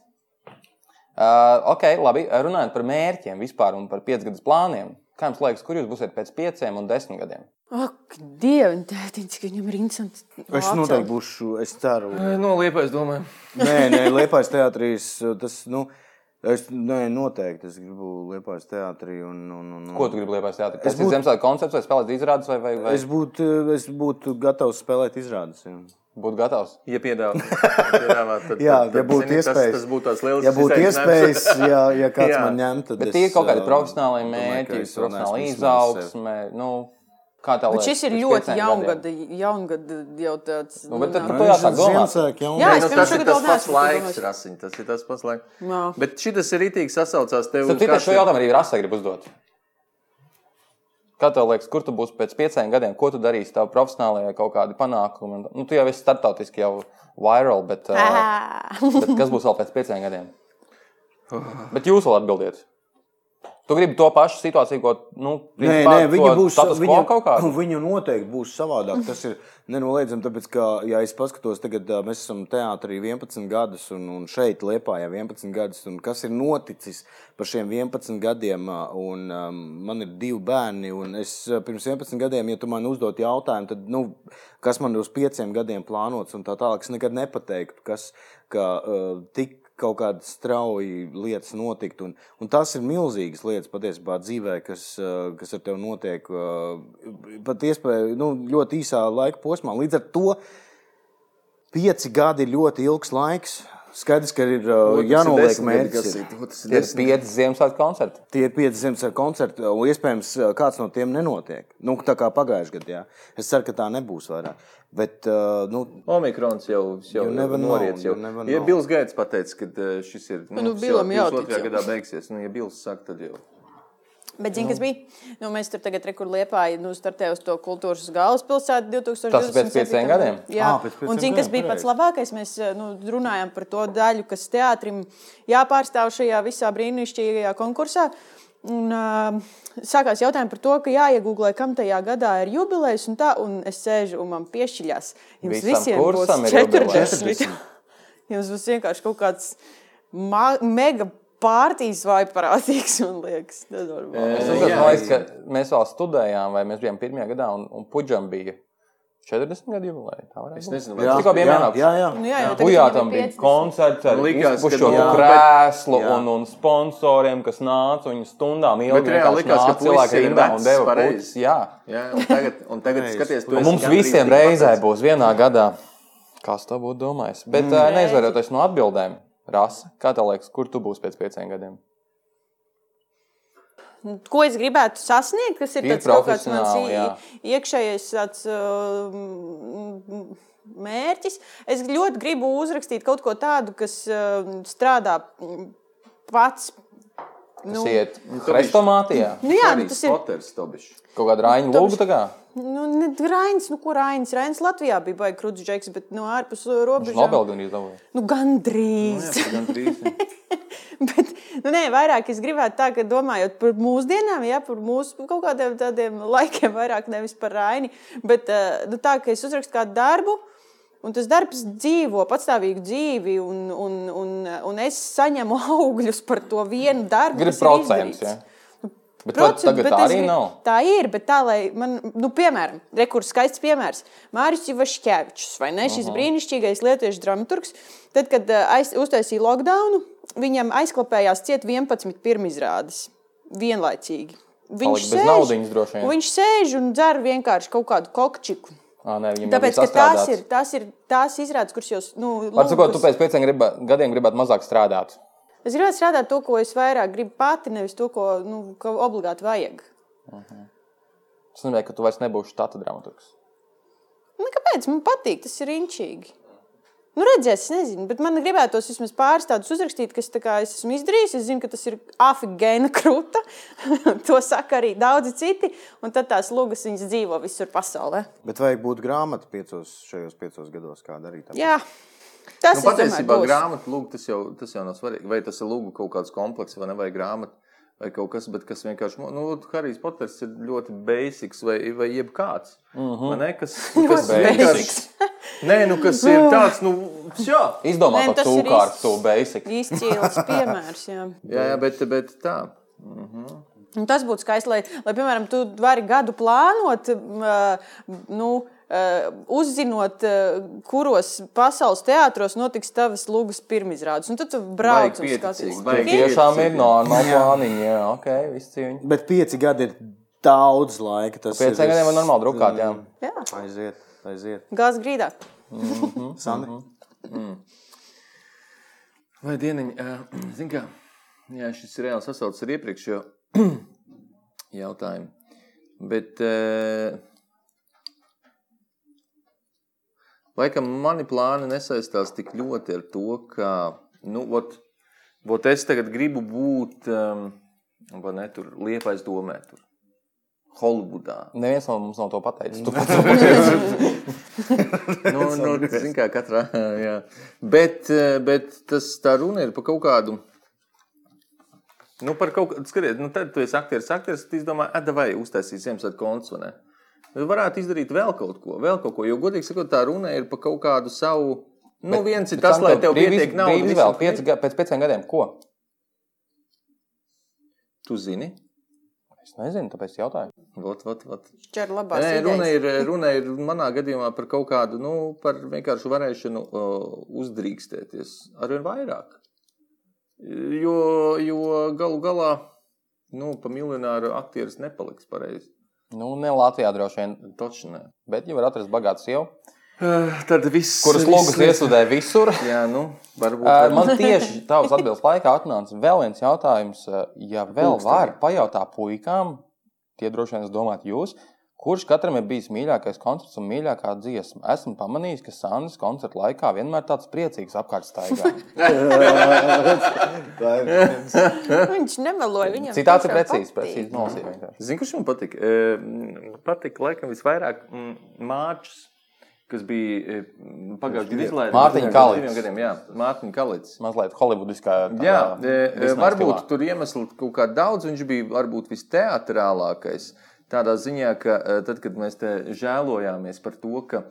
C: Uh, ok, labi. Runājot par mērķiem vispār un par piecgadus plāniem. Kā jums liekas, kur jūs būsiet pēc pieciem un desmit gadiem?
A: Ak, Dievs, tētiņš, ka viņam ir interesanti.
D: Es noteikti būšu, es ceru.
B: No liepa, es domāju.
D: Nē, nē Liepais teātrīs. Tas, nu, es, nē, noteikti es gribu Liepais teātrī. Un, un, un, un.
C: Ko tu gribi liepāt? Jā, tas
D: būtu-
C: ir Zemesvētku koncepts vai spēlēt izrādes vai, vai, vai...
D: Es būtu, es būtu gatavs spēlēt izrādes. Jā.
C: Būtu gatavs.
B: Ja
A: (laughs)
B: piedāvā, piedāvā tad,
D: Jā,
B: tad, tad,
D: ja būtu
B: zini, tas,
D: iespējas.
B: tas būtu tās liels
D: Ja būtu iespējas, ja,
B: (laughs)
D: ja kāds
B: Jā.
D: man ņemtu, tad
C: Bet tie ir kaut kādi
D: ā,
C: profesionāli
D: domāju, ka
C: mērķi,
D: es vēl
C: profesionāla
D: neesmu izsmējis sevi.
C: izaugsme. Nu, kā tev
A: Bet
C: liekas?
A: šis ir
C: pirms
A: ļoti
C: pieciem gadiem?
A: jaungada, jaungada jau tāds.
C: Nu, bet tad
D: Nu,
C: par
A: (laughs)
C: to
D: viņš
C: jāsāk
D: ir
C: domāt.
D: Ziemassvētku jaunums.
A: Jā,
B: Nē,
A: es
B: nu,
A: pirms
B: tas, ir
A: tagad
B: tas
A: vēl
B: pats
A: neesmu
B: laiks,
A: padomājis.
B: Rasiņ, tas ir tas pats laiks.
A: Jā.
B: Bet šī tas ir rītīgi sasaucās tev.
C: Tad citādi šo jautājumu arī Rasa grib uzdot. Kā tev liekas, kur tu būsi pēc pieciem gadiem? Ko tu darīsi savā profesionālajā kaut kādā panākumā? Nu, tu jau esi startautiski jau viral, bet,
A: (laughs)
C: uh,
A: Ā.
C: bet kas būs vēl pēc pieciem gadiem? Bet jūs vēl atbildiet. Tu gribi to pašu situāciju, ko nu,
D: Nē,
C: principā
D: nē, viņi
C: to
D: būs
C: status quo
D: viņa-
C: kaut kādā.
D: (laughs) Viņu noteikti būs savādāk. Tas ir nenoliedzami, tāpēc, ka, ja es paskatos, tagad ā, mēs esam teātrī 11 gadus, un, un šeit liepā jau 11 gadus, un kas ir noticis par šiem 11 gadiem, ā, un um, man ir divi bērni, un es ā, pirms 11 gadiem, ja tu man uzdot jautājumu, tad, nu, kas man uz pieciem gadiem plānots, un tā tālāk, es nekad nepateiktu, kas, ka uh, tik kaut kādas strauji lietas notikt. Un, un tas ir milzīgas lietas patiesībā dzīvē, kas, eh, kas ar tevi notiek eh, pat iespēja nu, ļoti īsā laika posmā. Līdz ar to pieci gadi ir ļoti ilgs laiks. Skaidrs, ka ir
B: Nu,
D: eh, jānoliek mērķis. ir.
C: Tie ir pieci Ziemassvētku koncerti.
D: Tie ir 500 koncerti, un iespējams, eh, kāds no tiem nenotiek. Nu, tā kā pagājušajā gadā. jā. Es ceru, ka tā nebūs vairāk. Bet, eh, nu,
B: Omikrons jau, jau
D: You never know,
B: noriets. Jau.
D: you never
B: Ja
D: know.
B: Bills Gates pateica, ka eh, šis ir
A: Nu,
B: tas
A: Billam
B: jau
A: jātic
B: 22.
A: jau.
B: gadā beigsies, nu, ja Bills saka, tad jau.
A: Bet, zini, kas bija? Nu, mēs tur tagad rekur liepā, nu, startējām uz to kultūras galvaspilsētu 2020.
C: Tas pēc pieciem gadiem?
A: Jā,
D: Ā, pēc pieciem
A: un zini, kas bija
D: gadiem,
A: pats
D: pareizi.
A: labākais? Mēs nu, runājām par to daļu, kas teātrim jāpārstāv šajā visā brīnišķīgajā konkursā. Un, uh, sākās jautājums par to, ka jāiegūglē, kam tajā gadā ir jubilejas, un tā, un es sēžu un man piešķiļās. Jums
C: Visam
A: visiem būs
C: kursam ir jubilejs.
A: 40. (laughs) Jums būs vienkārši kaut kāds ma- mega pārtīs vai parādīgs, man liekas. Nenormāli.
B: jā,
C: Es saprotu, man
B: jā.
C: liekas, ka mēs vēl studējām, vai mēs bijām pirmajā gadā, un, un puģam bija 40 gadu jubileja. Tā varētu
B: Es
C: būt.
B: nezinu, vai
C: Jā, tikko bija
D: jā,
C: mēnāks.
D: jā, jā.
A: Nu, jā, jau tagad
C: Bujā
A: viņam ir
C: tam bija
A: 50.
C: koncerts ar
B: Man likās, ka-
C: izpušķotu
B: jā,
C: krēslu
D: bet- jā.
C: un, un sponsoriem, kas nāca un viņi stundām
B: Bet
C: ilgi.
B: reāli
C: vienkārši
B: likās, ka
C: nāca
B: puisis
C: cilvēki
B: ir
C: rindā
B: vecs
C: un deva
B: pareizi.
C: puķus. Jā,
A: (laughs)
B: Jā, un tagad, un tagad
D: Neiz.
B: skaties, tu
D: Un
B: esi
C: un mums
B: gandrīz Mm.
C: visiem
B: tikpat
C: reizē
B: vecs.
C: būs vienā gadā. Kas tā būtu domājis? Bet mm. neizvairoties no atbildēm. Rasa, kā tev liekas, kur tu būsi pēc pieciem gadiem?
A: Nu, ko es gribētu sasniegt, kas ir,
C: Ir
A: ir kaut kāds mans
C: profesionāli,
A: i-
C: jā.
A: iekšējais tāds, um, mērķis. Es ļoti gribu uzrakstīt kaut ko tādu, kas um, strādā mm, pats.
C: Kas
A: Nu,
C: nu, iet
B: tu
C: restorānā,
A: nu, jā, nu,
B: Harijs
A: tas ir
B: Poters, Tobišs.
C: kaut kāda rāņa lūga. tā kā?
A: nu, ne, Rainis, nu, kur Rainis. Rainis Latvijā bija baigts krūtis, džeks, bet no ārpus uh,
C: Viņš
A: robežām.
C: Nobelu gan izdevās.
A: Nu, gandrīz.
B: Jā, gandrīz.
A: (laughs) Bet, nu, nē, vairāk es gribētu tā, ka domājot par mūsdienām, ja par mūsu nu, kaut kādiem tādiem laikiem, vairāk nevis par raini. Bet eh, nu, tā, ka es uzrakstu kādu darbu, un tas darbs dzīvo patstāvīgu dzīvi, un, un, un, un es saņemu (laughs) augļus par to vienu darbu.
C: Gribu
A: kas ir
C: procentus.
A: izdarīts.
C: Ja? Bet vai
A: Procentu,
C: tagad
A: bet
C: tā
A: es
C: arī
A: gribu-
C: nav.
A: Tā ir, bet tā, lai man, nu, piemēram, rekurs skaists piemērs. Mārcis Vaškēvičs, vai ne?
C: Mhm.
A: Šis brīnišķīgais lietuviešu dramaturgs, tad, kad ā, aiz, uztaisīja lockdown, viņam aizklapējās ciet 11 pirmizrādes vienlaicīgi. Viņš
C: Palika bez naudiņas droši vien.
A: un viņš sēž un dzer vienkārši kaut kādu kokčiku.
C: Ā, nē, viņam jau
A: Tāpēc,
C: bija
A: ka tās
C: sastrādāts.
A: ir, tās ir tās izrādes, kuras jūs, nu,
C: Var sakot,
A: lūgas-
C: tu pēc pieciem griba, gadiem gribētu mazāk strādāt.
A: Es gribētu strādāt to, ko es vairāk gribu pati, nevis to, ko, nu, ko obligāti vajag.
C: Tas nozīmē, ka tu vairs nebūsi štata dramaturgs.
A: Nu, kāpēc man patīk? Tas ir inčīgi. Nu, redzēs, es nezinu, bet man gribētos vismaz pāris tādus uzrakstīt, kas tā kā es esmu izdarījis. Es zinu, ka tas ir afigēna krūta. (laughs) to saka arī daudzi citi. Un tad tās lūgas viņas dzīvo visur pasaulē.
D: Bet vajag būt grāmatā piecos, šajos piecos gados, kā darīt.
A: Jā, tas nu,
B: Nu,
A: ir
B: patiesībā
A: grāmatā.
B: grāmatā lūk, tas jau, tas jau nav svarīgi. Vai tas ir lūgu kaut kāds komplekss vai, ne, vai grāmata. Vai kaut kas, bet kas vienkārši. mo- Nu, Harijs Poters ir ļoti basics, vai, vai jebkāds. Mm -hmm. ne, kas, kas
C: basics.
B: vienkārši- Nē, nu, kas ir tāds, nu, jā.
C: Izdomā
A: Nē,
C: par
A: tas ir
C: cūkārtu,
A: īsts.
C: to basic.
A: Izcils piemērs. Jā.
B: Jā, jā bet, bet tā.
A: Un Nu, tas būtu skaisti, lai, lai, piemēram, tu vari gadu plānot, mm, nu, eh, uzzinot, eh, kuros pasaules teātros notiks tavas lūgas pirmizrādes. Un tad tu brauc un
B: Baigi
A: skaties.
B: pieticīgi,
C: Tur
B: baigi
C: tiešām
B: iecīnīt.
C: ir normāli plāniņi. Jā, ok, viss cīņa.
D: Bet pieci gadi ir daudz laika. Tas
C: Pieciem
D: ir,
C: gadiem var normāli drukāt, jā.
A: Jā,
D: Mm. Aiziet, aiziet.
A: gāzes grīdā.
D: Mm, Sandra.
B: Vai dieniņ, (clears throat) eh, zini, kā jā, šis ir reāls sasaucas ar iepriekšējo (clears throat) jautājumu. Bet, eh, laikam, mani plāni nesaistās tik ļoti ar to, ka, nu, ot, ot es tagad gribu būt, um, vai ne, tur liepais domē, tur Holivudā.
C: Neviens no mums nav to pateicis. Tu pats
B: (laughs) Nu, nu, zin kā katrā, (laughs) jā. Bet, eh, bet tas tā runa ir par kaut kādu. Nu, par kaut kādu, skatiet, nu, tad tu esi aktieris, aktieris, tad izdomā, atdevai uztaisīt Ziemassvētku koncu, vai ne? Nu, Varētu izdarīt vēl kaut ko, vēl kaut ko, jo, godīgi sakot, tā runa ir par kaut kādu savu, nu, bet, viens ir tas, lai tev pietiek naudas.
C: Vēl piec, pēc pieciem gadiem, ko?
B: Tu zini?
C: Es nezinu, tāpēc jautāju.
B: Vot, vot, vot.
A: Čer labās
B: Nē, runa
A: idejas.
B: ir, runa ir manā gadījumā par kaut kādu, nu, par vienkāršu varēšanu uh, uzdrīkstēties ar vien vairāk. Jo, jo galu galā, nu, pa miljonāru aktieris nepaliks pareizi.
C: Nu, ne Latvijā droši vien,
B: Taču nē.
C: bet jau var atrast bagātu sievu,
B: Uh, tad viss.
C: kuras logus iesūdzēja
B: (laughs)
C: visur.
B: Jā, nu, varbūt.
C: Ā,
B: Uh,
C: Man tieši tavs atbildes laikā atnāca vēl viens jautājums. Ā, Ja vēl
B: Pulksteni.
C: var pajautāt puikām, tie droši vien es domāju, jūs, kurš katram ir bijis mīļākais koncerts un mīļākā dziesma? Esmu pamanījis, ka Sandras koncerta laikā vienmēr tāds priecīgs apkārt staigā.
B: (laughs)
D: Tā ir.
A: Viņš nemeloja. Viņam
C: Citāts ir
A: tiešām
C: precīzi,
A: patīk.
C: precīzi nolasīja vienkārši.
B: Zini, kurš man patika? Eh, mm, Patika, laikam, visvairāk mm, Mārčs, kas bija eh, pagājušajā gadā izlaidis.
C: Mārtiņa
B: Pirms diviem
C: Kalicis.
B: gadiem, Jā, Mārtiņa Kalits.
C: Mazliet holivudiskā.
B: Jā, e,
C: Disneja
B: varbūt
C: stilā.
B: tur iemesls kaut kā daudz, viņš bija varbūt visteātrālākais. Tādā ziņā, ka e, tad, kad mēs te žēlojāmies par to, ka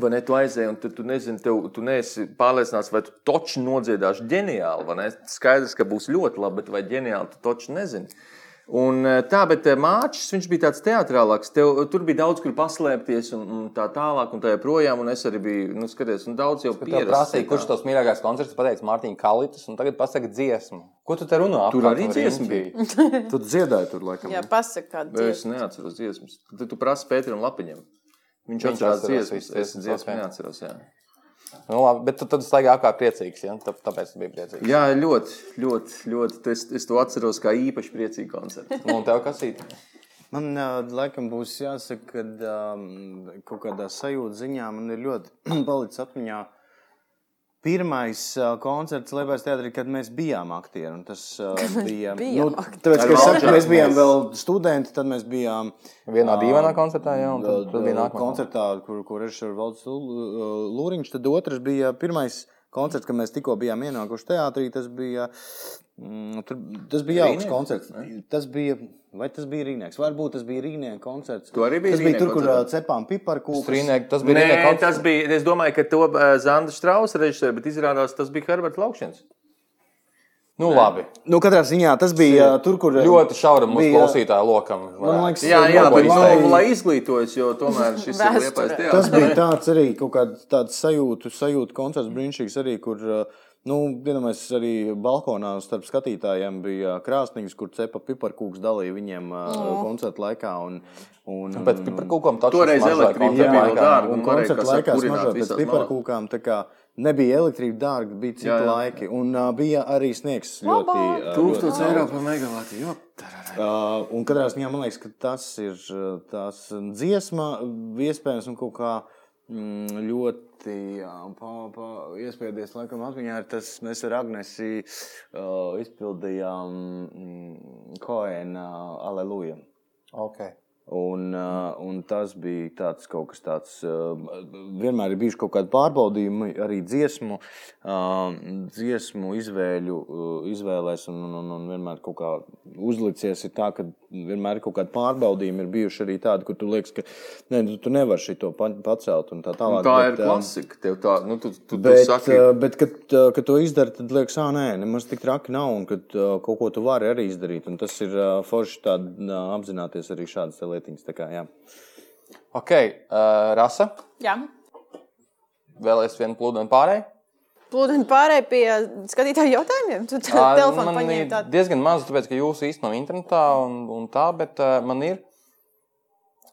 B: vai ne, tu aizēji un tu, tu nezini, tev, tu neesi pārliecināts, vai tu toču nodziedāsi ģeniāli. vai ne? Skaidrs, ka būs ļoti labi, bet vai ģeniāli tu toču nezini. Un, e, tā, bet e, Mārcis viņš bija tāds teātrālāks. Tev, tur bija daudz, kur paslēpties, un, un tā tālāk, un tā joprojām. Un es arī biju, nu, skaties, un daudz jau
C: Tev
B: pieredzēju.
C: prasīja, kurš tavs mīļākais koncerts pateica Mārtiņa Kalītis, un tagad pasaka dziesmu. Ko tu te runā?
B: Tur
C: apkārt
B: arī
C: ar
B: dziesma
C: rindī?
D: (laughs) Tu dziedāji tur laikam.
A: Jā, pasaka, kāda
B: Es
A: ir.
B: neatceros dziesmas. Tad tu prasi Pēteram Lapiņam. Viņš
C: Viņš
B: atcerās
C: atceras
B: dziesmas.
C: visas
B: Es
C: dziesmas,
B: dziesmu
C: ok.
B: neatceros. Jā,
C: Nu, labi, bet tu tad staigā apkārt priecīgs, ja? Tā- tāpēc tu biji priecīgs.
B: jā ļoti, ļoti, ļoti. Es, es to atceros kā īpaši priecīgu koncertu.
C: Nu, un tev kas ir?
D: Man uh, laikam būs jāsaka, ka um, kaut kādā sajūta ziņā man ir ļoti (clears throat) palicis atmiņā. Pirmais uh, koncerts Leibijas teātrī, kad mēs bijām aktieri. un Tas uh, bija.
A: bijām aktieri.
D: tāpēc,
B: Ar
D: ka es saku,
B: Valčaku
D: mēs bijām
B: mēs-
D: vēl studenti, tad mēs bijām.
C: Vienā
D: ā,
C: dīvainā koncertā, jā, un tad, tad bija
D: ā,
C: nākamā.
D: koncertā, kur, kur režisors Valdis Lū- Lūriņš. Tad otrs bija pirmais koncerts, kad mēs tikko bijām ienākuši teātrī. Tas bija, mm, tur, tas bija jauks
B: Rīnieks,
D: koncerts. Tas bija, vai tas bija Rīnieks? Varbūt tas bija Rīnieks koncerts.
B: Tu arī biji
D: tas bija
B: Rīnieka
D: tur, kur
B: koncertā?
D: ā, cepām piparkūku.
C: Strīnieki, tas bija
B: Nē,
C: Rīnē koncerts.
B: tas bija. Es domāju, ka to Zanda Strausa režisēja, bet izrādās tas bija Herberts Laukšņs.
C: Nu, labi.
D: Nu, katrā ziņā tas bija ā, tur, kur ā,
C: Ļoti šauram mūsu
D: bija-
C: klausītāju lokam.
D: Man liekas,
B: Jā, jā,
D: nu,
B: bet
D: lai-
B: lai, lai izglītojas, jo tomēr šis ir
A: Vēsture.
B: liepais
D: Tas
B: teātris.
D: bija tāds arī kaut kāds tāds sajūtu, sajūtu koncerts, brīnišķīgs arī, kur, uh, nu, vienamais arī balkonā starp skatītājiem bija krāsnīgs, kur cepa piparkūks dalīja viņiem uh, koncerta laikā. Un, un,
C: Pēc piparkūkam taču
B: Toreiz
C: smaržoja
B: elektrība
C: koncerta
B: nebija vēl
C: laikā.
B: dārga.
D: un
B: un varēja,
D: koncerta
B: kā saka,
D: laikā
B: kurināt
D: smaržot pēc
B: visās
D: piparkūkām. tā kā Nebija elektrība dārga, bija citi
B: Jā, jā.
D: jā, jā. laiki. Un uh, bija arī sniegs ļoti.
A: Labāk.
D: ā,
B: Tūkstots eiro par megavātu. jo, tararā.
D: Uh, un katrā ziņā man liekas, ka tas ir uh, tās um, dziesma, um, iespējams, un kaut kā mm, ļoti um, iespējams, laikam, atmiņā ir tas, mēs ar Agnesi uh, izpildījām mm, Koena Aleluja.
C: Okay.
D: Un, uh, un tas bija tāds kaut kas tāds. Uh, vienmēr ir bijuši kaut kādi pārbaudījumi arī dziesmu, uh, dziesmu izvēļu, uh, izvēlēs. Un, un, un, un vienmēr kaut kā uzlicies ir tā, ka vienmēr ir kaut kādi pārbaudījumi ir bijuši arī tādi, kur tu liekas, ka ne, tu, tu nevari šito pa- pacelt un tā
B: Nu,
D: tālāk.
B: Tā ir
D: bet, um,
B: klasika. Tev tā, nu, tu, tu, tu
D: Bet,
B: saki,
D: eh, bet kad, eh, kad to izdara, tad liekas, ah, nē, nemaz tik traki nav. Un kad eh, kaut ko tu vari arī izdarīt, un tas ir eh, forši tā, apzināties arī šādas te lietiņas. tā Kā, jā.
C: ok, uh, Rasa,
A: Jā.
C: vēlēs vienu plūdu un pārēju.
A: Plūdiņa pārējai pie skatītāju jautājumiem. Tu te- (laughs) telefonu
C: man ir
A: paņēmi tādu.
C: diezgan maz, tāpēc, ka jūs īstenībā nav internetā un, un tā, bet eh, uh, man ir.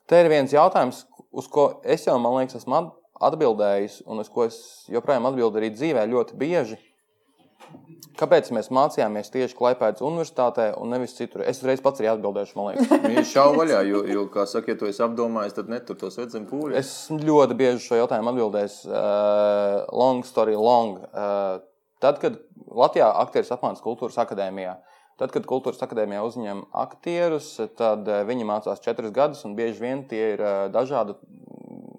C: Te ir viens jautājums, uz ko es jau, man liekas, esmu at- atbildējis, un uz ko es joprojām atbildēju arī dzīvē ļoti bieži. Kāpēc mēs mācījāmies tieši Klaipēdas universitātē un nevis citur? Es uzreiz pats arī atbildēšu, man liekas.
B: Viņš šauja vaļā, jo, jo, kā saka, ja tu esi apdomājis, tad netur tos redzam pūļus.
C: Es ļoti bieži šo jautājumu atbildēju. Uh, long story, long. Uh, tad, kad Latvijā aktieris apmācās Kultūras akadēmijā, tad, kad Kultūras akadēmijā uzņem aktierus, tad uh, viņi mācās četrus gadus, un bieži vien tie ir uh, dažādu,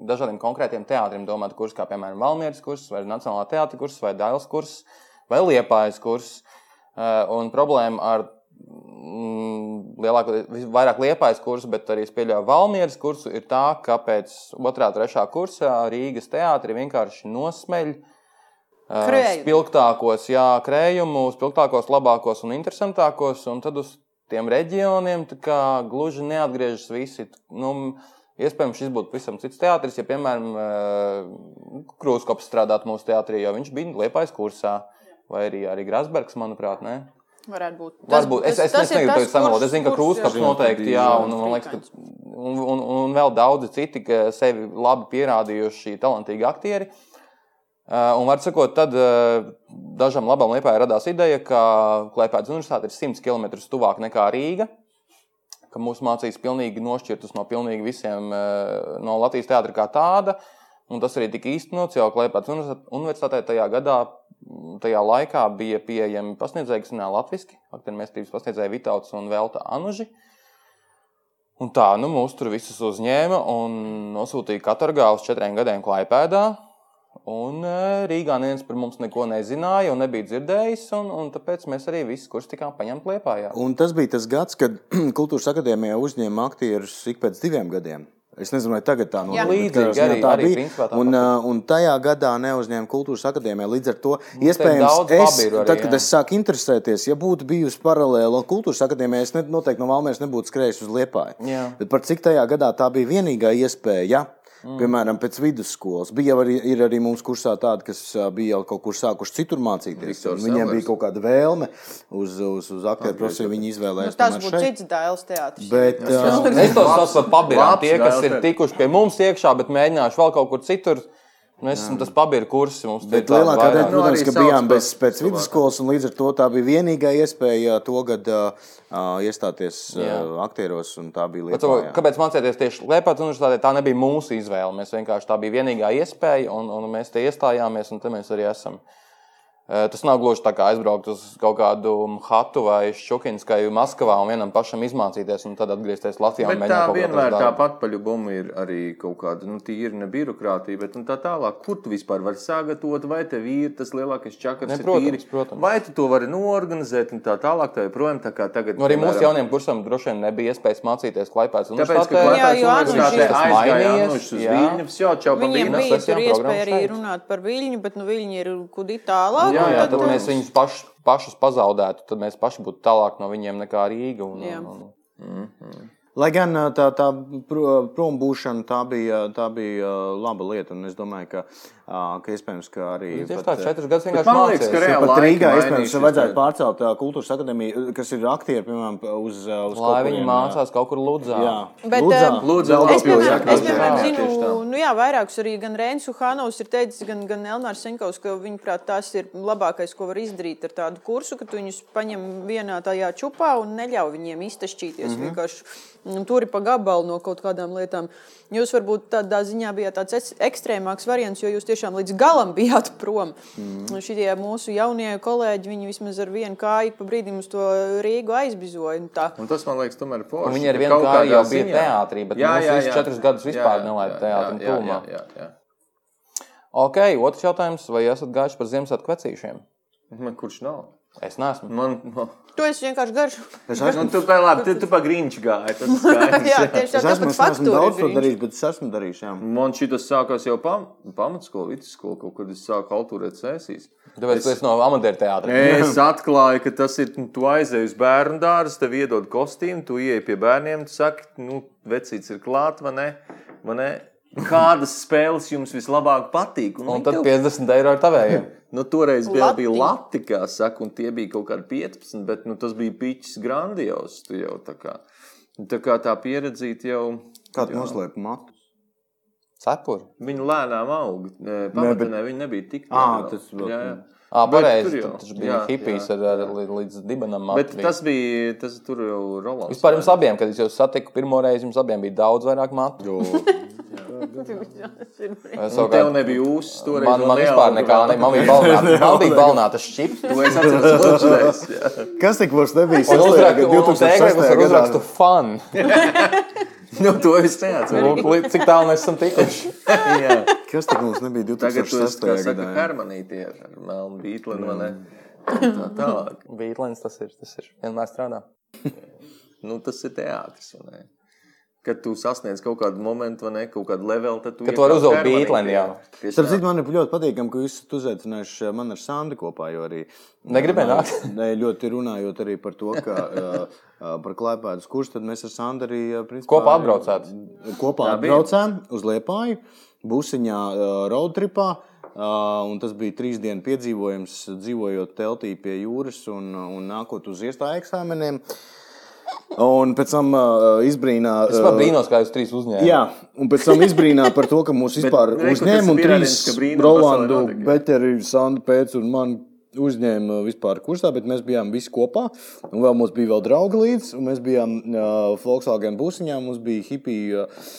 C: dažādiem konkrētiem teātriem domāti kursi, kā piemēram Valmieras kurs, vai Nacionālā teātra kurs, vai Dailas kurs, vai Liepājas kurs. Uh, un problēma ar mm, lielāko, vairāk liepais kursu, bet arī es pieļauju Valmieras kursu, ir tā, ka pēc otrā, trešā kursa Rīgas teātri vienkārši nosmeļ. ā,
A: Krējumu.
C: Spilgtākos, jā, krējumus, spilgtākos, labākos un interesantākos, un tad uz tiem reģioniem tā kā gluži neatgriežas visi. Nu, m, iespējams, šis būtu pavisam cits teātris, ja, piemēram, eh, Krūskops strādātu mūsu teātrī, jo viņš bija liepais kursā, vai arī, arī Grasbergs, manuprāt, ne?
A: Varētu būt.
C: Varbūt es, es, es
A: ir
C: negribu to samalot. Es zinu, ka
A: kurš-
C: Krūskaps
A: kurš-
C: noteikti, jā, un, un, man liekas,
A: Spīkains.
C: ka, un, un, un vēl daudzi citi ka sevi labi pierādījuši, talantīgi aktieri. Uh, un var sakot, tad uh, dažam labam lietotājam radās ideja, ka Klaipēdas universitāte ir 100 km tuvāk nekā Rīga. Ka mūsu mācīs pilnīgi nošķirtas no pilnīgi visiem, uh, no Latvijas teātra kā tāda. Un tas arī tika īstenots jau Klaipēdas universitātē. Tajā gadā, mm, tajā laikā bija pieejami pasniedzēji, kas runāja latviešu, aktieru mākslinieks, pasniedzēja Vitāls un Velta Anuži. Un tā, nu, mūs tur visus uzņēma un nosūtīja katorgā uz četriem gadiem Klaipēdā. Un eh, Rīgā neviens par mums neko nezināja un nebija dzirdējis, un, un tāpēc mēs arī visus kursus tikām paņemti liepā.
D: Un tas bija tas gads, kad (clears throat) Kultūras akadēmijā uzņēma aktierus ik pēc diviem gadiem. Es nezinu, vai tagad tā notiek. bet
C: līdzīgi
D: katrā ziņā
C: arī- arī principā tāpat.
D: Un, uh, un tajā gadā neuzņēma kultūras akadēmijā. Līdz ar to, nu,
C: daudz
D: iespējams, es,
C: pabiru arī,
D: tad, kad
C: jā.
D: es sāku interesēties, ja būtu bijusi paralēla kultūras akadēmijā, es ne, noteikti no Valmijas nebūtu skrējis uz Liepāju.
C: Jā.
D: Bet par cik tajā gadā tā bija vienīgā iespēja. Ja? Mm. Piemēram, pēc vidusskolas. Bija jau arī, ir arī mums kursā tādi, kas ā, bija jau kaut kur sākuši citur mācīties.
B: Viktors
D: un Viņiem
B: Sellers.
D: bija kaut kāda vēlme uz, uz, uz aktieru profesiju. Viņi
A: Nu,
D: izvēlējās
A: Tas
D: tomēr
A: būtu cits dēls teātris.
D: Bet, ā,
C: Es tos saucu par pabirām.
B: Labs
C: Tie, kas
B: vēl
C: ir
B: te.
C: tikuši pie mums iekšā, bet mēģinājuši vēl kaut kur citur, nu, es esmu tas pabiru kurs. Mums
D: Bet lielākā daļa,
B: Nu,
D: protams,
B: arī
D: ka
B: sauc
D: bijām
B: par
D: bez pēc
B: cilvēku.
D: vidusskolas, un līdz ar to tā bija vienīgā iespēja to gadu iestāties
C: Jā.
D: uh, aktieros, un tā bija
C: Bet, to,
D: lieta.
C: kāpēc mācīties tieši Lietuvas universitātē? Tā nebija mūsu izvēle. Mēs vienkārši tā bija vienīgā iespēja, un, un mēs te iestājāmies, un te mēs arī esam. Eh, Tas nav gluži tā kā aizbraukt uz kaut kādu Hatu vai Šukinskaju Maskavā un vienam pašam izmācīties, un tad atgriezties Latvijā. un
B: Bet tā
C: mēģināt kaut ko
B: vienmēr
C: atrast
B: tā
C: darbu.
B: patpaļubuma ir arī kaut kāda nu, tīra ne birokrātija, bet nu, tā tālāk, kur tu vispār vari sagatavot, vai tev ir tas lielākais čakars,
C: Ne,
B: ir
C: protams,
B: tīri,
C: protams.
B: vai tu to vari noorganizēt un tā tālāk, tā joprojām tā kā tagad.
C: Nu, arī mūsu
B: piemēram,
C: jauniem kursam droši vien nebija iespējas mācīties Klaipēdas
B: Tāpēc, ka
A: Jā,
B: Latvijas
A: jo
B: universitātē
A: Anušs tas
B: aizgāja
C: mainījies,
B: Anušs uz
C: jā.
B: Viļņus, jau čau, pa
A: Viņiem
B: Viļņu.
C: Vīnas
A: bija
C: nu, tas
A: tur
C: jā,
A: iespēja arī
C: programmas šeit.
A: runāt par viļņu, bet nu, viņi ir kudī tālāk.
C: Jā,
A: un
C: jā,
A: tad,
C: tad
A: eh,
C: mēs viņus pašus, pašus pazaudētu, tad mēs paši būtu tālāk no viņiem nekā Rīga. Un,
A: Jā.
C: un, un,
D: Lai gan ā, tā, tā pro- prom būšana tā bija, tā bija ā, laba lieta, un es domāju, ka, ā, ka iespējams, ka arī.
C: un, Nu, tieši
D: pat,
C: tā,
D: ā,
C: četrus gadus
B: Bet
C: vienkārši
B: man liekas,
C: mācījās.
B: ka
D: Jo
B: reāli
D: Pat
B: laiki
D: Rīgā iespējams
B: mainījušies,
D: vajadzētu
B: bet-
D: pārcelt ā, kultūras akadēmiju, kas ir aktieri, piemēram, uz, ā, uz
C: Lai
D: kaut
C: viņi
D: kuriem,
C: mācās kaut kur Ludzā.
D: Jā,
A: Bet,
D: Ludzā.
A: ā,
B: Lūdzu,
A: Es piemēram, es,
C: jā,
A: piemēram
C: jā,
A: zinu,
B: tieši tā.
A: nu, jā, vairākus arī gan Rēns Uhanovs ir teicis, gan, gan Elnars Senkovs, ka viņuprāt tas ir labākais, ko var izdarīt ar tādu kursu, ka tu viņus paņem vienā tajā čupā un neļauj viņiem iztašķīties.
D: Mhm.
A: Mm -hmm. Vienkārši mm, turi pa gabalu no kaut kādām lietām. Jūs varbūt tādā ziņā bijāt tāds es- ekstrēmāks variants, jo jūs tiešām līdz galam (laughs) bijāt prom.
D: Mhm.
A: Mm -hmm. Šie mūsu jaunie kolēģi, viņi vismaz ar vienu kāju pa brīdim uz to Rīgu aizbizoja. un tā.
B: Un tas man liekas, tomēr ir
C: Un
B: forši.
C: Viņi ar
B: ka
C: vienu
B: kaut
C: kāju
B: kādā
C: jau bija
B: ziņā-
C: teātrī, bet jā, jā, jā. četrus gadus vispār nelaida teātrī.
B: jā,
C: tuvumā.
B: jā, jā,
C: Ok, otrs jautājums. Vai esat gājuši par Ziemassvētku vecīšiem?
B: jā. Man kurš nav?
C: Es neesmu.
B: Man, man...
A: To es vienkārši garšu.
D: Es
B: Nu, tu pa labi, tu, tu pa grīņš gāji. Tas ir
A: (laughs)
B: skaidrs.
A: jā, tieši tā,
D: Es esmu,
A: tāpat
D: es neesmu
A: faktūra
D: daudz
A: ir
D: to
A: grīņš.
D: darījis, bet es esmu darījis. Jā.
B: Man šis sākās jau pam, pamatskola, vidusskola, kaut kad es sāku alturēt sesijas.
C: Tāpēc es, es no amatieru teātra.
B: Es (laughs) atklāju, ka tas ir. nu, Tu aizej uz bērnu dārzu, tev iedod kostīmu, tu ieej pie bērniem, tu saki, nu, vecīts ir klāt, vai ne? Vai ne? Kādas spēles jums vislabāk patīk? Un,
C: Un
B: viņi
C: tad
B: tev
C: 50 eiro ar tavējiem.
B: (laughs) Nu, toreiz bija,
A: Lati.
B: bija Latvija, kā saka, un tie bija kaut kādi 15, bet nu, tas bija pičs grandios. tu Jau, tā, kā. Tā kā tā pieredzīta jau.
D: Kādu noslēpumu?
C: Cepuri.
B: Viņa lēnām aug. Pamatā ne, viņa nebija tik
D: Ā,
B: tāda.
D: tas vēl- Mm.
B: jā, jā.
C: Ah,
B: Bet tur
C: pareizi.
B: jau.
C: tad Viņš bija
B: Jā,
C: hipijs
B: jā.
C: ar, ar li- līdz dibenam.
B: Bet
C: Latviju.
B: tas bija, tas tur jau Rolands.
C: Vispār jums abiem, kad es jūs satiku pirmo reizi, jums abiem bija daudz vairāk matu. (laughs) Es
B: Un
C: savukārt-
B: tev nebija ūsas toreiz.
C: Man,
B: vēl
C: man
B: neauga
C: vispār
B: vēl.
C: nekā
B: (laughs)
C: nebija. Man bija balnāta, man bija balnāta šķipa.
B: To es atceros otrais. jā.
D: Kas tik mums nebija?
C: Un uzrakstu, uzrakstu,
D: 2006.
C: uzrakstu
D: gadā.
C: fun.
B: Nu, to es neatceros.
C: Lūk, li- cik tālu mēs esam tikuši.
B: Jā.
D: Kas tik mums nebija
B: Tagad tu esi,
D: 2006.
B: kā saka,
D: gadā? Mm.
B: harmonītie ar melnu bītlenu, vai ne? Un Tā tālāk.
C: Beatlins tas ir, tas ir. Vienmēr strādā.
B: Nu, tas ir teātris, vai ne? Kad tu sasniedz kaut kādu momentu, vai ne, kaut kādu levelu, tad tu...
C: Kad tu vari
B: iekāp
C: uzvilkt
B: harmonītē.
C: Beatleni, jā.
B: Tieši
D: Starp
B: tā.
D: citu, man ir ļoti patīkami, ka jūs esat uzaicinājuši eh, mani ar Sandu kopā. Jo arī
C: Negribēju
D: Nā, (laughs)
C: nākt.
D: Nē, ļoti runājot arī par to, ka eh, eh, par klipēdu kursu tad mēs ar Sandu arī eh, principā, eh,
C: Kopā atbraucāt?
D: Kopā
B: Tā bija.
D: atbraucām uz Liepāju, busiņā, eh, road tripā. Uh, un tas bija trīs dienu piedzīvojums, dzīvojot teltī pie jūras un, eh, un nākot uz iestāju eksāmeniem. Un pēc tam uh, izbrīnā.
C: Es pat brīnos, kā jūs trīs uzņēmāt.
D: Jā, un pēc tam izbrīnā par to, ka
B: (laughs)
D: mūsu vispār
B: re, kur tas
D: uzņēma un trīs
B: pierādījums, ka brīnumi
D: Rolandu,
B: pasaulē notiek, jā.
D: Beķeri, Sandu Pēc un mani uzņēma vispār kursā, bet mēs bijām visi kopā, un vēl mums bija vēl draugi līdz, un mēs bijām uh, Volkswagen būsiņā, mums bija hipija. Uh,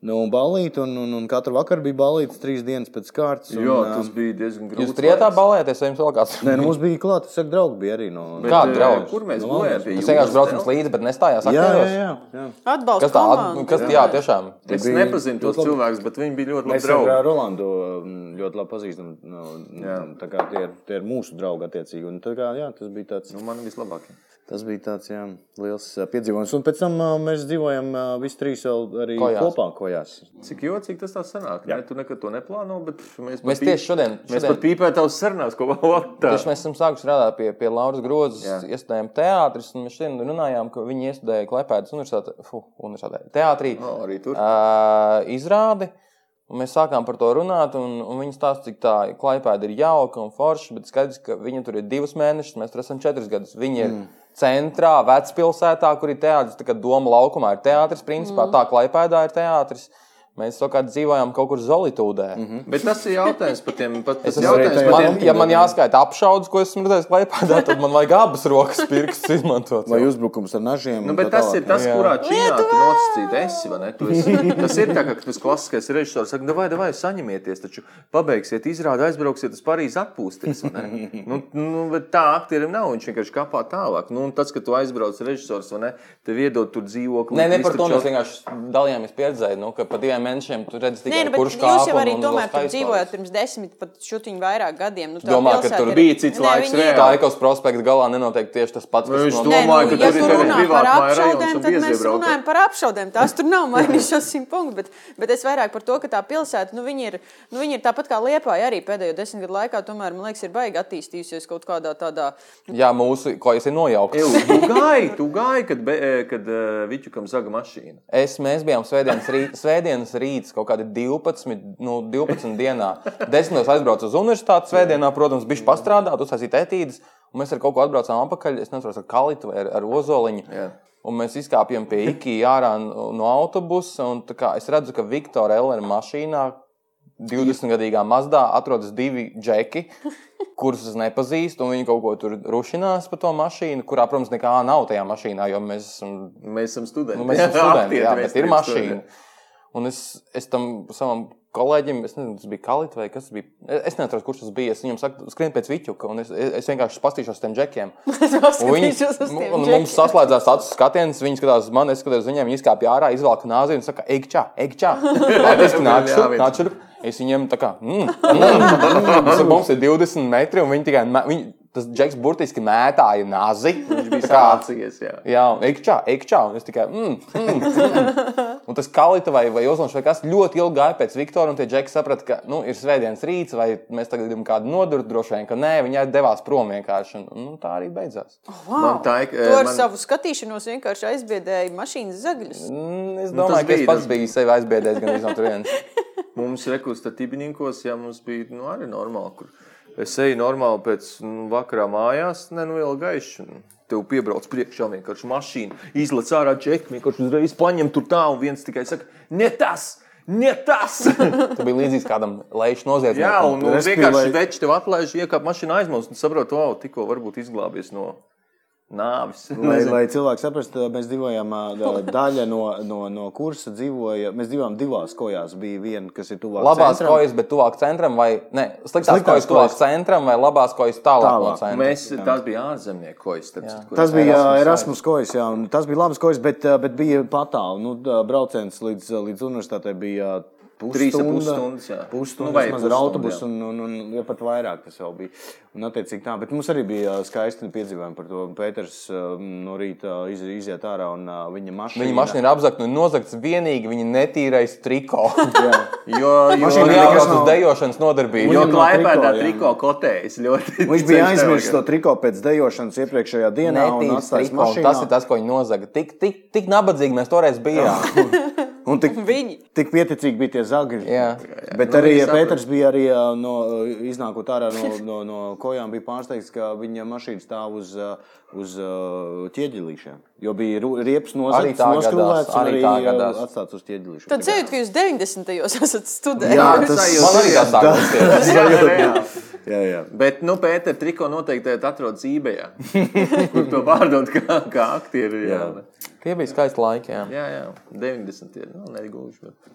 D: Nu, un balīt, un, un, un katru vakaru bija balīts trīs dienas pēc kārtas. Un, um,
B: Jā,
D: ā,
B: tas bija diezgan grūti.
C: Jūs trietā balējāties, vai jums vēl kāds?
D: Nē, nu, mums bija klāta, es saku, draugi bija arī no...
C: Kādi draugi?
B: eh, Kur mēs gulējām? pie
C: Jūs
B: jūras
C: Nu, vienkārši braucat
B: telpa?
C: mums līdzi, bet nestājās.
D: jā, jā,
C: aktieros?
D: jā, jā.
A: Atbalsta
C: Kas tā?
A: komandu.
C: Kas, jā, tiešām.
B: Es
D: Bija
B: nepazinu tos
D: ļoti labi.
B: cilvēkus, bet viņi bija ļoti
D: Mēs
B: labi
D: ar
B: Nu, draugi.
D: ā, Rolandu mm, ļoti labi pazīstam. Nu,
B: Jā.
D: tā kā tie, ir- tie ir mūsu draugi attiecīgi. Un tā Kā, jā, tas bija tāds,
B: Nu, man vislabākie.
D: tas bija tāds jā, liels ā, piedzīvojums. Un pēc tam ā, mēs dzīvojam ā, visi trīs vēl arī
C: Kojās.
D: kojās. kopā kojās.
B: Cik jocīgi tas tā sanāk? Ne? Tu nekad to neplāno, bet pff, mēs,
C: Mēs tieši šodien,
B: Mēs
C: šodien
B: pat pīpējām tavas sarunās, ko (laughs) valodā.
C: Tieši mēs esam sākuši strādāt pie, pie Lauras Grozes,
B: Jā.
C: iestudējām teātrus, un mēs šodien runājām, ka viņi iestudēja Klepēdas universitātē, fu, universitātē, teātrī
B: No, arī tur.
C: ā, izrādi. Un mēs sākām par to runāt, un, un viņi stāsta, cik tā klipēda ir jauka un forša. Bet skaidrs, ka viņi tur ir divus mēnešus, mēs tur esam četrus gadus. Viņi ir mm. centrā, vecpilsētā, kur ir teātris. Tā kā doma laukumā ir teātris, principā mm. tā klipēdā ir teātris. Mēs savukārt dzīvojām kaut kur solitūdē. Mm -hmm.
B: Bet tas ir jautājums par tiem
C: Es
B: patiesiem
C: esmu
D: arī
B: jautājumiem.
D: tajā-
B: par
C: man,
B: tiem-
D: patīk,
C: ja man
D: jā.
C: jāskaita apšaudas, ko esmu redzējis klipādā, (laughs) tad man vajag abas rokas pirkstus izmantot.
D: Vai uzbrukums ar nažiem?
B: Nu,
D: un
B: bet
D: tā
B: tas
D: tālāk. Nu,
B: ir tas,
C: Jā.
B: kurā čīnā tu nosacīti esi, vai ne? Tu Esi,
D: (laughs)
B: tas ir tā, ka tas klasiskais režisors saka, nu, vai, vai, saņemieties, taču pabeigsiet, izrādi, aizbrauksiet uz Parīzi, atpūsties. vai
D: (laughs)
B: ne? Nu, nu, bet tā aktierim nav, viņš vienkārši kāpā tālāk. Nu, un tas, ka tu aizbrauc režisors, vai ne, tev iedod tur dzīvokli.
C: Nē, ne
B: visu
C: par to
B: taču-
C: mēs vienkārši dalījāmies pieredzē, nu, ka pa diviem mēnešiem tur redzat
A: Nē, nu,
C: tikai nu,
A: bet
C: kurš kā.
A: jūs jau arī tomēr tur dzīvojat pirms desmit, pat šutiņu vairāk gadiem. Nu, tā
C: Domā, ka
A: pilsēta
C: tur
A: ir-
B: bija cits
A: Nē,
B: laiks
A: viņi ir-
B: reāli.
C: Tā ir kaut kas prospekta galā nenotiek tieši tas pats,
B: Nu,
C: kas
B: es
C: no-
A: Nē, nu,
B: Domāju, ka
A: ja
B: tur ir
A: tu
B: arī
A: runā par
B: privātmāja rajons
A: apšaudēm,
B: un
A: tad mēs
B: bieziebraukt.
A: runājam par apšaudēm. Tās tur nav mainījušās simt punktu, bet, bet es vairāk par to, ka tā pilsēta, nu, viņi ir, nu, viņi ir tāpat kā Liepāja arī pēdējo desmit gadu laikā, tomēr, man liekas, ir baigi attīstījusies kaut kādā tādā. (laughs)
C: Jā, mūsu, ko es ir nojaukts.
B: Eju, Tu gāji, tu gāji, kad, be- eh, kad eh, Vičukam zaga mašīna.
C: Es, mēs bijām svētdienas, rīt, svētdienas rīts, kaut kādi 12, nu, 12 dienā. 10. aizbraucu uz universitāti, svētdienā, protams, bija pastrādāt, uztaisīt etīdes, un mēs ar kaut ko atbraucām apakaļ. Es nezinu, ar kalitu vai ar, ar ozoliņu.
B: Jā.
C: Un mēs izkāpjam pie IKEA ārā no no autobusa. un tā kā Es redzu, ka Viktora Ellera mašīnā, 20-gadīgā Mazdā, atrodas divi džeki, kurus es nepazīstu. un Viņi kaut ko tur rušinās par to mašīnu, kurā, protams, nekā nav tajā mašīnā, jo mēs esam
B: Mēs esam studenti. (laughs)
C: Nu, mēs esam studenti, jā, bet ir
B: tiešām
C: mašīna.
B: studenti.
C: Un es, es tam savam kolēģim, es nezinu, tas bija Kalits vai kas tas bija. Es nezinu, kurš tas bija. Es viņam saku, skrien pēc viķuka, un es, es vienkārši pastīšos uz tiem džekiem.
A: Es
C: Un Viņi,
A: paskatīšos uz
C: un
A: tiem
C: mums
A: džekiem.
C: saslēdzās acis skatiens, viņi skatās uz mani, es skatos uz viņiem, viņi izkāpa ārā, izvelk nāzi un saka, ej, čā, ej, čā. Latviešu nāc, šurp, nāc, šurp. Es viņiem tā kā, mm, mm, mm. Es saku, mums ir 20 metri, un viņi tikai, mē- viņi, tas džeks burtiski mētāja nāzi.
B: Viņš bija
C: Tā (laughs) kā-
B: sācies. Jā.
C: Jā, un ekčā, ekčā. Un es tikai. Mm, mm, mm. Un tas kalita vai, vai Ozons vai kas ļoti ilgi gāja pēc Viktora, un tie džeki saprata, ka nu, ir svētdienas rīts, vai mēs tagad gribam kādu nodurt. Droši vien, ka nē, viņi devās prom vienkārši. Un, nu, tā arī beidzās.
B: Man tā ir.
A: To ar
B: man-
A: savu skatīšanos vienkārši aizbiedēja mašīnas zagļus.
C: Mm, es
B: Nu, tas
C: domāju, nu, ka
B: bija
C: es pats
B: tas-
C: biju sevi aizbiedējis gan no turienes.
B: Mums rekursatīvniekos, ja mums bija nu, arī normāli, kur es eju normāli pēc nu, vakarā mājās, ne nu vēl gaiši. un Tev piebrauc priekšā vienkārši mašīna, izlaiž ārā džekli, vienkārši uzreiz paņem tur tā, un viens tikai saka, ne tas! Ne
D: (laughs)
B: tas!
C: Tu biji līdzīgs kādam lejuš noziedzniekam.
B: Jā, un, un
D: Respektīvi,
B: vienkārši
D: vai-
B: veči tev atlaiž, iekāp mašīnā aizmūs un saprot, wow, tikko varbūt izglābies no nāves.
D: Lai,
B: Nezinu.
D: lai cilvēki saprastu, uh, mēs dzīvojām, ā, da-
B: (laughs)
D: daļa no, no, no kursa dzīvoja. Mēs dzīvojām divās kojās. Bija viena, kas ir tuvāk
C: Labās
D: centram.
C: kojas, bet tuvāk centram vai ne? Sliktās
D: Sliktās
C: kojas, tuvāk
D: kojas.
C: centram vai labās kojas tālāk,
D: Tālāk.
C: no centra.
B: Mēs, tās bija ārzemnieku kojas. starp citu,
D: Tas
B: kuras
D: bija Erasmus,
B: Erasmus
D: Erasmus kojas, jā, un tas bija labs kojas, bet, ā, bet bija patālu. Nu, ā, brauciens līdz, eh, līdz universitātei bija ā,
B: Trīs ar pus
D: pusstunda.
B: stundas, jā.
D: Pusstundu
B: Nu,
D: nu,
B: vai
D: vismaz ar
B: pusstundu,
D: autobusu,
B: jā.
D: un, un, un, un ja pat vairāk tas vēl bija. Un, attiecīgi tā, bet mums arī bija ā, skaisti piedzīvojumi par to. Pēters ā, no rīta eh, iz, iziet ārā un ā, viņa mašīna.
C: Viņa mašīna ir apzakta un nozagta vienīgi viņa netīrais triko.
B: (laughs)
C: (laughs)
B: Jo, jo,
C: Viņa
D: Mašīna
C: ir
D: nekas
C: jābrauc uz
D: nav.
C: dejošanas nodarbību.
B: jo
D: Viņam no
B: klājpēdā
D: triko, jā.
B: triko kotējas ļoti.
D: Viņš bija aizmirsis to triko pēc dejošanas iepriekšējā dienā. un
C: Netīrs
D: atstājis
C: triko, un
D: mašīnā.
C: tas ir tas, ko viņa nozaga. Tik, tik, tik nabadzīgi mēs toreiz bijām.
D: Un tik,
A: Viņi.
D: tik pieticīgi bija tie zagļi.
C: Jā.
D: Bet
B: Nu,
D: arī
B: viņi
D: ja
B: saprot.
D: Pēters bija arī, ā, no, ā, iznākot ārā no, no, no kojām, bija pārsteigts, ka viņa mašīna stāv uz, ā, uz ā, ķieģelīšiem. Jo bija ru- riepas
C: Arī
D: nozagts,
C: tā gadās,
D: noskrūvēts un
C: arī
D: arī
C: tā
D: ā,
C: gadās.
D: atstāts uz ķieģelīšiem.
A: Tad ceļot, ka jūs 90. gados (laughs) esat
C: (laughs)
D: Jā,
A: (laughs) studējis.
D: tas
B: sajūta.
C: Man arī tā sākās.
D: (laughs)
B: Jā,
D: Jā, jā.
B: Bet, nu, Pēter, triko noteikti tagad atrodas eBayā, (laughs) kur to pārdod kā, kā aktieri. Jā,
C: Tie bija skaisti laiki. jā.
B: jā, jā 90. ir, Nu, negluži. Bet...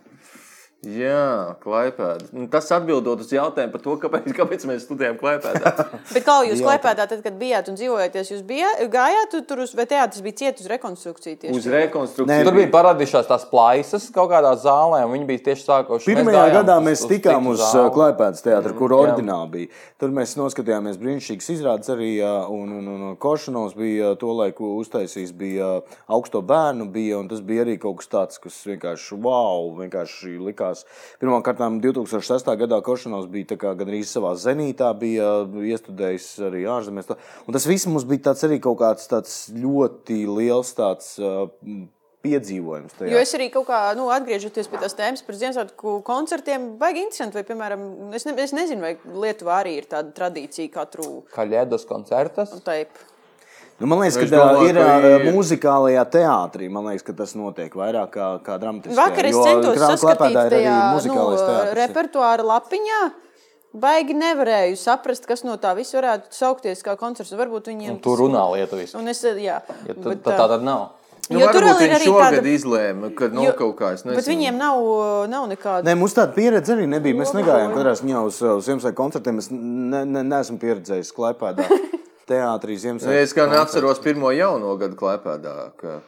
B: Jā, klipēda. Tas atbildot uz jautājumu par to, kāpēc, kāpēc mēs studējam (laughs) klipēdā.
A: Bet kā jūs klipējāt, tad, kad bijāt un dzīvojāties, jūs bijāt, gājāt tu tur uz, vai teātris bija ciet uz rekonstrukciju tieši?
B: Uz rekonstrukciju.
C: Tur bija parādījušās tās plaisas kaut kādā zālē, un viņi bija tieši sākuši.
D: Pirmajā gadā mēs tikām uz uh, Mm,
C: zāli.
D: Klaipēdas teātra, kur oriģināli bija. Tur mēs noskatījāmies brīnišķīgas izrādes arī, ā, un, un, un, un Košanovs bija ā, to laiku uztaisījis, bija ā, augsto bērnu, bija, un tas bija arī kaut kas tāds, kas vienkārši wow, vienkārši likās. Pirmkārt, 2006. gadā Košanovs bija tā kā gandrīz savā zenītā, bija ā, iestudējis arī ārzemēs. to. Un tas viss mums bija tāds arī kaut kāds tāds ļoti liels tāds. ā, m, Piedzīvojums tajā.
A: Jo es arī kaut kā, nu, atgriežoties pie tās tēmas par Ziemassvētku koncertiem, baigi interesanti, vai, piemēram, es, ne, es nezinu, vai Lietuvā arī ir tāda tradīcija katru
C: Kaļēdas koncertas.
A: taipu.
D: Nu, man liekas, ka
B: Es
D: tā
B: domāju,
D: ir,
B: ka
D: ir
B: ir.
D: mūzikālajā teātrī. Man liekas, ka tas notiek vairāk kā, kā dramatiski.
A: Vakar es centos saskatīt tajā nu,
D: repertuārā.
A: repertuāra lapiņā. Baigi nevarēju saprast, kas no tā viss varētu saukties kā koncerts. Varbūt viņiem
C: Tur runā lietuviski.
A: Un es, jā,
C: Ja tad,
A: Nu, bet,
C: bet, tad, tā tad nav.
A: jo tur vēl ir arī
B: Nu, šogad
A: tāda-
B: izlēma, ka no
A: Jo-
B: kaut kā es nezinu.
A: Bet viņiem nav, uh, nav nekāda.
D: Nē, mums tāda pieredze arī nebija. Mēs
A: Labi.
D: negājām katrā ziņā uz, uz Ziemassvētku koncertiem. Es ne, ne, neesmu pieredzējis
A: (laughs)
D: klipādā teātrī Ziemassvētku.
B: Nu, Es kā neatceros pirmo jauno gadu klipēdā. Ka...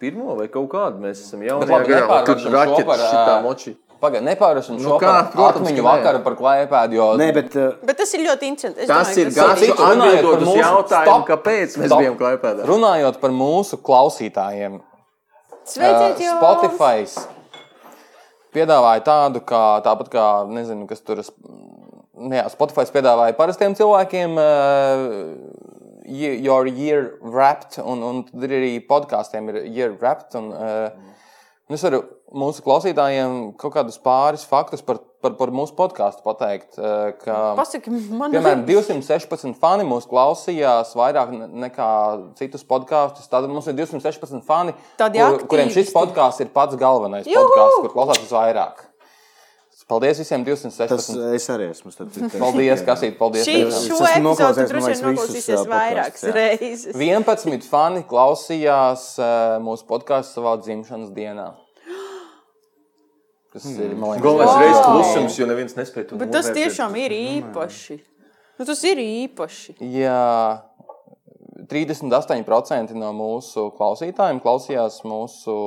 B: Pirmo vai kaut kādu mēs esam jau
C: nepārvēršam šo par,
B: raķetes
C: ā,
B: šitā moči.
C: Pagaid, nepārvēršam
B: Nu
C: šo
B: kā,
C: par
B: protams,
C: atmiņu
B: ka nē.
C: vakaru par klājpēdu, jo
D: Nē, bet uh,
A: Bet tas ir ļoti interesanti. Es
B: Tas ir
A: domāju,
B: gars,
A: ir-
C: Citu,
B: atbildot
C: runājot par
B: uz
C: mūsu-
B: jautājumu,
C: Stop!
B: kāpēc mēs
C: Stop!
B: bijām Klaipēdā.
C: Runājot par mūsu klausītājiem,
A: Sveiciet,
C: Ā,
A: jau
C: uh, Spotify piedāvāja tādu, kā, tāpat kā, nezinu, kas tur ir. Jā, Spotify piedāvāja parastiem cilvēkiem uh, Your Year Wrapped, un, un tad ir arī podkāstiem ir Year Wrapped. Un, uh, un es varu mūsu klausītājiem kaut kādus pāris faktus par, par, par mūsu podkāstu pateikt. Uh, ka,
A: Pasaki, man
C: Piemēram, 216 fani mūs klausījās vairāk ne- nekā citus podkāstus. Tad mums ir 216 fani,
A: Tādi aktīvisti.
C: kuriem šis podkāsts ir pats galvenais.
A: Juhu!
C: Podkāsts, kur klausās visvairāk. Paldies visiem
D: tas eh,
C: 216. Tas...
D: es arī esmu. starp citu.
C: Paldies, Kasīt, paldies.
A: Šī,
C: tev.
A: šo
D: Es esmu
A: epizodu
D: noklausies,
A: tu droši
D: man
A: vien
D: liekas, visus,
A: noklausīsies
D: ā,
A: vairākas
D: podcasts, jā.
A: reizes.
C: 11 fani klausījās eh, mūsu podkāstu savā dzimšanas dienā. Tas ir
B: Galvenais
C: monēta.
B: wow. reizes klusums, jo neviens nespēja to
A: Bet tas tiešām ir īpaši. Nu, tas ir īpaši.
C: Jā, eh, 38% no mūsu klausītājiem klausījās mūsu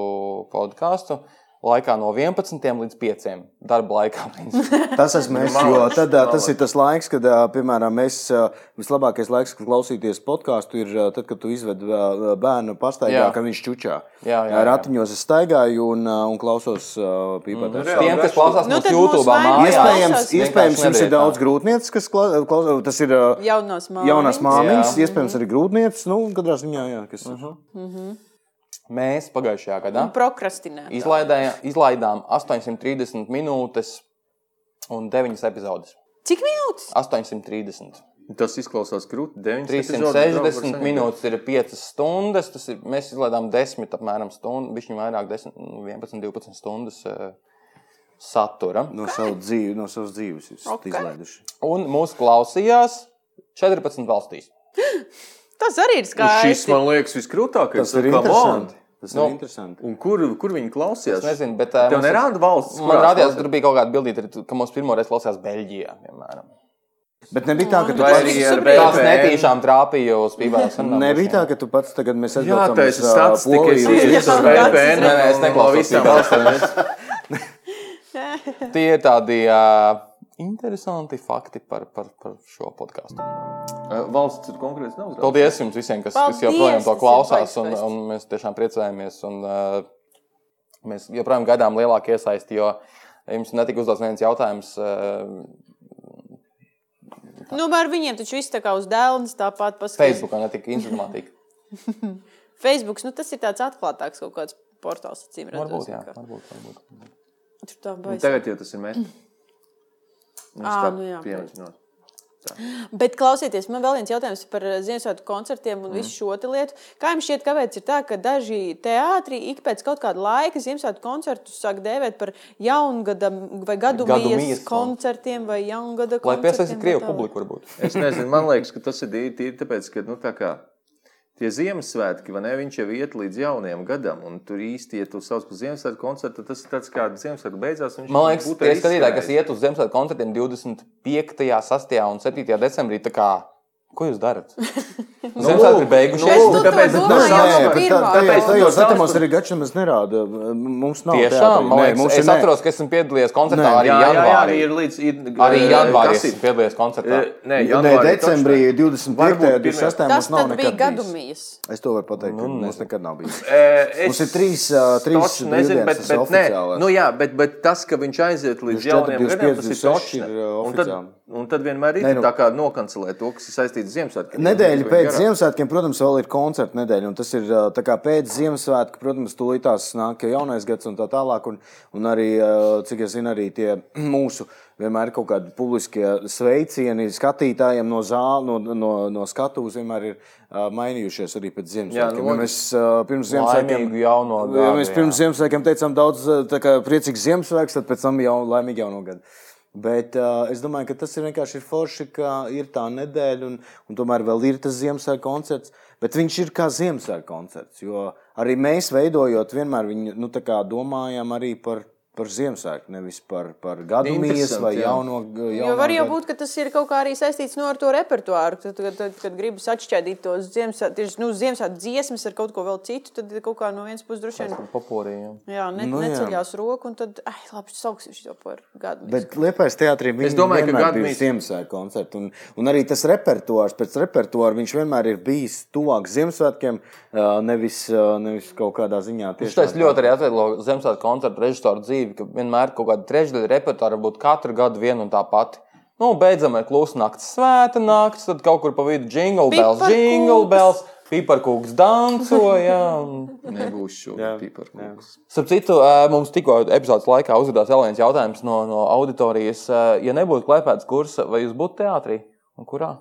C: podkāstu laikā no 11 līdz 5. darba laikā. (laughs) principā.
D: Tas esmu es. Jo tad, ā, tas ir tas laiks, kad, ā, piemēram, es, ā, vislabākais laiks, kad klausīties podkāstu, ir ā, tad, kad tu izved ā, bērnu
C: Jā.
D: pastaigā, kad viņš čučā.
C: Jā, jā,
D: Ā,
C: jā.
D: Ratiņos es staigāju un, ā, un klausos ā, pīpētājs.
B: reāli.
C: Tiem, kas klausās
A: Nu,
C: nu,
A: tad
C: mūsu YouTube,
A: mūs vainīgi
C: mākslinieks,
D: Iespējams, iespējams jums ir daudz grūtniecības, kas kla- klausās. Tas ir ā,
A: Jaunās māmiņas.
D: jaunās māmiņas,
C: Jā. Mhm.
D: iespējams, arī grūtniecības. Nu, katrā ziņā, jā, kas ir.
C: Mēs pagājušajā gadā
A: Prokrastinēt.
C: izlaidēja- izlaidām 830 minūtes un 9 epizodes.
A: Cik minūtes?
C: 830.
B: Tas izklausās krūti.
C: 360 minūtes ir 5 stundas. Tas ir, mēs izlaidām 10, apmēram stundu, bišķiņu vairāk, 10, nu, 11, 12 stundas. eh, satura.
D: No, savu dzīvi, no savas dzīves ir okay. izlaiduši.
C: Un mūsu klausījās 14 valstīs.
A: Tas arī ir
B: Un šis,
A: skaisti.
B: man liekas, viskrūtākais. nu,
D: Tas ir
B: Come on!
D: interesanti. Tas ir
C: Nu,
D: interesanti.
B: Un kur, kur viņi klausījās?
C: Es nezinu, bet, eh,
B: Tev
C: mums ir-
B: nerāda valsts.
C: Man rādījās, tur bija kaut kāda bildīte, ka mums pirmo reizi klausījās Beļģijā. Piemēram.
D: Bet nebija tā, ka tu
B: Vai
D: pats,
B: arī ar
C: Tās
B: VPN?
C: netīšām trāpīja uz pīpām.
D: nebija tā, ka tu pats tagad mēs
B: Jā,
D: atbraucam
B: tā ir
D: uz, ā,
B: statistika.
D: Poliju, uz
A: Jā,
B: Es
A: tas
B: esmu
A: ir
D: Izraelu.
B: VPN.
C: Nē, nē, es neklausos
B: neklausos.
C: Tie ir tādi uh, interesanti fakti par, par, par šo podkāstu.
B: Valsts ir konkrēts nav. draudz.
C: Paldies jums visiem, kas,
A: Paldies,
C: kas joprojām to
A: tas ir
C: klausās. Un,
A: baigi skaisti.
C: un mēs tiešām priecājamies. Un, uh, mēs joprojām gaidām lielāku iesaisti, jo jums netika uzdots viens jautājums. Uh,
A: Nu, ar viņiem taču viss tā kā uz dēlnes tāpat paskatās.
C: Facebookā netika informātika.
A: Facebook, nu, tas ir tāds atklātāks kaut kāds portāls, acīm redzot.
C: Varbūt, jā. Varbūt, varbūt.
A: Tur tā
B: Un
A: baisa.
B: Tagad jau tas ir
A: (clears throat)
B: mēs. Mums
A: Ā,
B: tā
A: nu jā.
B: pieminot.
A: Bet klausieties, man vēl viens jautājums par eh, Ziemassvētku koncertiem un mm. visu šo te lietu. Kā jums šķiet, kāpēc ir tā, ka daži teātri ik pēc kaut kāda laika Ziemassvētku koncertus sāk dēvēt par jaungada vai gadu
C: Gadu
A: mijas
C: mijas
A: koncertiem vai jaungada
C: Lai
A: koncertiem?
C: piesaistītu krievu publiku, varbūt.
B: Es nezinu, man liekas, ka tas ir dī- tīri tāpēc, ka nu, tā kā tie Ziemassvētki, vai ne, viņš jau iet līdz jaunajam gadam, un tur īsti, ja tu sauc par Ziemassvētku koncertu, tad tas ir tāds kā Ziemassvētku beidzās. un viņš
C: Man liekas,
B: būtu
C: tie skatītāji,
B: izskrējis.
C: kas iet uz Ziemassvētku koncertiem 25., 6. un 7. decembrī, tā kā, ko jūs
A: (laughs)
C: darat? Ziemassvētku ir
A: Es
C: beigušies.
A: nu
B: Nu,
A: to
B: tāpēc-
A: domāju
B: nu,
A: jau
B: nē,
A: no
B: bet
D: tā,
A: pirmā.
B: tā-
D: tajos,
B: tāpēc-
A: jau.
D: tajos
B: nu,
D: datumos
B: sauc-
D: arī gačamas nerāda. Mums nav
C: Tiešām, man
D: teātrī. Nē,
C: liekas,
D: mums ir
C: es
D: nē.
C: atceros, ka esmu piedalījies koncertā
D: Nē,
C: arī
B: Jā, jā, jā,
C: janvārī.
B: arī ir līdz ir,
C: Arī Nu,
B: eh,
C: janvārī
B: kas ir?
C: esmu piedalījies koncertā.
B: Eh, Nē,
D: Nē,
B: janvārī taču
D: decembrī
B: ne.
D: 25. un
B: Varbūt pirmie- Nu,
D: 26.
A: Tas
D: mums nav
A: tad bija
D: nekad
A: gadu
D: bijis.
A: mijas.
D: Es to varu pateikt, ka mums nekad nav bijis.
B: Eh,
D: Mums
B: es
D: ir trīs, ā, trīs
B: točs nezinu,
D: brīvdienas,
B: bet,
D: tas
B: bet,
D: oficiālās.
B: nē, nu, jā, bet, bet tas, ka viņš aiziet līdz
D: 24,
B: jaunajam gadam, tas ir
D: 25,
B: točs.
D: 26 ir,
B: ne.
D: ā,
B: Un tad,
D: oficiāli.
B: un tad vienmēr ir
D: Nē, nu-
B: tā kā nokancelēt to, kas ir saistīts ar Ziemassvētkiem.
D: Nedēļa
B: Vai
D: pēc
B: garāk?
D: Ziemassvētkiem, protams, vēl ir koncerta nedēļa. un Tas ir ā, tā kā pēc Ziemassvētku, protams, tūlīt tās nāk jau jaunais gads un tā tālāk. Un, un arī, ā, cik es zinu, arī tie (clears throat) mūsu vienmēr ir kaut kādi publiskie sveicieni skatītājiem no zāles, no, no, no skatuves vienmēr ir ā, mainījušies arī pēc Ziemassvētkiem.
B: nu,
D: Ja mēs ā, pirms Ziemassvētkiem
C: Laimīgu jauno
D: Ja
C: gadu,
D: mēs
C: jā.
D: pirms Ziemassvētkiem teicām daudz ā, tā kā priecīgs Ziemassvētks, tad pēc tam jau laimīgi jauno gadu. Bet uh, es domāju, ka tas ir vienkārši ir forši, ka ir tā nedēļa, un, un tomēr vēl ir tas Ziemassvētku koncerts. Bet viņš ir kā Ziemassvētku koncerts. Jo arī mēs veidojot, vienmēr viņu, nu, tā kā domājam arī par, par Ziemassvētku, nevis par, par gadu mijas
B: Nu, Interesanti,
D: vai
B: jā.
D: jauno, jauno
A: Nu, Jo var jau
D: gadu.
A: būt, ka tas ir kaut kā arī saistīts nu, ar to repertuāru. Tad, kad, tad, kad gribas atšķaidīt tos Ziemassvētku nu, Ziemassvētu dziesmas ar kaut ko vēl citu, tad kaut kā no vienas puses droši vien
C: Popūrīju.
A: jā, ne, nu,
D: Nu, jā.
A: neceļās roku un tad, ai, labi, sauksim šo par gadu.
D: Bet Liepais teātrī
B: Es
D: viņš
B: domāju, ka
D: vienmēr
B: gadu
D: bija
B: mīts.
D: Ziemassvētku koncerts. Un, un arī tas repertuārs, pēc repertuāra viņš vienmēr ir bijis tuvāk Ziemassvētkiem, ā, nevis, ā, nevis kaut kādā ziņā tieši
C: Tas ļoti arī atvieglo Zemesvētku koncertu režisoru dzīvi, ka vienmēr kaut kāda trešdaļa repertuāra būtu katru gadu viena un tā pati. Nu, beidzam ar klusu nakts, svēta nakts, tad kaut kur pa vidu jingle bells,
A: Piparkūks.
C: jingle bells, piparkūks
B: (laughs)
C: dancoja.
B: Nebūs šo tipu ar kungus.
C: Starp citu, eh, mums tikko epizodes laikā uzdevās vēl viens jautājums no, no auditorijas. Eh, Ja nebūtu klipēts kursa, vai jūs būtu teātrī un kurā?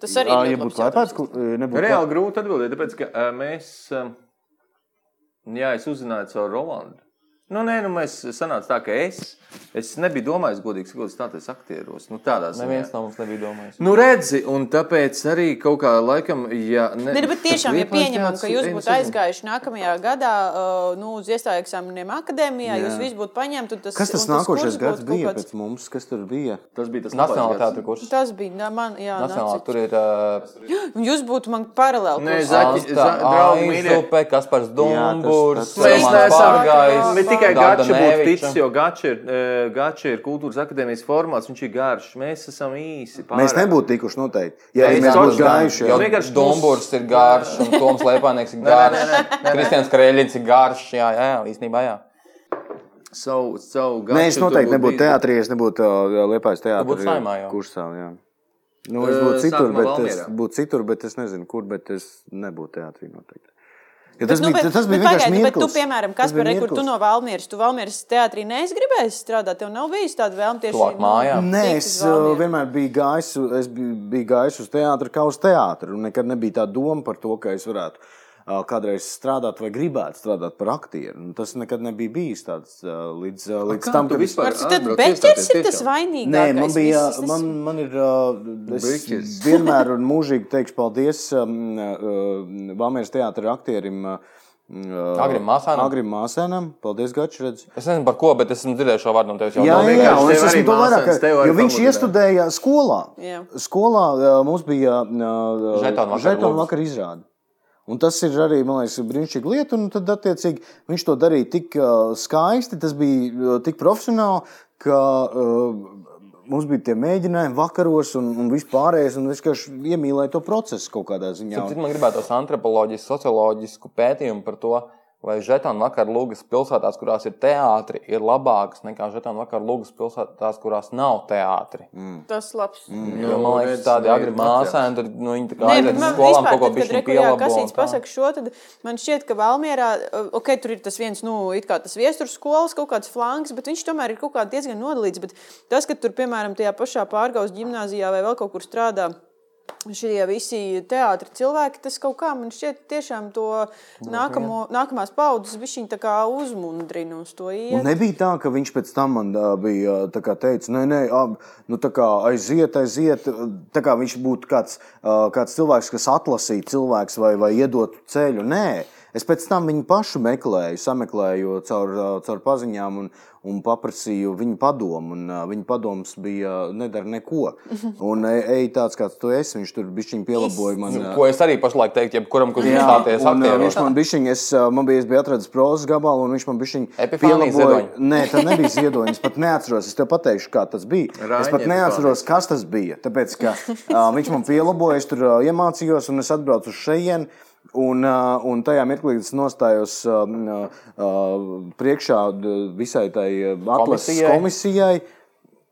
A: Tas arī ļoti
D: ja
A: labs
D: būtu klāpēts,
A: jautājums.
D: nebūtu
B: Reāli grūti atbildēt, Nu, tāpēc ka ā, mēs, ā, jā, es uzzināju caur Rolandu. Nu, nē, nu, mēs sanāca tā, ka es, es nebiju domājis godīgi sakot, stāties aktieros. Nu, tādā ziņā.
C: Neviens no mums nebija domājis.
B: Nu, redzi, un tāpēc arī kaut kā laikam, ja. Ne,
A: Nē, nu, bet tiešām, ja
B: Liepājas
A: pieņemam,
B: teātris-
A: ka jūs
B: Ei, nu,
A: būtu
B: sezinu.
A: aizgājuši nākamajā gadā uh, nu, uz iestāju eksāmeniem akadēmijā, jūs visi būtu paņemti. un Tas,
D: Kas
A: un
D: tas
A: kurs
D: nākošais
A: būtu
D: gads
A: kaut
D: bija
A: kāds-
D: pēc mums? Kas tur bija?
B: Tas bija tas
C: Nacionālā
B: labais gads.
C: teātra kursa.
A: Tas bija nā, man, jā,
C: Nacionālā
A: nācis.
C: tur ir. Uh,
A: Un Jūs būtu man paralēli.
B: Nē,
A: kursā.
B: Zaķi, za, draugi, mīļie.
C: Zvaigznes, kas par Dunkursu,
D: tas-
B: Mēs
A: Mēs
B: neesam
A: pārgājis.
B: gājis. Tikai
C: Dārda
B: Gača būtu
C: Neviča.
B: ticis, jo Gača ir, eh, Gača ir kultūras akadēmijas formāts, viņš ir garš. Mēs esam īsi. Pārāk.
D: Mēs nebūtu tikuši noteikti. Ja
B: Es
D: arī mēs būtu
B: saprotu,
C: Jo
D: gājuši, jā.
B: Vienkārši
C: Dunkurss ir garš,
D: (laughs)
C: un Toms Lepānieks ir garš. Kristians Kreļins ir garš. Jā, jā, īstenībā jā.
B: Savu, savu gaču,
D: Nē, es noteikti nebūtu teātrī, es nebūtu Liepais
C: būtu
D: teātrī
C: Saeimā jau.
D: kursā. Jā. Nu,
B: Eh,
D: es būtu citur,
B: sākumā
D: bet es
B: Valmierā.
D: būtu citur, bet es nezinu, kur, bet es nebūtu teātrī noteikti. Ja
A: Bet,
D: tas,
A: nu,
D: bija,
A: bet-
D: tas bija
A: bet
D: vienkārši
A: pagaidi, Bet tu,
D: mirklis.
A: piemēram,
D: Tas
A: kas
D: bija
A: par rekordu, tu
D: mirklis.
A: no Valmieras, tu Valmieras teātrī neizgribēji strādāt, tev nav bijis tāda vēlme tieši
C: Tuvāk
A: nu,
C: mājām.
D: Nē,
A: tikt
D: es
A: uz
D: uh,
A: Valmieru.
D: vienmēr biju gājis, es biju, biju gājis uz teātru, kā uz teātru. un Nekad nebija tā doma par to, ka es varētu uh, kādreiz strādāt vai gribētu strādāt par aktieru. Nu, Tas nekad nebija bijis tāds uh, līdz, uh, līdz tam, kad
A: Ar to tad beķers ir tas vainīgākais.
D: Nē, man bija.
A: viss, tas-
D: Man, man ir. uh, Es
B: Biķis.
D: vienmēr un mūžīgi teikšu paldies um, uh, Vāmēras teātra aktierim. Uh,
C: Agrim Māsānam.
D: Agrim Māsēnam. Paldies, Gačs. redz.
C: Es nezinu par ko, bet esmu dzirdējis šo vārdu no tevis jau
D: Jā, jā, jā,
B: vienkārši
D: un es
B: tev
D: esmu
B: arī
D: to
B: Māsēns,
D: vairāk.
B: tev arī
D: Jo viņš
B: pamudināja.
D: iestudēja skolā.
A: Jā.
D: Skolā uh, mums bija uh,
C: Žetonu vakar
D: žetonu
C: lūdzu.
D: vakar izrāde. Un tas ir arī, man liekas, brīnišķīgi lieta. Un tad, attiecīgi, viņš to darīja tik uh, skaisti, tas bija uh, tik profesionāli, ka uh, mums bija tie mēģinājumi vakaros un, un vispārējais. Un es vienkārši iemīlēju to procesu kaut kādā ziņā.
C: Cik man gribētos antropoloģisku, socioloģisku pētījumu par to, vai žetonu vakar lūgas pilsētās, kurās ir teātri, ir labākas nekā žetonu vakar lūgas pilsētās, kurās nav teātri. Mm.
A: Tas labs.
C: Jo,
D: Nu,
C: man liekas,
B: redz,
C: tādi
B: nē,
C: agri māsēni, tad nu, viņi tā kā
A: Nē,
C: aiziet
A: bet
C: uz
A: man
C: skolām kaut ko
A: vispār, tad,
C: pišķiņu
A: kad rekuļā
C: pielabo. un
A: kasīts
C: tā.
A: pasaka šo, tad man šķiet, ka Valmierā, uh, ok, tur ir tas viens, nu, it kā tas viesturs skolas kaut kāds flanks, bet viņš tomēr ir kaut kā diezgan nodalīts. Bet tas, ka tur, piemēram, tajā pašā pārgaus ģimnāzijā vai vēl kaut kur strādā. Šie visi teātris cilvēki, tas kaut kā man šķiet, tiešām to nākamo, nākamās paudzes viņa tā kā uzmundrina uz to
D: Un
A: iet.
D: nebija tā, ka viņš pēc tam man uh, bija ā, tā kā teicis, nē, nē, ab, nu, tā kā aiziet, aiziet. Tā kā viņš būtu kāds, uh, kāds cilvēks, kas atlasīja cilvēks vai, vai iedotu ceļu. Nē, es pēc tam viņu pašu meklēju, sameklēju caur, ā, caur paziņām un, un paprasīju viņu padomu. Un, uh, viņa padoms bija ā, nedara neko. Un e- ej tāds, kāds tu esi, viņš tur bija pielāgojis man. ā,
C: Nu, Ko es arī pašlaik teiktu, jebkuram, kurš grib stāties
D: un, uh,
C: aktieros.
D: viņš man bišķiņ, es, uh, man bija, es biju atradzis prozas gabalu, un viņš man bija
C: Epifānija ziedoņa.
D: Nē, tā nebija ziedoņa. Es pat neatceros, es tev pateikšu, kā tas bija.
B: Rāņa
D: es pat neatceros, kas tas bija. Tāpēc, ka uh, viņš man pielaboja, es tur uh, iemācījos, un es atbraucu uz šejienu. Un, uh, un tajā mirklī, kad es nostājos uh, uh, priekšā d- visai tai uh, atlases
C: Komisijai.
D: komisijai,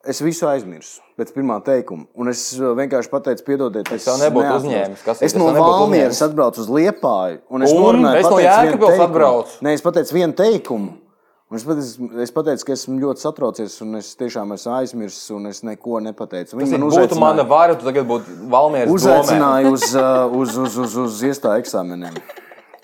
D: es visu aizmirsu pēc pirmā teikuma. Un es uh, vienkārši pateicu, piedodiet, es
C: jau nebūtu
D: neatceros.
C: uzņēmis, kas ir,
D: Es
C: es
D: no
C: jau nebūtu
D: Valmieras
C: uzņēmis.
D: atbraucu uz Liepāju. Un es,
C: Un
D: norunāju,
C: es no
D: pateicu vienu
C: Jēkabpils
D: teikumu.
C: atbraucu.
D: Nē, es pateicu vienu teikumu. Un es, pateicu, es pateicu, ka esmu ļoti satraucies, un es tiešām esmu aizmirsis, un es neko nepateicu.
C: Tas
D: Viņi
C: ir
D: man
C: būtu
D: uzaicināja,
C: mana vara, tu tagad būtu Valmieras domē.
D: uzaicināja uz, uh, uz, uz, uz, uz iestāju eksāmeniem,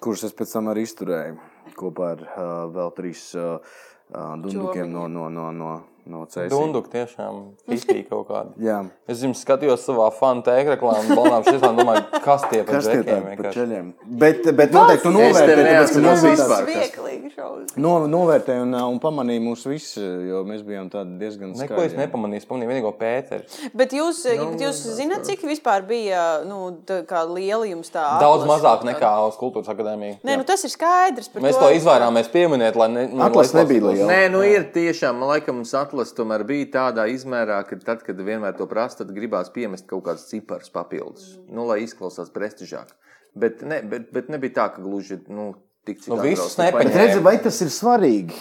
D: kurus es pēc tam arī izturēju kopā ar uh, vēl trīs uh, uh, dundukiem no, no, no, no, no CS.
C: Dunduk tiešām iztīk kaut kādu.
D: Jā,
C: Es jums skatījos savā fanu tēkļa reklāmā, balnām šis man domāju, kas tie par
D: kas tie
C: džekiem
D: tādi par
C: vienkārši.
D: ceļiem? Bet, bet noteikti tu
B: Es tevi
D: novērtēji, tāpēc, ka mums
B: neatceros
D: bija
B: vispār.
D: tāds
B: kas-
A: Vieglīgi šausmas.
D: No, novērtēja un, uh, un pamanīja mūs visus, uh, jo mēs bijām tādi diezgan
C: Neko es
D: skaļi.
C: nepamanīju, es pamanīju vienīgo Pēteru.
A: Bet jūs, nu, jūs zināt, cik vispār bija nu, tā kā liela jums tā
C: Daudz
A: atlase?
C: mazāk nekā uz kultūras akadēmiju.
A: Nē, nu, tas ir skaidrs. par
C: Mēs to izvairāmies pieminēt, lai ne, nu,
D: Atlas
C: lai
D: nebija liela.
B: Nē, nu ir tiešām, man laikam, mums atlases tomēr bija tādā izmērā, ka tad, kad vienmēr to prasa, tad gribās piemest kaut kādas cipars papildus, nu, lai izklausās prestižāk. Bet, ne, bet, bet nebija tā, ka gluži nu, tik cik
C: Nu, visus
B: atrast,
C: nepaņem.
D: Bet redziet, vai tas ir svarīgi?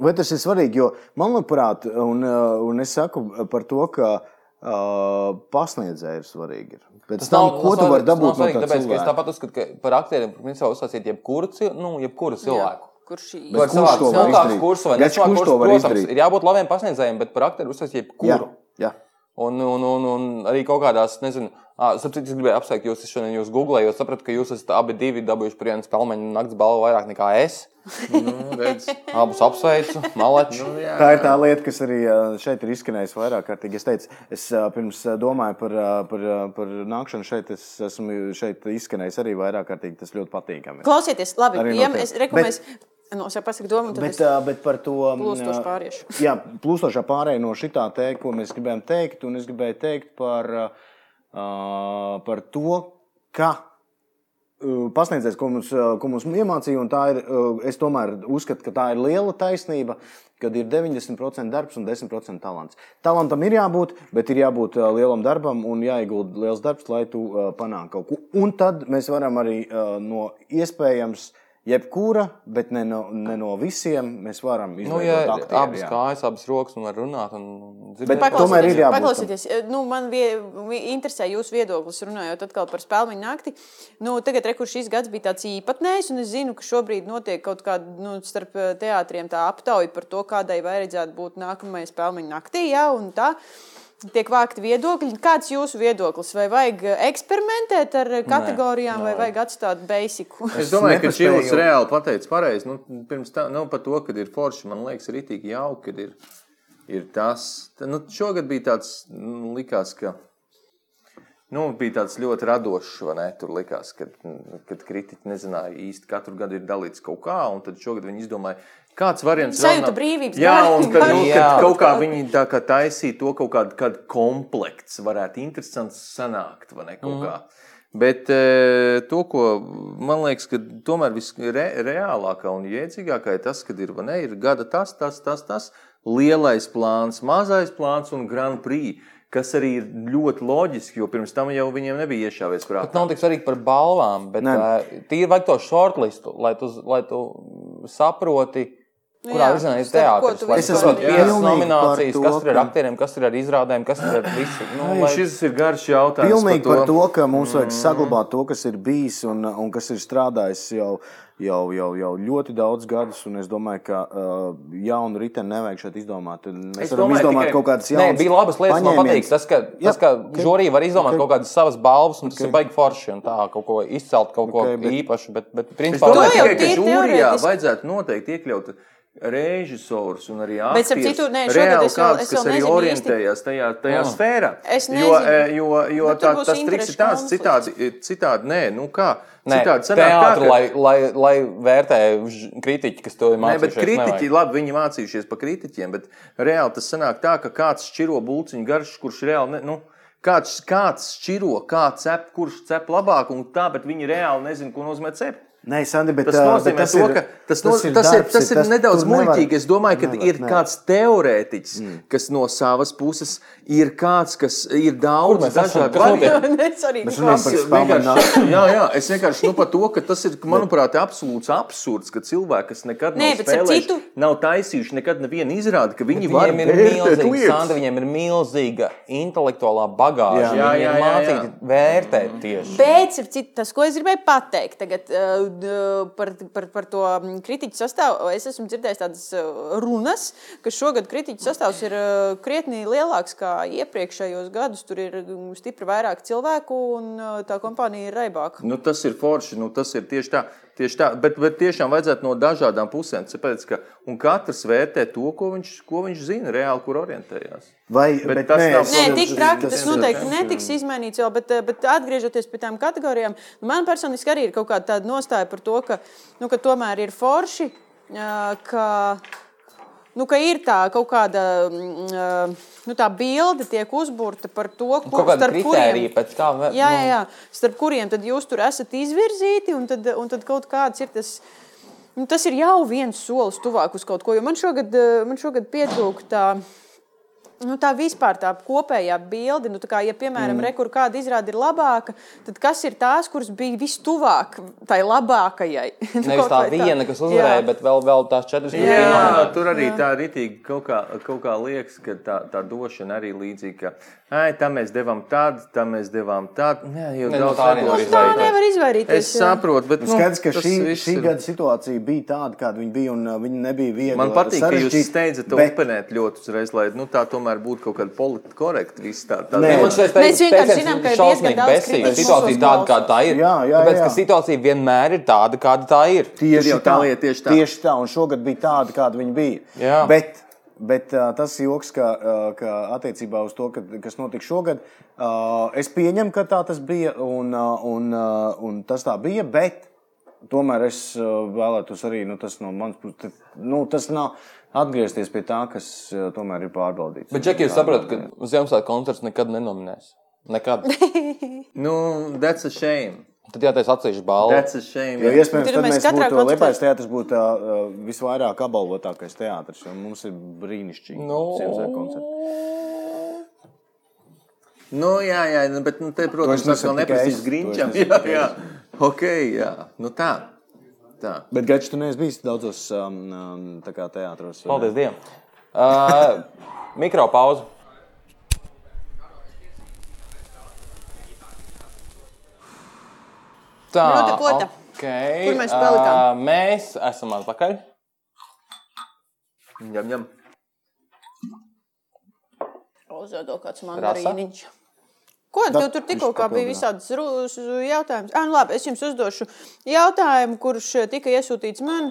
D: Vai tas ir svarīgi? Jo manuprāt, un, uh, un es saku par to, ka uh, pasniedzēji ir svarīgi. ir. Pēc
C: Tas
D: tam,
C: nav-
D: ko
C: tas
D: tu
C: nav-
D: vari
C: tas nav
D: dabūt no
C: svarīgi,
D: tā
C: tāpēc, ka es
D: cilvēka?
C: tāpat uzskatu, ka par aktieriem principā uzsāciet jebkuru, cil- nu, jebkuru cilvēku.
A: Kurš šī
C: Par
D: kurš
C: cilvēku,
D: to var
C: smagāks
D: izdarīt?
C: kurs vai
D: Gač,
C: nesmagāks
D: kurš to
C: kurs,
D: var
C: protams,
D: izdarīt?
C: ir jābūt labiem pasniedzējiem, bet par aktieru uzsāciet
D: Jā,
C: jebkuru.
D: jā.
C: Un, un, un, un arī kaut kādās, nezinu, sapratu, es gribēju apsveikt jūs, es šodien jūs googlēju, jo sapratu, ka jūs esat abi divi dabūjuši par vienu spēlmeņu naktas balvu vairāk nekā es.
B: Nu, redz,
C: Abus apsveicu, malači.
B: nu, jā.
D: Tā ir tā lieta, kas arī uh, šeit ir izskanējusi vairāk kārtīgi. Es teicu, es uh, pirms uh, domāju par, uh, par, uh, par nākšanu šeit, es esmu šeit izskanējis arī vairāk kārtīgi. Tas ļoti patīkami.
A: Klausieties, labi.
D: Arī no
A: Iem,
D: tevis.
A: es rekomendēju, no, es jau pasaku domu, un Nu, tad
D: Bet,
A: es
D: uh, bet par to
A: plūstoši
D: uh,
A: pāriešu.
D: (laughs) Jā, plūstošā pārējai no šitā te, ko mēs gribējām teikt, un es gribēju teikt par, uh, par to, ka uh, pasniedzējs, ko mums, uh, ko mums iemācīja, un tā ir, uh, es tomēr uzskatu, ka tā ir liela taisnība, kad ir 90% darbs un 10% talants. Talantam ir jābūt, bet ir jābūt uh, lielam darbam un jāiegulda liels darbs, lai tu uh, panāktu kaut ko. Un tad mēs varam arī uh, no iespējams. Jebkura, bet ne no, ne no visiem mēs varam izdarīt.
C: Nu, jā, abas kājas, abas rokas un var runāt un
D: Bet
C: dzirdēt.
A: Paklausieties,
D: tomēr ir jābūt tam.
A: Paklausieties, nu, man vie, vi- interesē jūsu viedoklis, runājot atkal par spēļu nakti. Nu, tagad, re, kur šis gads bija tāds īpatnējs, un es zinu, ka šobrīd notiek kaut kāda nu, starp eh, teātriem tā aptauja par to, kādai vajadzētu būt nākamajai spēļu naktī. Ja, un tā. Tiek vākti viedokļi. Kāds ir jūsu viedoklis? Vai vajag eh, eksperimentēt ar eh, kategorijām, vai vajag atstāt beisiku? (laughs)
B: Es domāju, ka
D: nepaspēju.
B: Čilis reāli pateica pareizi. Nu, pirms tam, nu, par to, kad ir forši, man liekas, ir itī jauki, kad ir, ir tas. Tā, Nu, šogad bija tāds, nu, likās, ka. Nu, bija tāds ļoti radošs, vai ne? Tur likās, kad, kad kritiķi nezināja īsti, katru gadu ir dalīts kaut kā, un tad šogad viņi izdomāja, kāds variants vēl
A: Sajūta
B: nav.
A: brīvības,
B: Jā,
A: gar-
B: un kad, nu,
C: Jā.
B: kad kaut kā viņi tā kā taisīja to kaut kādu, kādu komplektu, varētu interesants sanākt, vai ne? Kaut kā.
D: Mhm.
B: Bet e, to, ko man liekas, ka tomēr visreālākā un jēdzīgākā ir tas, kad ir, vai ne, ir gada tas, tas, tas, tas lielais plāns, mazais plāns un Grand Prix, kas arī ir ļoti loģiski, jo pirms tam jau viņiem nebija iešāvies
C: Bet
B: prātā.
C: nav tik svarīgi par balvām, bet
D: Nē.
C: uh, tīri vajag to shortlistu, lai tu, z- lai tu saproti, kurā
A: Nu jā,
C: virzienā ir
A: starp ko
C: teātris.
A: tu
C: lai
A: vispār
C: tu saproti
D: esi.
C: piecas
D: Pilnīgi par
C: nominācijas,
D: to,
C: kas tur ir
D: ka-
C: aktieriem, kas tur ir ar izrādēm, kas tur ir ar visu. Nu,
B: Ai,
C: lai-
B: šis ir garš jautājums.
D: Pilnīgi par to, ka mums vajag
B: Mm.
D: saglabāt to, kas ir bijis un, un kas ir strādājis jau, jau, jau, jau ļoti daudz gadus. un Es domāju, ka uh, jaunu riteni nevajag šeit izdomāt. Un Mēs
B: Es
D: varam
B: domāju
D: izdomāt
B: tikai-
D: kaut kādas
C: Nē,
D: jaunas
C: bija labas lietas, man
D: paņēmienas.
C: patīk. Tas, ka,
D: Jā,
C: tas, ka
D: ok.
C: okay. žorija var izdomāt okay. kaut kādas savas balvas, un tas okay. ir baigi forši. un Tā, kaut ko izcelt, kaut ko
D: Ok,
C: okay,
D: bet-
C: bet... īpašu. Bet, bet
B: Es
C: principā,
A: To
B: domāju,
A: jau
B: tikai, ka
A: tīri
B: žūrijā
A: teorētiski.
B: vajadzētu noteikti iekļaut režisors un arī
A: Bet,
B: aktieris.
A: starp citu, nē, šogad
B: reāli
A: es vēl-
B: kāds,
A: es vēl
B: kas arī
A: nezinu
B: orientējās tajā, tajā
C: Jā.
B: sfērā.
A: Es
B: jo,
A: nezinu.
B: e, jo, jo
A: Bet tur
B: tā,
A: būs
B: tas triks
A: interešu
B: ir tāds,
A: konflikts.
B: citādi, citādi, nē, nu kā,
C: Nē,
B: citādi sanāk tā,
C: teātru,
B: ka-
C: lai, lai, lai vērtē ž- kritiķi, kas to ir
B: Nē, bet
C: mācījušies.
B: kritiķi,
C: nevajag.
B: labi, viņi mācījušies par kritiķiem, bet reāli tas sanāk tā, ka kāds šķiro būciņu garš, kurš reāli, ne, nu, kāds, kāds šķiro, kā cep, kurš cep labāk, un tā, bet viņi reāli nezina, ko nozīmē cept.
D: Nē, Sandi, bet
B: Tas
D: ā, bet
B: nozīmē, tas to,
D: ir-
B: ka tas, tas, ir, tas, ir,
D: darbs,
B: tas ir nedaudz
D: tur nevar-
B: muļķīgi. Es domāju, ka
D: nevar,
B: ir
D: nevar.
B: kāds teorētiķis, kas no savas puses ir kāds, kas ir daudz
C: mēs esam?
B: dažādu
C: Kas notiek?
B: variantu.
A: Mēs arī
D: Mēs runājam par
B: Es vienkārši, (coughs) jā, jā, es vienkārši nu, par to, ka tas ir, manuprāt, absolūts absurds, ka cilvēki, kas nekad
A: Nē,
B: nav,
A: bet starp
B: spēlējuši,
A: citu-
B: nav taisījuši nekad nevienu izrādi, ka viņi var
C: Viņiem ir,
B: vērtēt
C: milzīga,
B: lietas.
C: Sandra, viņiem ir milzīga intelektuālā bagāža.
D: Jā.
C: Jā, jā, jā, jā.
B: jā, jā.
C: Mācīt, vērtēt tieši.
A: Bet starp citu, tas, ko es gribēju pateikt tagad, uh, d- par, par, par to mm, kritiķu sastāvu, es esmu dzirdējis tādas uh, runas, ka šogad kritiķu sastāvs ir uh, krietni lielāks nekā iepriekšējos gadus. Tur ir mm, stipri vairāk cilvēku un uh, tā kompānija ir raibāka.
B: Nu, tas ir forši. Nu, tas ir tieši tā. Tieši tā. Bet, bet tiešām vajadzētu no dažādām pusēm. Tāpēc, ka, un katrs vērtē to, ko viņš, ko viņš zina, reāli kur orientējās.
D: Vai,
B: Bet tas nav-
A: Nē,
B: Tas-
A: tik traki tas nu-
B: tas-
A: noteikti netiks izmainīts. Jau, bet, eh, bet atgriežoties pie tām kategorijām, nu, man personiski arī ir kaut kāda tāda nostāja par to, ka, nu, ka tomēr ir forši, eh, ka, nu, ka ir tā kaut kāda mm, eh, nu, tā bilde tiek uzbūrta par to,
C: Kaut
A: kur,
C: kāda
A: starp
C: kritērija,
A: kuriem.
C: pēc kā vē-
A: Jā, jā, jā, starp kuriem tad jūs tur esat izvirzīti, un tad, un tad kaut kāds ir tas. Nu, tas ir jau viens solis tuvāk uz kaut ko. jo Man šogad, eh, man šogad pietrūka tā nu, tā vispār tā kopējā bilde, nu, tā kā, ja, piemēram, mm. rekur kāda izrāda ir labāka, tad kas ir tās, kuras bija vistuvāk tai labākajai? (laughs) Nu,
C: Nevis
A: kaut
C: tā
A: vai
C: viena, kas uzvarēja,
A: Jā.
C: bet vēl, vēl tās četras
B: Jā,
C: kas bija
B: jā,
C: nomināti.
B: tur arī tā rītīgi kaut kā, kaut kā liekas, ka tā, tā došana arī līdzīga. Ai, tam mēs devām tādu, tam mēs devām tādu. Nē, jau
C: Ne, no
B: daudz
C: tā
B: nevar
C: nevar
A: Nu,
B: izdarīt.
A: tā nevar izvairīties.
B: Es saprotu, bet nu,
D: Skaidrs, ka
B: tas
D: šī,
B: viss
D: šī
B: ir-
D: gada situācija bija tāda, kāda viņa bija, un uh, viņa nebija viegli.
B: Man patīk, ka jūs
D: sarežģīta,
B: steidzat to
D: bet-
B: openēt ļoti uzreiz, lai nu, tā tomēr būtu kaut kāda politiski korekta. viss Tā, tā,
D: Nē,
C: Nē, man
B: tā,
A: Mēs
C: šeit teikt-
A: vienkārši
C: teiciens
A: zinām, ka ir diezgan
C: šausmīgi
A: daudz
C: besīga.
A: kritiķu
C: Situācija
A: mūsos
C: tāda, kāda
A: klausās.
C: tā ir.
D: Jā, jā,
C: Tāpēc,
D: jā.
C: ka situācija vienmēr ir tāda, kāda tā ir.
D: Tieši
B: jau
D: tā,
B: tā lieta, tieši tā.
D: Tieši tā, un šogad bija tāda, kāda viņa bija.
C: Jā.
D: Bet, bet uh, tas joks, ka, uh, ka attiecībā uz to, ka, kas notika šogad, uh, es pieņemu, ka tā tas bija un, uh, un, uh, un tas tā bija. Bet tomēr es uh, vēlētos arī, nu, tas no manas puses, nu, tas nav atgriezties pie tā, kas uh, tomēr ir pārbaudīts.
C: Bet, Džeki, jūs saprotat, ka Ziemassvētku koncerts nekad nenominēs.
A: (laughs)
C: Nekad.
B: nu, that's a shame.
C: Tad jātaisa atsevišķa balva.
B: That's a shame.
D: Jo iespējams,
A: Tur
D: ka
A: mēs
D: mēs
A: katrā
D: būtu
A: koncertā-
D: Lietuvas teātris, būtu uh, visvairāk apbalvotākais teātris. un Mums ir brīnišķīgi.
C: Nu.
D: Ziemassvētku koncerti.
B: Nu, jā, jā, nu, bet, nu, te, protams,
D: To es
B: tas vēl
D: nesaku tikai es.
B: neprasīs
D: To
B: grinčam.
D: es
B: Jā,
D: nesaku tikai
B: (laughs) jā. Ok, jā. Nu, tā. tā.
D: Bet Gačs, tu neesi bijis daudzos um, um, tā kā teātros. vai ne?
C: Paldies Dievam. Uh, Mikropauze. Tā
A: Nu, te ko te?
C: Okay.
A: Kur mēs palikām?
C: Uh, mēs esam atpakaļ.
B: (laughs) Ņem, ņem.
A: Uzvedu kāds
C: Rasa?
A: mandarīniņš. Ko
D: Da-
A: tev tur tikko
D: viņš
A: kā bija
D: papildinās.
A: visādas runas jautājumas? Ah, nu labi, es jums uzdošu jautājumu, kurš eh, tika iesūtīts man,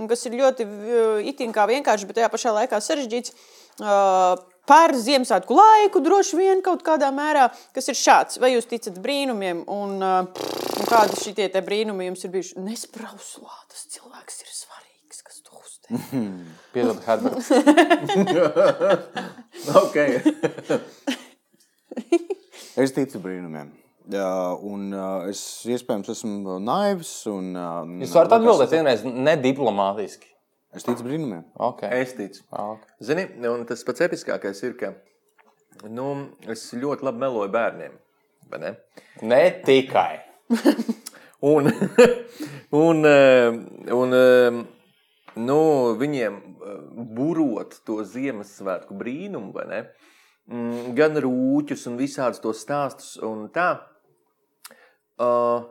A: un kas ir ļoti eh, itin kā vienkāršs, bet tajā pašā laikā sarežģīts. eh, Par Ziemassvētku laiku droši vien kaut kādā mērā, kas ir šāds. Vai jūs ticat brīnumiem, un, eh, un kādi šitie te brīnumi jums ir bijuši? Nesprauslā, tas cilvēks ir svarīgs, kas to uztver.
C: Piedod,
A: (laughs)
C: Herberts.
B: Okay.
D: Es ticu brīnumiem. Jā, un uh, es iespējams esmu uh, naivs. Un, uh,
C: Jūs varat atbildēt vienreiz nediplomātiski.
D: Es ticu brīnumiem.
C: Okay.
B: es ticu.
C: Okay.
B: Zini, un tas pats episkākais ir, ka nu, es ļoti labi meloju bērniem. vai ne?
C: Ne tikai.
B: Un, (laughs) un, eh, un eh, nu, viņiem eh, burot to Ziemassvētku brīnumu, vai ne? Mm, Gan rūķus, un visādus tos stāstus. Un tā, uh,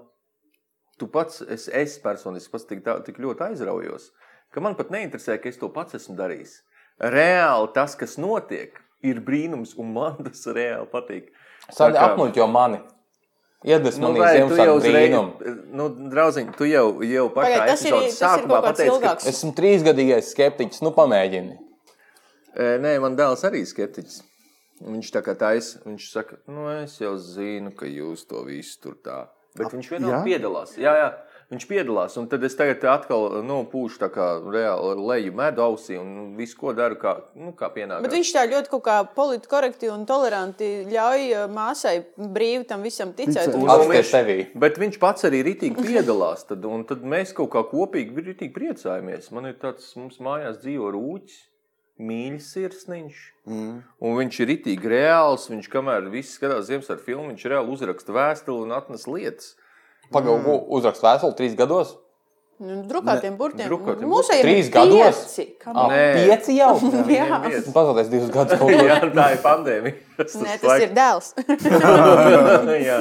B: tu pats, es, es personiski pats tik, tā- tik ļoti aizraujos, ka man pat neinteresē, ka es to pats esmu darījis. Reāli tas, kas notiek, ir brīnums, un man tas reāli patīk.
C: Sādi
B: Tā kā-
C: apmuļķot jau mani. Iedvesmo
B: Nu,
C: nu,
B: vai tu jau
C: Ziemassvētku
B: uzreiz,
C: brīnumu.
B: nu, draudziņ, tu jau, jau pašā
A: Pagaid, tas ir-
B: epizodes
A: tas ir
B: sākumā
A: kaut kāds
B: pateici, ka
A: ilgāks.
C: Esmu trīsgadīgais skeptiķis, nu pamēģini.
B: E, Nē, man dēls arī ir skeptiķis. Viņš tā kā taisa, viņš saka, nu es jau zinu, ka jūs to visu tur tā. Bet viņš vienmēr
D: jā?
B: piedalās. Jā, jā. Viņš piedalās, un tad es tagad atkal nu, pūšu tā kā reāli ar leju medu ausī un visu, ko daru, kā, nu, kā pienākas.
A: Bet viņš tā ļoti kaut kā politiski korekti un toleranti ļauj eh, māsai brīvi tam visam ticēt.
D: Ticēt.
A: Un-
B: Uz-
C: Atskaties sevī.
B: Bet viņš pats arī
A: (laughs)
B: rītīgi piedalās. Tad, un tad mēs kaut kā kopīgi rītīgi priecājamies. Man ir tāds, mums mājās dzīvo rūķis, mīļš sirsniņš.
C: Mhm.
D: Mm.
B: Un viņš ir rītīgi reāls. Viņš, kamēr viss skatās Ziemassvētku filmu, viņš reāli uzraksta vēstuli un atnes lietas.
C: Pagaidu,
B: Mm.
C: uzrakst vēstuli trīs gados.
A: Nu, Drukātiem burtiem.
B: drukātiem
A: Mūsējiem ir
C: Trīs gados?
A: pieci. Kam- (laughs)
C: Ah,
B: Nē.
C: Pieci (laughs) jau.
A: Jā.
B: Viņiem
A: (laughs)
B: viens.
C: Pazudīs divus gadus kaut
B: Jā,
C: kur.
B: tā ir pandēmija. (laughs) Tas,
A: Nē, tas ir dēls. (laughs)
B: jā.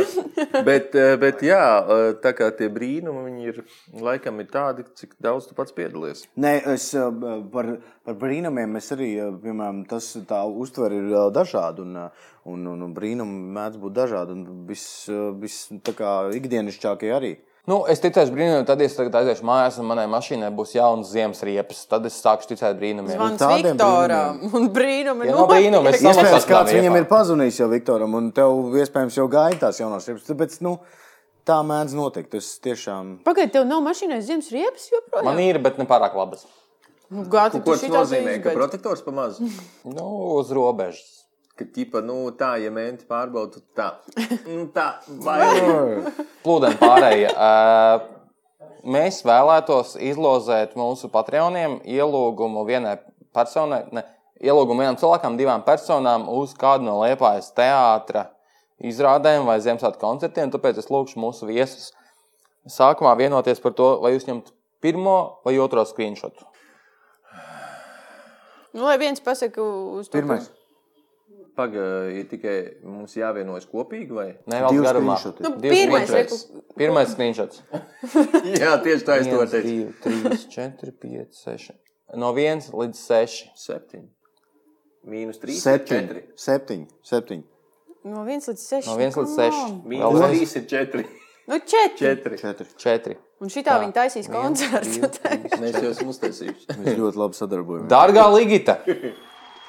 B: Bet, eh, bet jā, eh, tā kā tie brīnumi viņi ir laikam ir tādi, cik daudz tu pats piedalies.
D: Nē, es uh, par, par brīnumiem es arī, uh, piemēram, tas tā uztver ir uh, dažādi. Un, uh, un, un, un brīnumi mēdz būt dažādi. Un viss vis, tā kā ikdienišķākie arī.
C: Nu, es ticēšu brīnumiem, tad es tagad aiziešu mājās, un manai mašīnai būs jauns ziemas riepas. Tad es sāku ticēt brīnumiem.
A: Zvans
D: tādiem
A: Viktoram un brīnumi.
C: Ja nav brīnumu,
A: notiek.
C: es savu-
D: Iespējams,
C: sastāvā
D: kāds
C: iepā.
D: viņam ir pazudījis jau Viktoram, un tev iespējams jau gaida tās jaunās ripsaktas. Tāpēc nu, tā mēdz notikt. Tas tiešām
A: Pagaid, tev nav mašīnai ziemas riepas joprojām?
C: Man ir, bet ne pārāk labas.
A: Nu, Gāti,
B: Ko tas nozīmē? Ka protektors pamazs.
C: Nu, uz robežas.
B: Ka, tipa, nu, tā, ja mēnesi
A: (laughs)
B: pārbaudu, tad tā. Nu, tā, vai
C: Plūdiem pārējie. (laughs) Ā, Mēs vēlētos izlozēt mūsu patroniem ielūgumu vienai personai, ne, ielūgumu vienam cilvēkam, divām personām uz kādu no liepājas teātra izrādēm vai Ziemassvētku koncertiem. Tāpēc es lūgšu mūsu viesus sākumā vienoties par to, vai jūs ņemat pirmo vai otro screenshot.
A: Nu, lai viens pasaka uz to.
D: pirmais.
B: pagaidi, ir tikai mums jāvienojas kopīgi? Vai? (laughs)
C: Ne vēl
D: Divi
C: garumā.
D: screenshots.
A: Nu,
C: Divi
A: pirmais,
C: screenshots. Pirmais
B: (laughs)
C: screenshot.
B: Jā, tieši tā es to
C: Viens,
B: teicu.
C: divi, trīs, četri, pieci, seši. No viens līdz seši.
B: Septiņi. Mīnus trīs, ir
D: Septiņi.
B: četri.
D: Septiņi. Septiņi.
A: No 1 līdz 6.
C: No viens līdz seši.
B: Mīnus
C: Vēl viens.
B: trīs ir četri. (laughs)
A: Nu, 4.
B: četri.
D: Četri.
C: Četri.
A: Un šitā viņi taisīs koncertu.
B: Mēs jau esam uztaisījuši.
D: Mēs ļoti labi sadarbojamies.
C: Dārgā Ligita,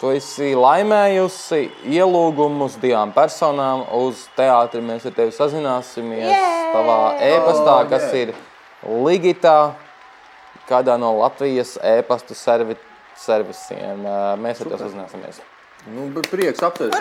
C: tu esi laimējusi ielūgumus divām personām uz teātri. Mēs ar tevi sazināmies
A: Jē!
C: tavā e-pastā,
B: Oh,
C: kas
B: jē.
C: ir Ligita, kādā no Latvijas e-pasta servi, servisiem. Ā, Mēs ar tevi sazināmies.
B: Nu, bet prieks apsveic.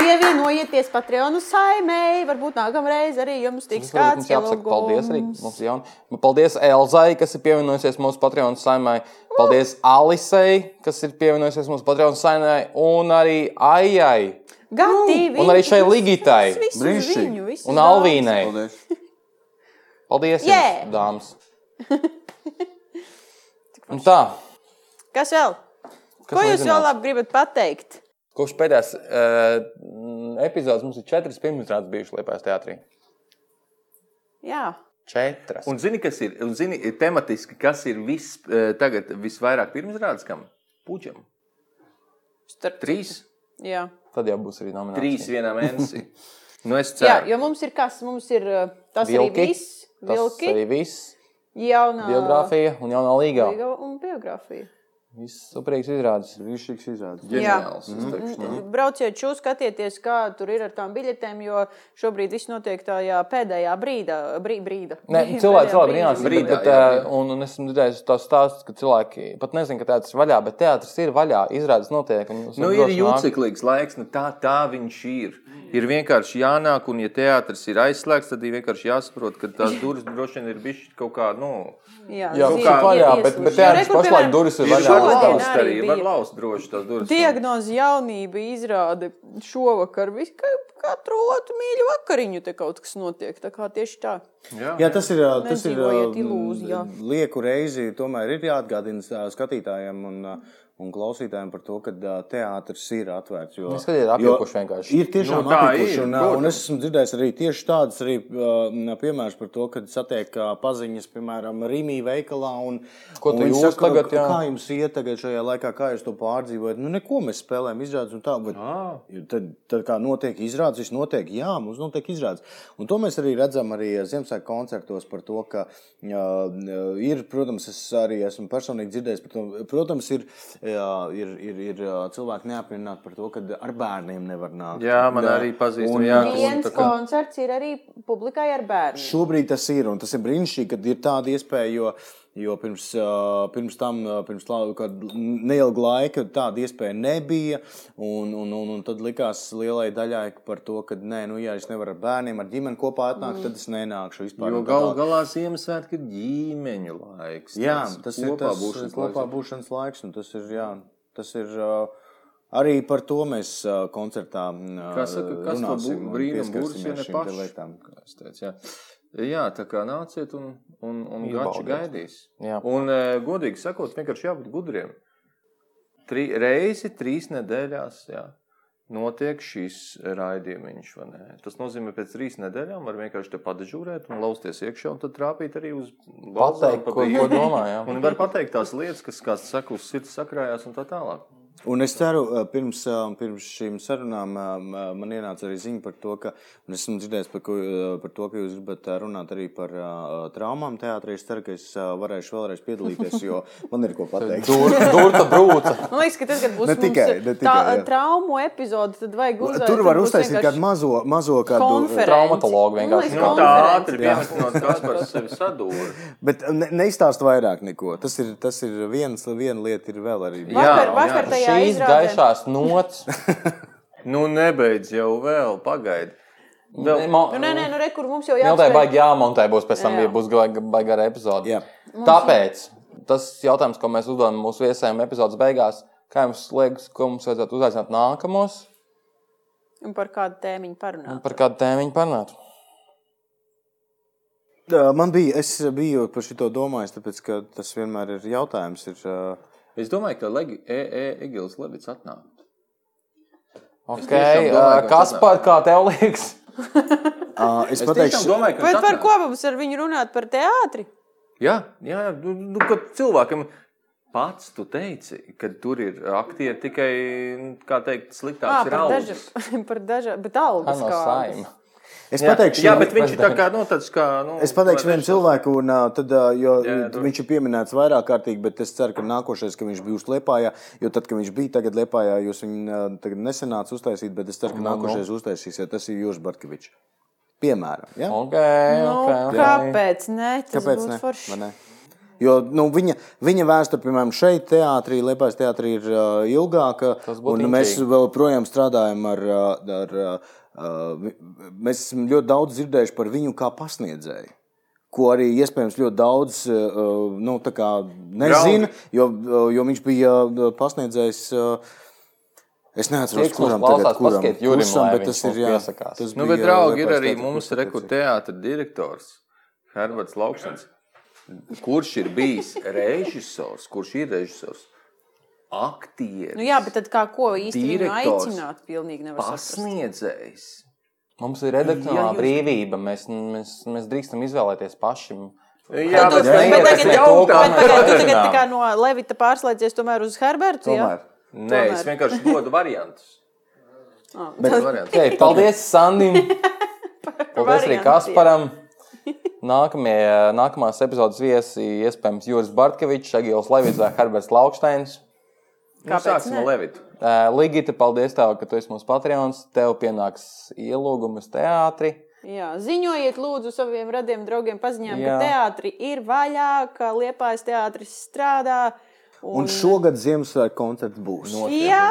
A: Pievienojieties Patreonu saimei. Varbūt nākamreiz arī jums tiks
C: Mums varbūt
A: kāds
C: mums jāpasaka paldies arī
A: ielūgums.
C: mums jaun. Nu, Paldies Elzai, kas ir pievienojusies mūsu Patreon saimai. Paldies Alisei, kas ir pievienojusies mūsu Patreon saimai. Un arī Aijai.
A: Gati,
C: Nu, Un arī šai Ligitai.
D: Brīnišķīgi.
A: Brīnišķīgi.
C: Un Alvīnai.
D: Paldies.
C: Paldies,
A: Jē!
C: yeah.
A: (laughs)
C: dāmas. Un tā,
A: Kas vēl?
C: kas
A: Ko
C: lai
A: jūs
C: zinās?
A: vēl labi gribat pateikt?
C: Kopš pēdējās uh, epizodes mums ir četras pirmizrādes bijušas Liepājas teātrī.
A: Jā.
C: Četras. Un
B: Un zini, kas ir? Un zini, tematiski, kas ir vis, eh, tagad visvairāk pirmsrādes kam? Puķam.
A: Starp
B: Trīs.
A: Jā.
C: Tad jau būs arī nominācija.
B: Trīs vienā mēnesī.
C: (laughs)
B: nu, es
A: Jā,
B: ceru,
A: jo mums ir kas, mums ir uh, tas
C: Vilki.
A: arī viss.
C: Tas
A: Vilki,
C: arī viss.
A: jaunā
C: Biogrāfija un jaunā līgā.
A: Līga un biogrāfija.
C: Viss superīgs izrādes.
D: Viņš ir izrādījis.
B: ģeniāls.
C: Mhm.
B: es teikšu, nu.
A: Brauciet, šo skatieties, kā tur ir ar tām biļetēm, jo šobrīd viss notiek tajā pēdējā brīdā. Brī, brīda.
C: Nē,
A: (laughs) Pēdējā
C: cilvēki cilvēki
A: brīdī.
C: brīnās,
B: Brīdā,
C: brīdā, bet,
B: jā,
C: jā,
B: jā.
C: un, un esmu dzirdējis tās stāstus, ka cilvēki pat nezina, ka teātris ir vaļā, bet teātris ir vaļā, izrādes notiek. un jūs
B: Nu,
C: varat
B: ir
C: droši nākt.
B: jūtas laiks, nu tā, tā viņš ir. Ir vienkārši jānāk, un, ja teātris ir aizslēgts, tad ir vienkārši jāsaprot, ka tās durvis droši vien ir bijušas kaut kā, nu,
A: Jā,
C: Jā,
B: Nu,
A: zīme
B: kā-
A: ir
C: vaļā,
A: ieslēgta.
C: bet- bet
A: Nu,
C: teātris
A: re, kur,
C: pašlaik
A: piemēram,
C: durvis ir
B: ir
C: vaļā.
B: vaļā. Var
A: šovakar
B: laust arī,
A: bija
B: var laust droši tās durvis.
A: Diagnoze jaunība izrāda šovakar. Visu, ka, katru otru mīļu vakariņu te kaut kas notiek. Tā kā tieši tā.
B: Jā.
D: Jā, tas ir. ā, Tas ir
A: Nedzīvojiet
D: ā,
A: ilūzijā.
D: m, Lieku reizi tomēr ir jāatgādina ā, skatītājiem un, ā, un klausītājiem par to, ka ā, teātris ir atvērts. Jo,
C: Neskatiet,
D: jo
C: apjukuši vienkārši.
D: Ir tiešām
B: Nu,
D: nu,
B: tā
D: apjukuši.
B: ir,
D: Un, ā, un
B: protams.
D: es esmu dzirdējis arī tieši tādas arī, ā, piemērus par to, kad satiek ā, paziņas, piemēram, Rīgā veikalā. Un,
C: Ko tu
D: un viņi
C: jūs
D: saka,
C: tagad, jā?
D: Kā jums iet tagad šajā laikā, kā jūs to pārdzīvojat? Nu, neko mēs spēlējam, izrādās, un tā. Bet, Jo Tad, tad kā notiek izrādes, viss notiek, jā, mums notiek izrādes. Un to mēs arī redzam arī eh, Ziemassvētku koncertos par to, ka uh, ir, protams, es arī esmu personīgi dzirdējis par to, protams, ir, uh, ir, ir, ir uh, cilvēki neapmierināti par to, ka ar bērniem nevar nākt.
B: Jā, man
D: Jā.
B: arī pazīstami.
D: Un-
B: Jā, tas-
A: Viens
B: tā kā-
A: koncerts ir arī publikai ar bērnu.
D: Šobrīd tas ir, un tas ir brīnišķīgi, kad ir tāda iespēja, jo, jo pirms, uh, pirms tam, uh, pirms la- kāda neilga laika, tāda iespēja nebija. Un, un, un, un tad likās lielai daļai par to, ka, nē, nu, ja es nevaru ar bērniem, ar ģimeni kopā atnākt, tad es nenākšu vispār.
B: Jo
D: un tā
B: galu
D: tālāk.
B: galā Ziemassvētku ir ģimeņu laiks.
D: Jā,
B: tāds
D: tas ir
B: kopā
D: tas
B: būšanas
D: kopā
B: laiks.
D: būšanas laiks, un tas ir, jā, tas ir uh, arī par to mēs uh, koncertā uh,
B: Kā saka, kas to
D: runāsim
B: bū-
D: un
B: brīnum būs, ja
D: pieskarsimies
B: ne
D: šīm te
B: paši?
D: lietām.
B: Kā es teicu, jā. jā, tā kā nāciet un, un, un gači
C: Iebaudiet.
B: gaidīs.
C: Jā.
B: Un, eh, godīgi sakot, vienkārši jābūt gudriem. Tri, reizi trīs nedēļās jā, notiek šis raidījums. vai ne? Tas nozīmē, ka pēc trīs nedēļām var vienkārši te padažūrēt un lausties iekšā un tad trāpīt arī uz balzām
C: Pateikt,
B: pa
C: ko, ko
B: bīru.
C: domājām.
B: (laughs) Un var pateikt tās lietas, kas, kā saka, uz sirds sakrājās un tā tālāk.
D: Un es ceru, eh, pirms, eh, pirms šīm sarunām eh, man ienāca arī ziņa par to, ka un esmu dzirdējis par, ko, eh, par to, ka jūs gribat eh, runāt arī par eh, traumām teātrī. Es ceru, ka es eh, varēšu vēlreiz piedalīties, jo man
B: (laughs)
D: ir ko pateikt.
C: Dur- Durta brūca.
A: Man liekas, ka tas kad būs
D: Ne tikai,
A: mums,
D: ne tikai,
A: tā
D: jā.
A: traumu epizode, tad vajag uzvarēt.
D: Tur var uztaisīt kādu mazo, mazo kādu.
A: konferenci.
C: Traumatologu vienkārši.
A: Man liekas,
B: Nu, tā
A: konferenci.
B: ātri vienkārši no tās par sevi sadūrīja.
D: Bet eh, ne, neizstāst vairāk neko. Tas ir, tas ir viens, viena lieta, ir vēl arī.
B: Jā,
A: Vakar,
B: jā.
A: vakar tajā
C: Šīs
A: izrādē.
C: gaišās nots.
B: (laughs) Nu, nebeidz jau vēl, pagaidi. Vēl,
A: Nu, nē, nē, nu, re, kur mums jau
C: Mildai
A: jāapsver.
C: baigi jāmontē būs pēc tam,
A: Jā.
C: ja būs baigā ar epizodi.
D: Jā.
C: Tāpēc tas jautājums, ko mēs uzdevām mūsu viesiem epizodes beigās, kā jums liekas, ko mums vajadzētu uzaicināt nākamos
A: Un par kādu tēmiņu
C: un
A: parunāt.
C: par kādu tēmu viņi parunātu?
D: Eh, Man bija, es biju par šito domājis, tāpēc, ka tas vienmēr ir jautājums. Ir, eh,
B: es domāju, ka Legi- E- E- Egils Levits atnāk.
C: Okay,
B: tiešām domāju, ka
C: kas
B: tas
C: par kā tev liekas?
D: eh,
B: Es
D: es
B: tiešām
D: pateikšu,
B: domāju, ka
A: Bet
B: viņš
A: par
B: atnāk.
A: ko mums ar viņu runāt? Par teātri?
B: Jā, jā, jā nu, nu, ka cilvēkam pats tu teici, ka tur ir aktieri tikai, nu, kā
A: Ā,
B: teikt, sliktāks
A: par
B: raudas.
A: dažām. (laughs) Par dažām. Bet algas
C: Ano
A: kādas.
C: saima.
D: es
B: Jā,
D: pateikšu,
B: jā, bet viņš ir tā kā, nu, tāds kā, nu.
D: Es pateikšu vienu cilvēku, un ā, tad, ā, jo jā,
B: Jā, jā, droši.
D: viņš ir pieminēts vairāk kārtīgi, bet es ceru, ka nākošais, ka viņš būs Lietpājā, jo tad, kad viņš bija tagad Lietpājā, jūs viņu ā, tagad nesenāts uztaisīt, bet es ceru, ka
C: Nu, nu.
D: nākošais uztaisīsiet. Tas ir Jūras Barkevičs. Piemēram. Ja?
C: Okay,
A: Nu,
C: okay, okay.
A: kāpēc? Nē, tas
D: Kāpēc ne?
A: būtu
D: Vai
A: forši.
D: ne? Jo nu, viņa, viņa vēsture, piemēram, šeit, teātrī, Lietuvas teātrī, ir uh, ilgāka.
C: Tas būtu
D: un Mēs
C: intriga.
D: joprojām strādājam ar. ā, ar uh, vi- mēs esam ļoti daudz dzirdējuši par viņu kā pasniedzēju. Ko arī iespējams ļoti daudz uh, nu, tā kā nezina, jo, ā, jo viņš bija ā, pasniedzējs. Uh, Es
C: Tie,
D: neatceros,
C: kas
D: kuram
C: mums
D: tagad
C: klausās,
D: kuram.
C: pasakiet Jurim,
D: Kusam,
C: lai
D: bet
C: viņš
D: tas
C: mums
D: ir jā.
C: piesakās.
D: Tas
B: Nu, bet,
D: bija,
B: draugi,
D: Liepājas
B: ir arī
D: teātris,
B: mums
D: kurš
B: reku
D: tāpēc ir.
B: teātra direktors Herberts Laukšans, kurš ir bijis režisors, kurš ir režisors, aktieris,
A: Nu, jā, bet tad kā ko īsti viņu
B: Direktors.
A: aicināt? Pilnīgi nevar saprast.
B: pasniedzējs.
C: Mums ir redakcionāla
B: Ja jūs-
C: brīvība. Mēs, mēs, mēs drīkstam izvēlēties pašiem.
A: Bet
B: Jā, bet
A: tas- bet
B: neietekmē
A: tagad-
B: to, kā
A: Bet
B: mēs
A: pagaidi, tu tagad tā
C: runājam.
A: kā no Levita pārslēdzies tomēr uz Herbertu. jā?
D: Tomēr.
B: Nē, es
A: Tomēr.
C: (laughs)
B: vienkārši dodu variantus.
D: Bet-
A: tas-
B: variants.
C: Okay, paldies Sandim!
B: (laughs)
C: Paldies arī
A: variantiem.
C: Kasparam! Nākamie, nākamās epizodes viesi iespējams Juris Bartkevičs, Agils Levits vai Herberts Lauksteins.
B: Nu, sāksim
A: ne?
B: ar Levitu.
C: Eh, Ligita, paldies tev, ka tu esi mūsu patrons. Tev pienāks ielūgums teātrī.
A: Jā, ziņojiet, lūdzu, saviem radiem draugiem paziņām,
C: Jā.
A: ka teātris ir vaļā, ka liepais teātris strādā.
D: Un šogad Ziemassvētku koncerts būs.
B: Nu,
A: Jā,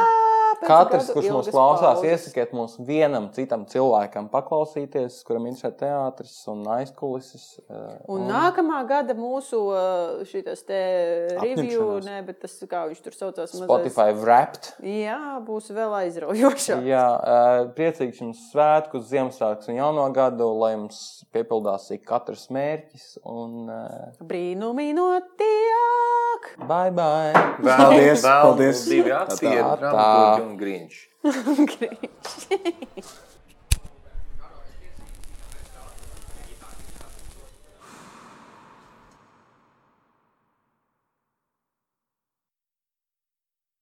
A: pēc
C: Katrs,
A: gadu
C: kurš mūs
A: ilgas
C: klausās,
A: pauzes.
C: iesakiet mums vienam citam cilvēkam paklausīties, kuram interesē teātris un aizkulises. eh,
A: Un nākamā gada mūsu uh, šitas te review,
D: Apņemšanās.
A: ne, bet tas, kā viņš tur saucās, mazais-
C: Spotify wrapped.
A: Jā, būs vēl aizraujošāk.
C: Jā, eh, priecīgs jums svētkus, Ziemassvētkus un jauno gadu, lai jums piepildās ik katrs mērķis. Un eh,
A: Brīnumi notiek! (laughs)
C: bye bye!
B: Vēl-
D: Paldies,
B: vēl
D: paldies.
B: Divi
D: Tā, tā.
B: aktieri, dramaturgi un grīņš.
A: Grīši.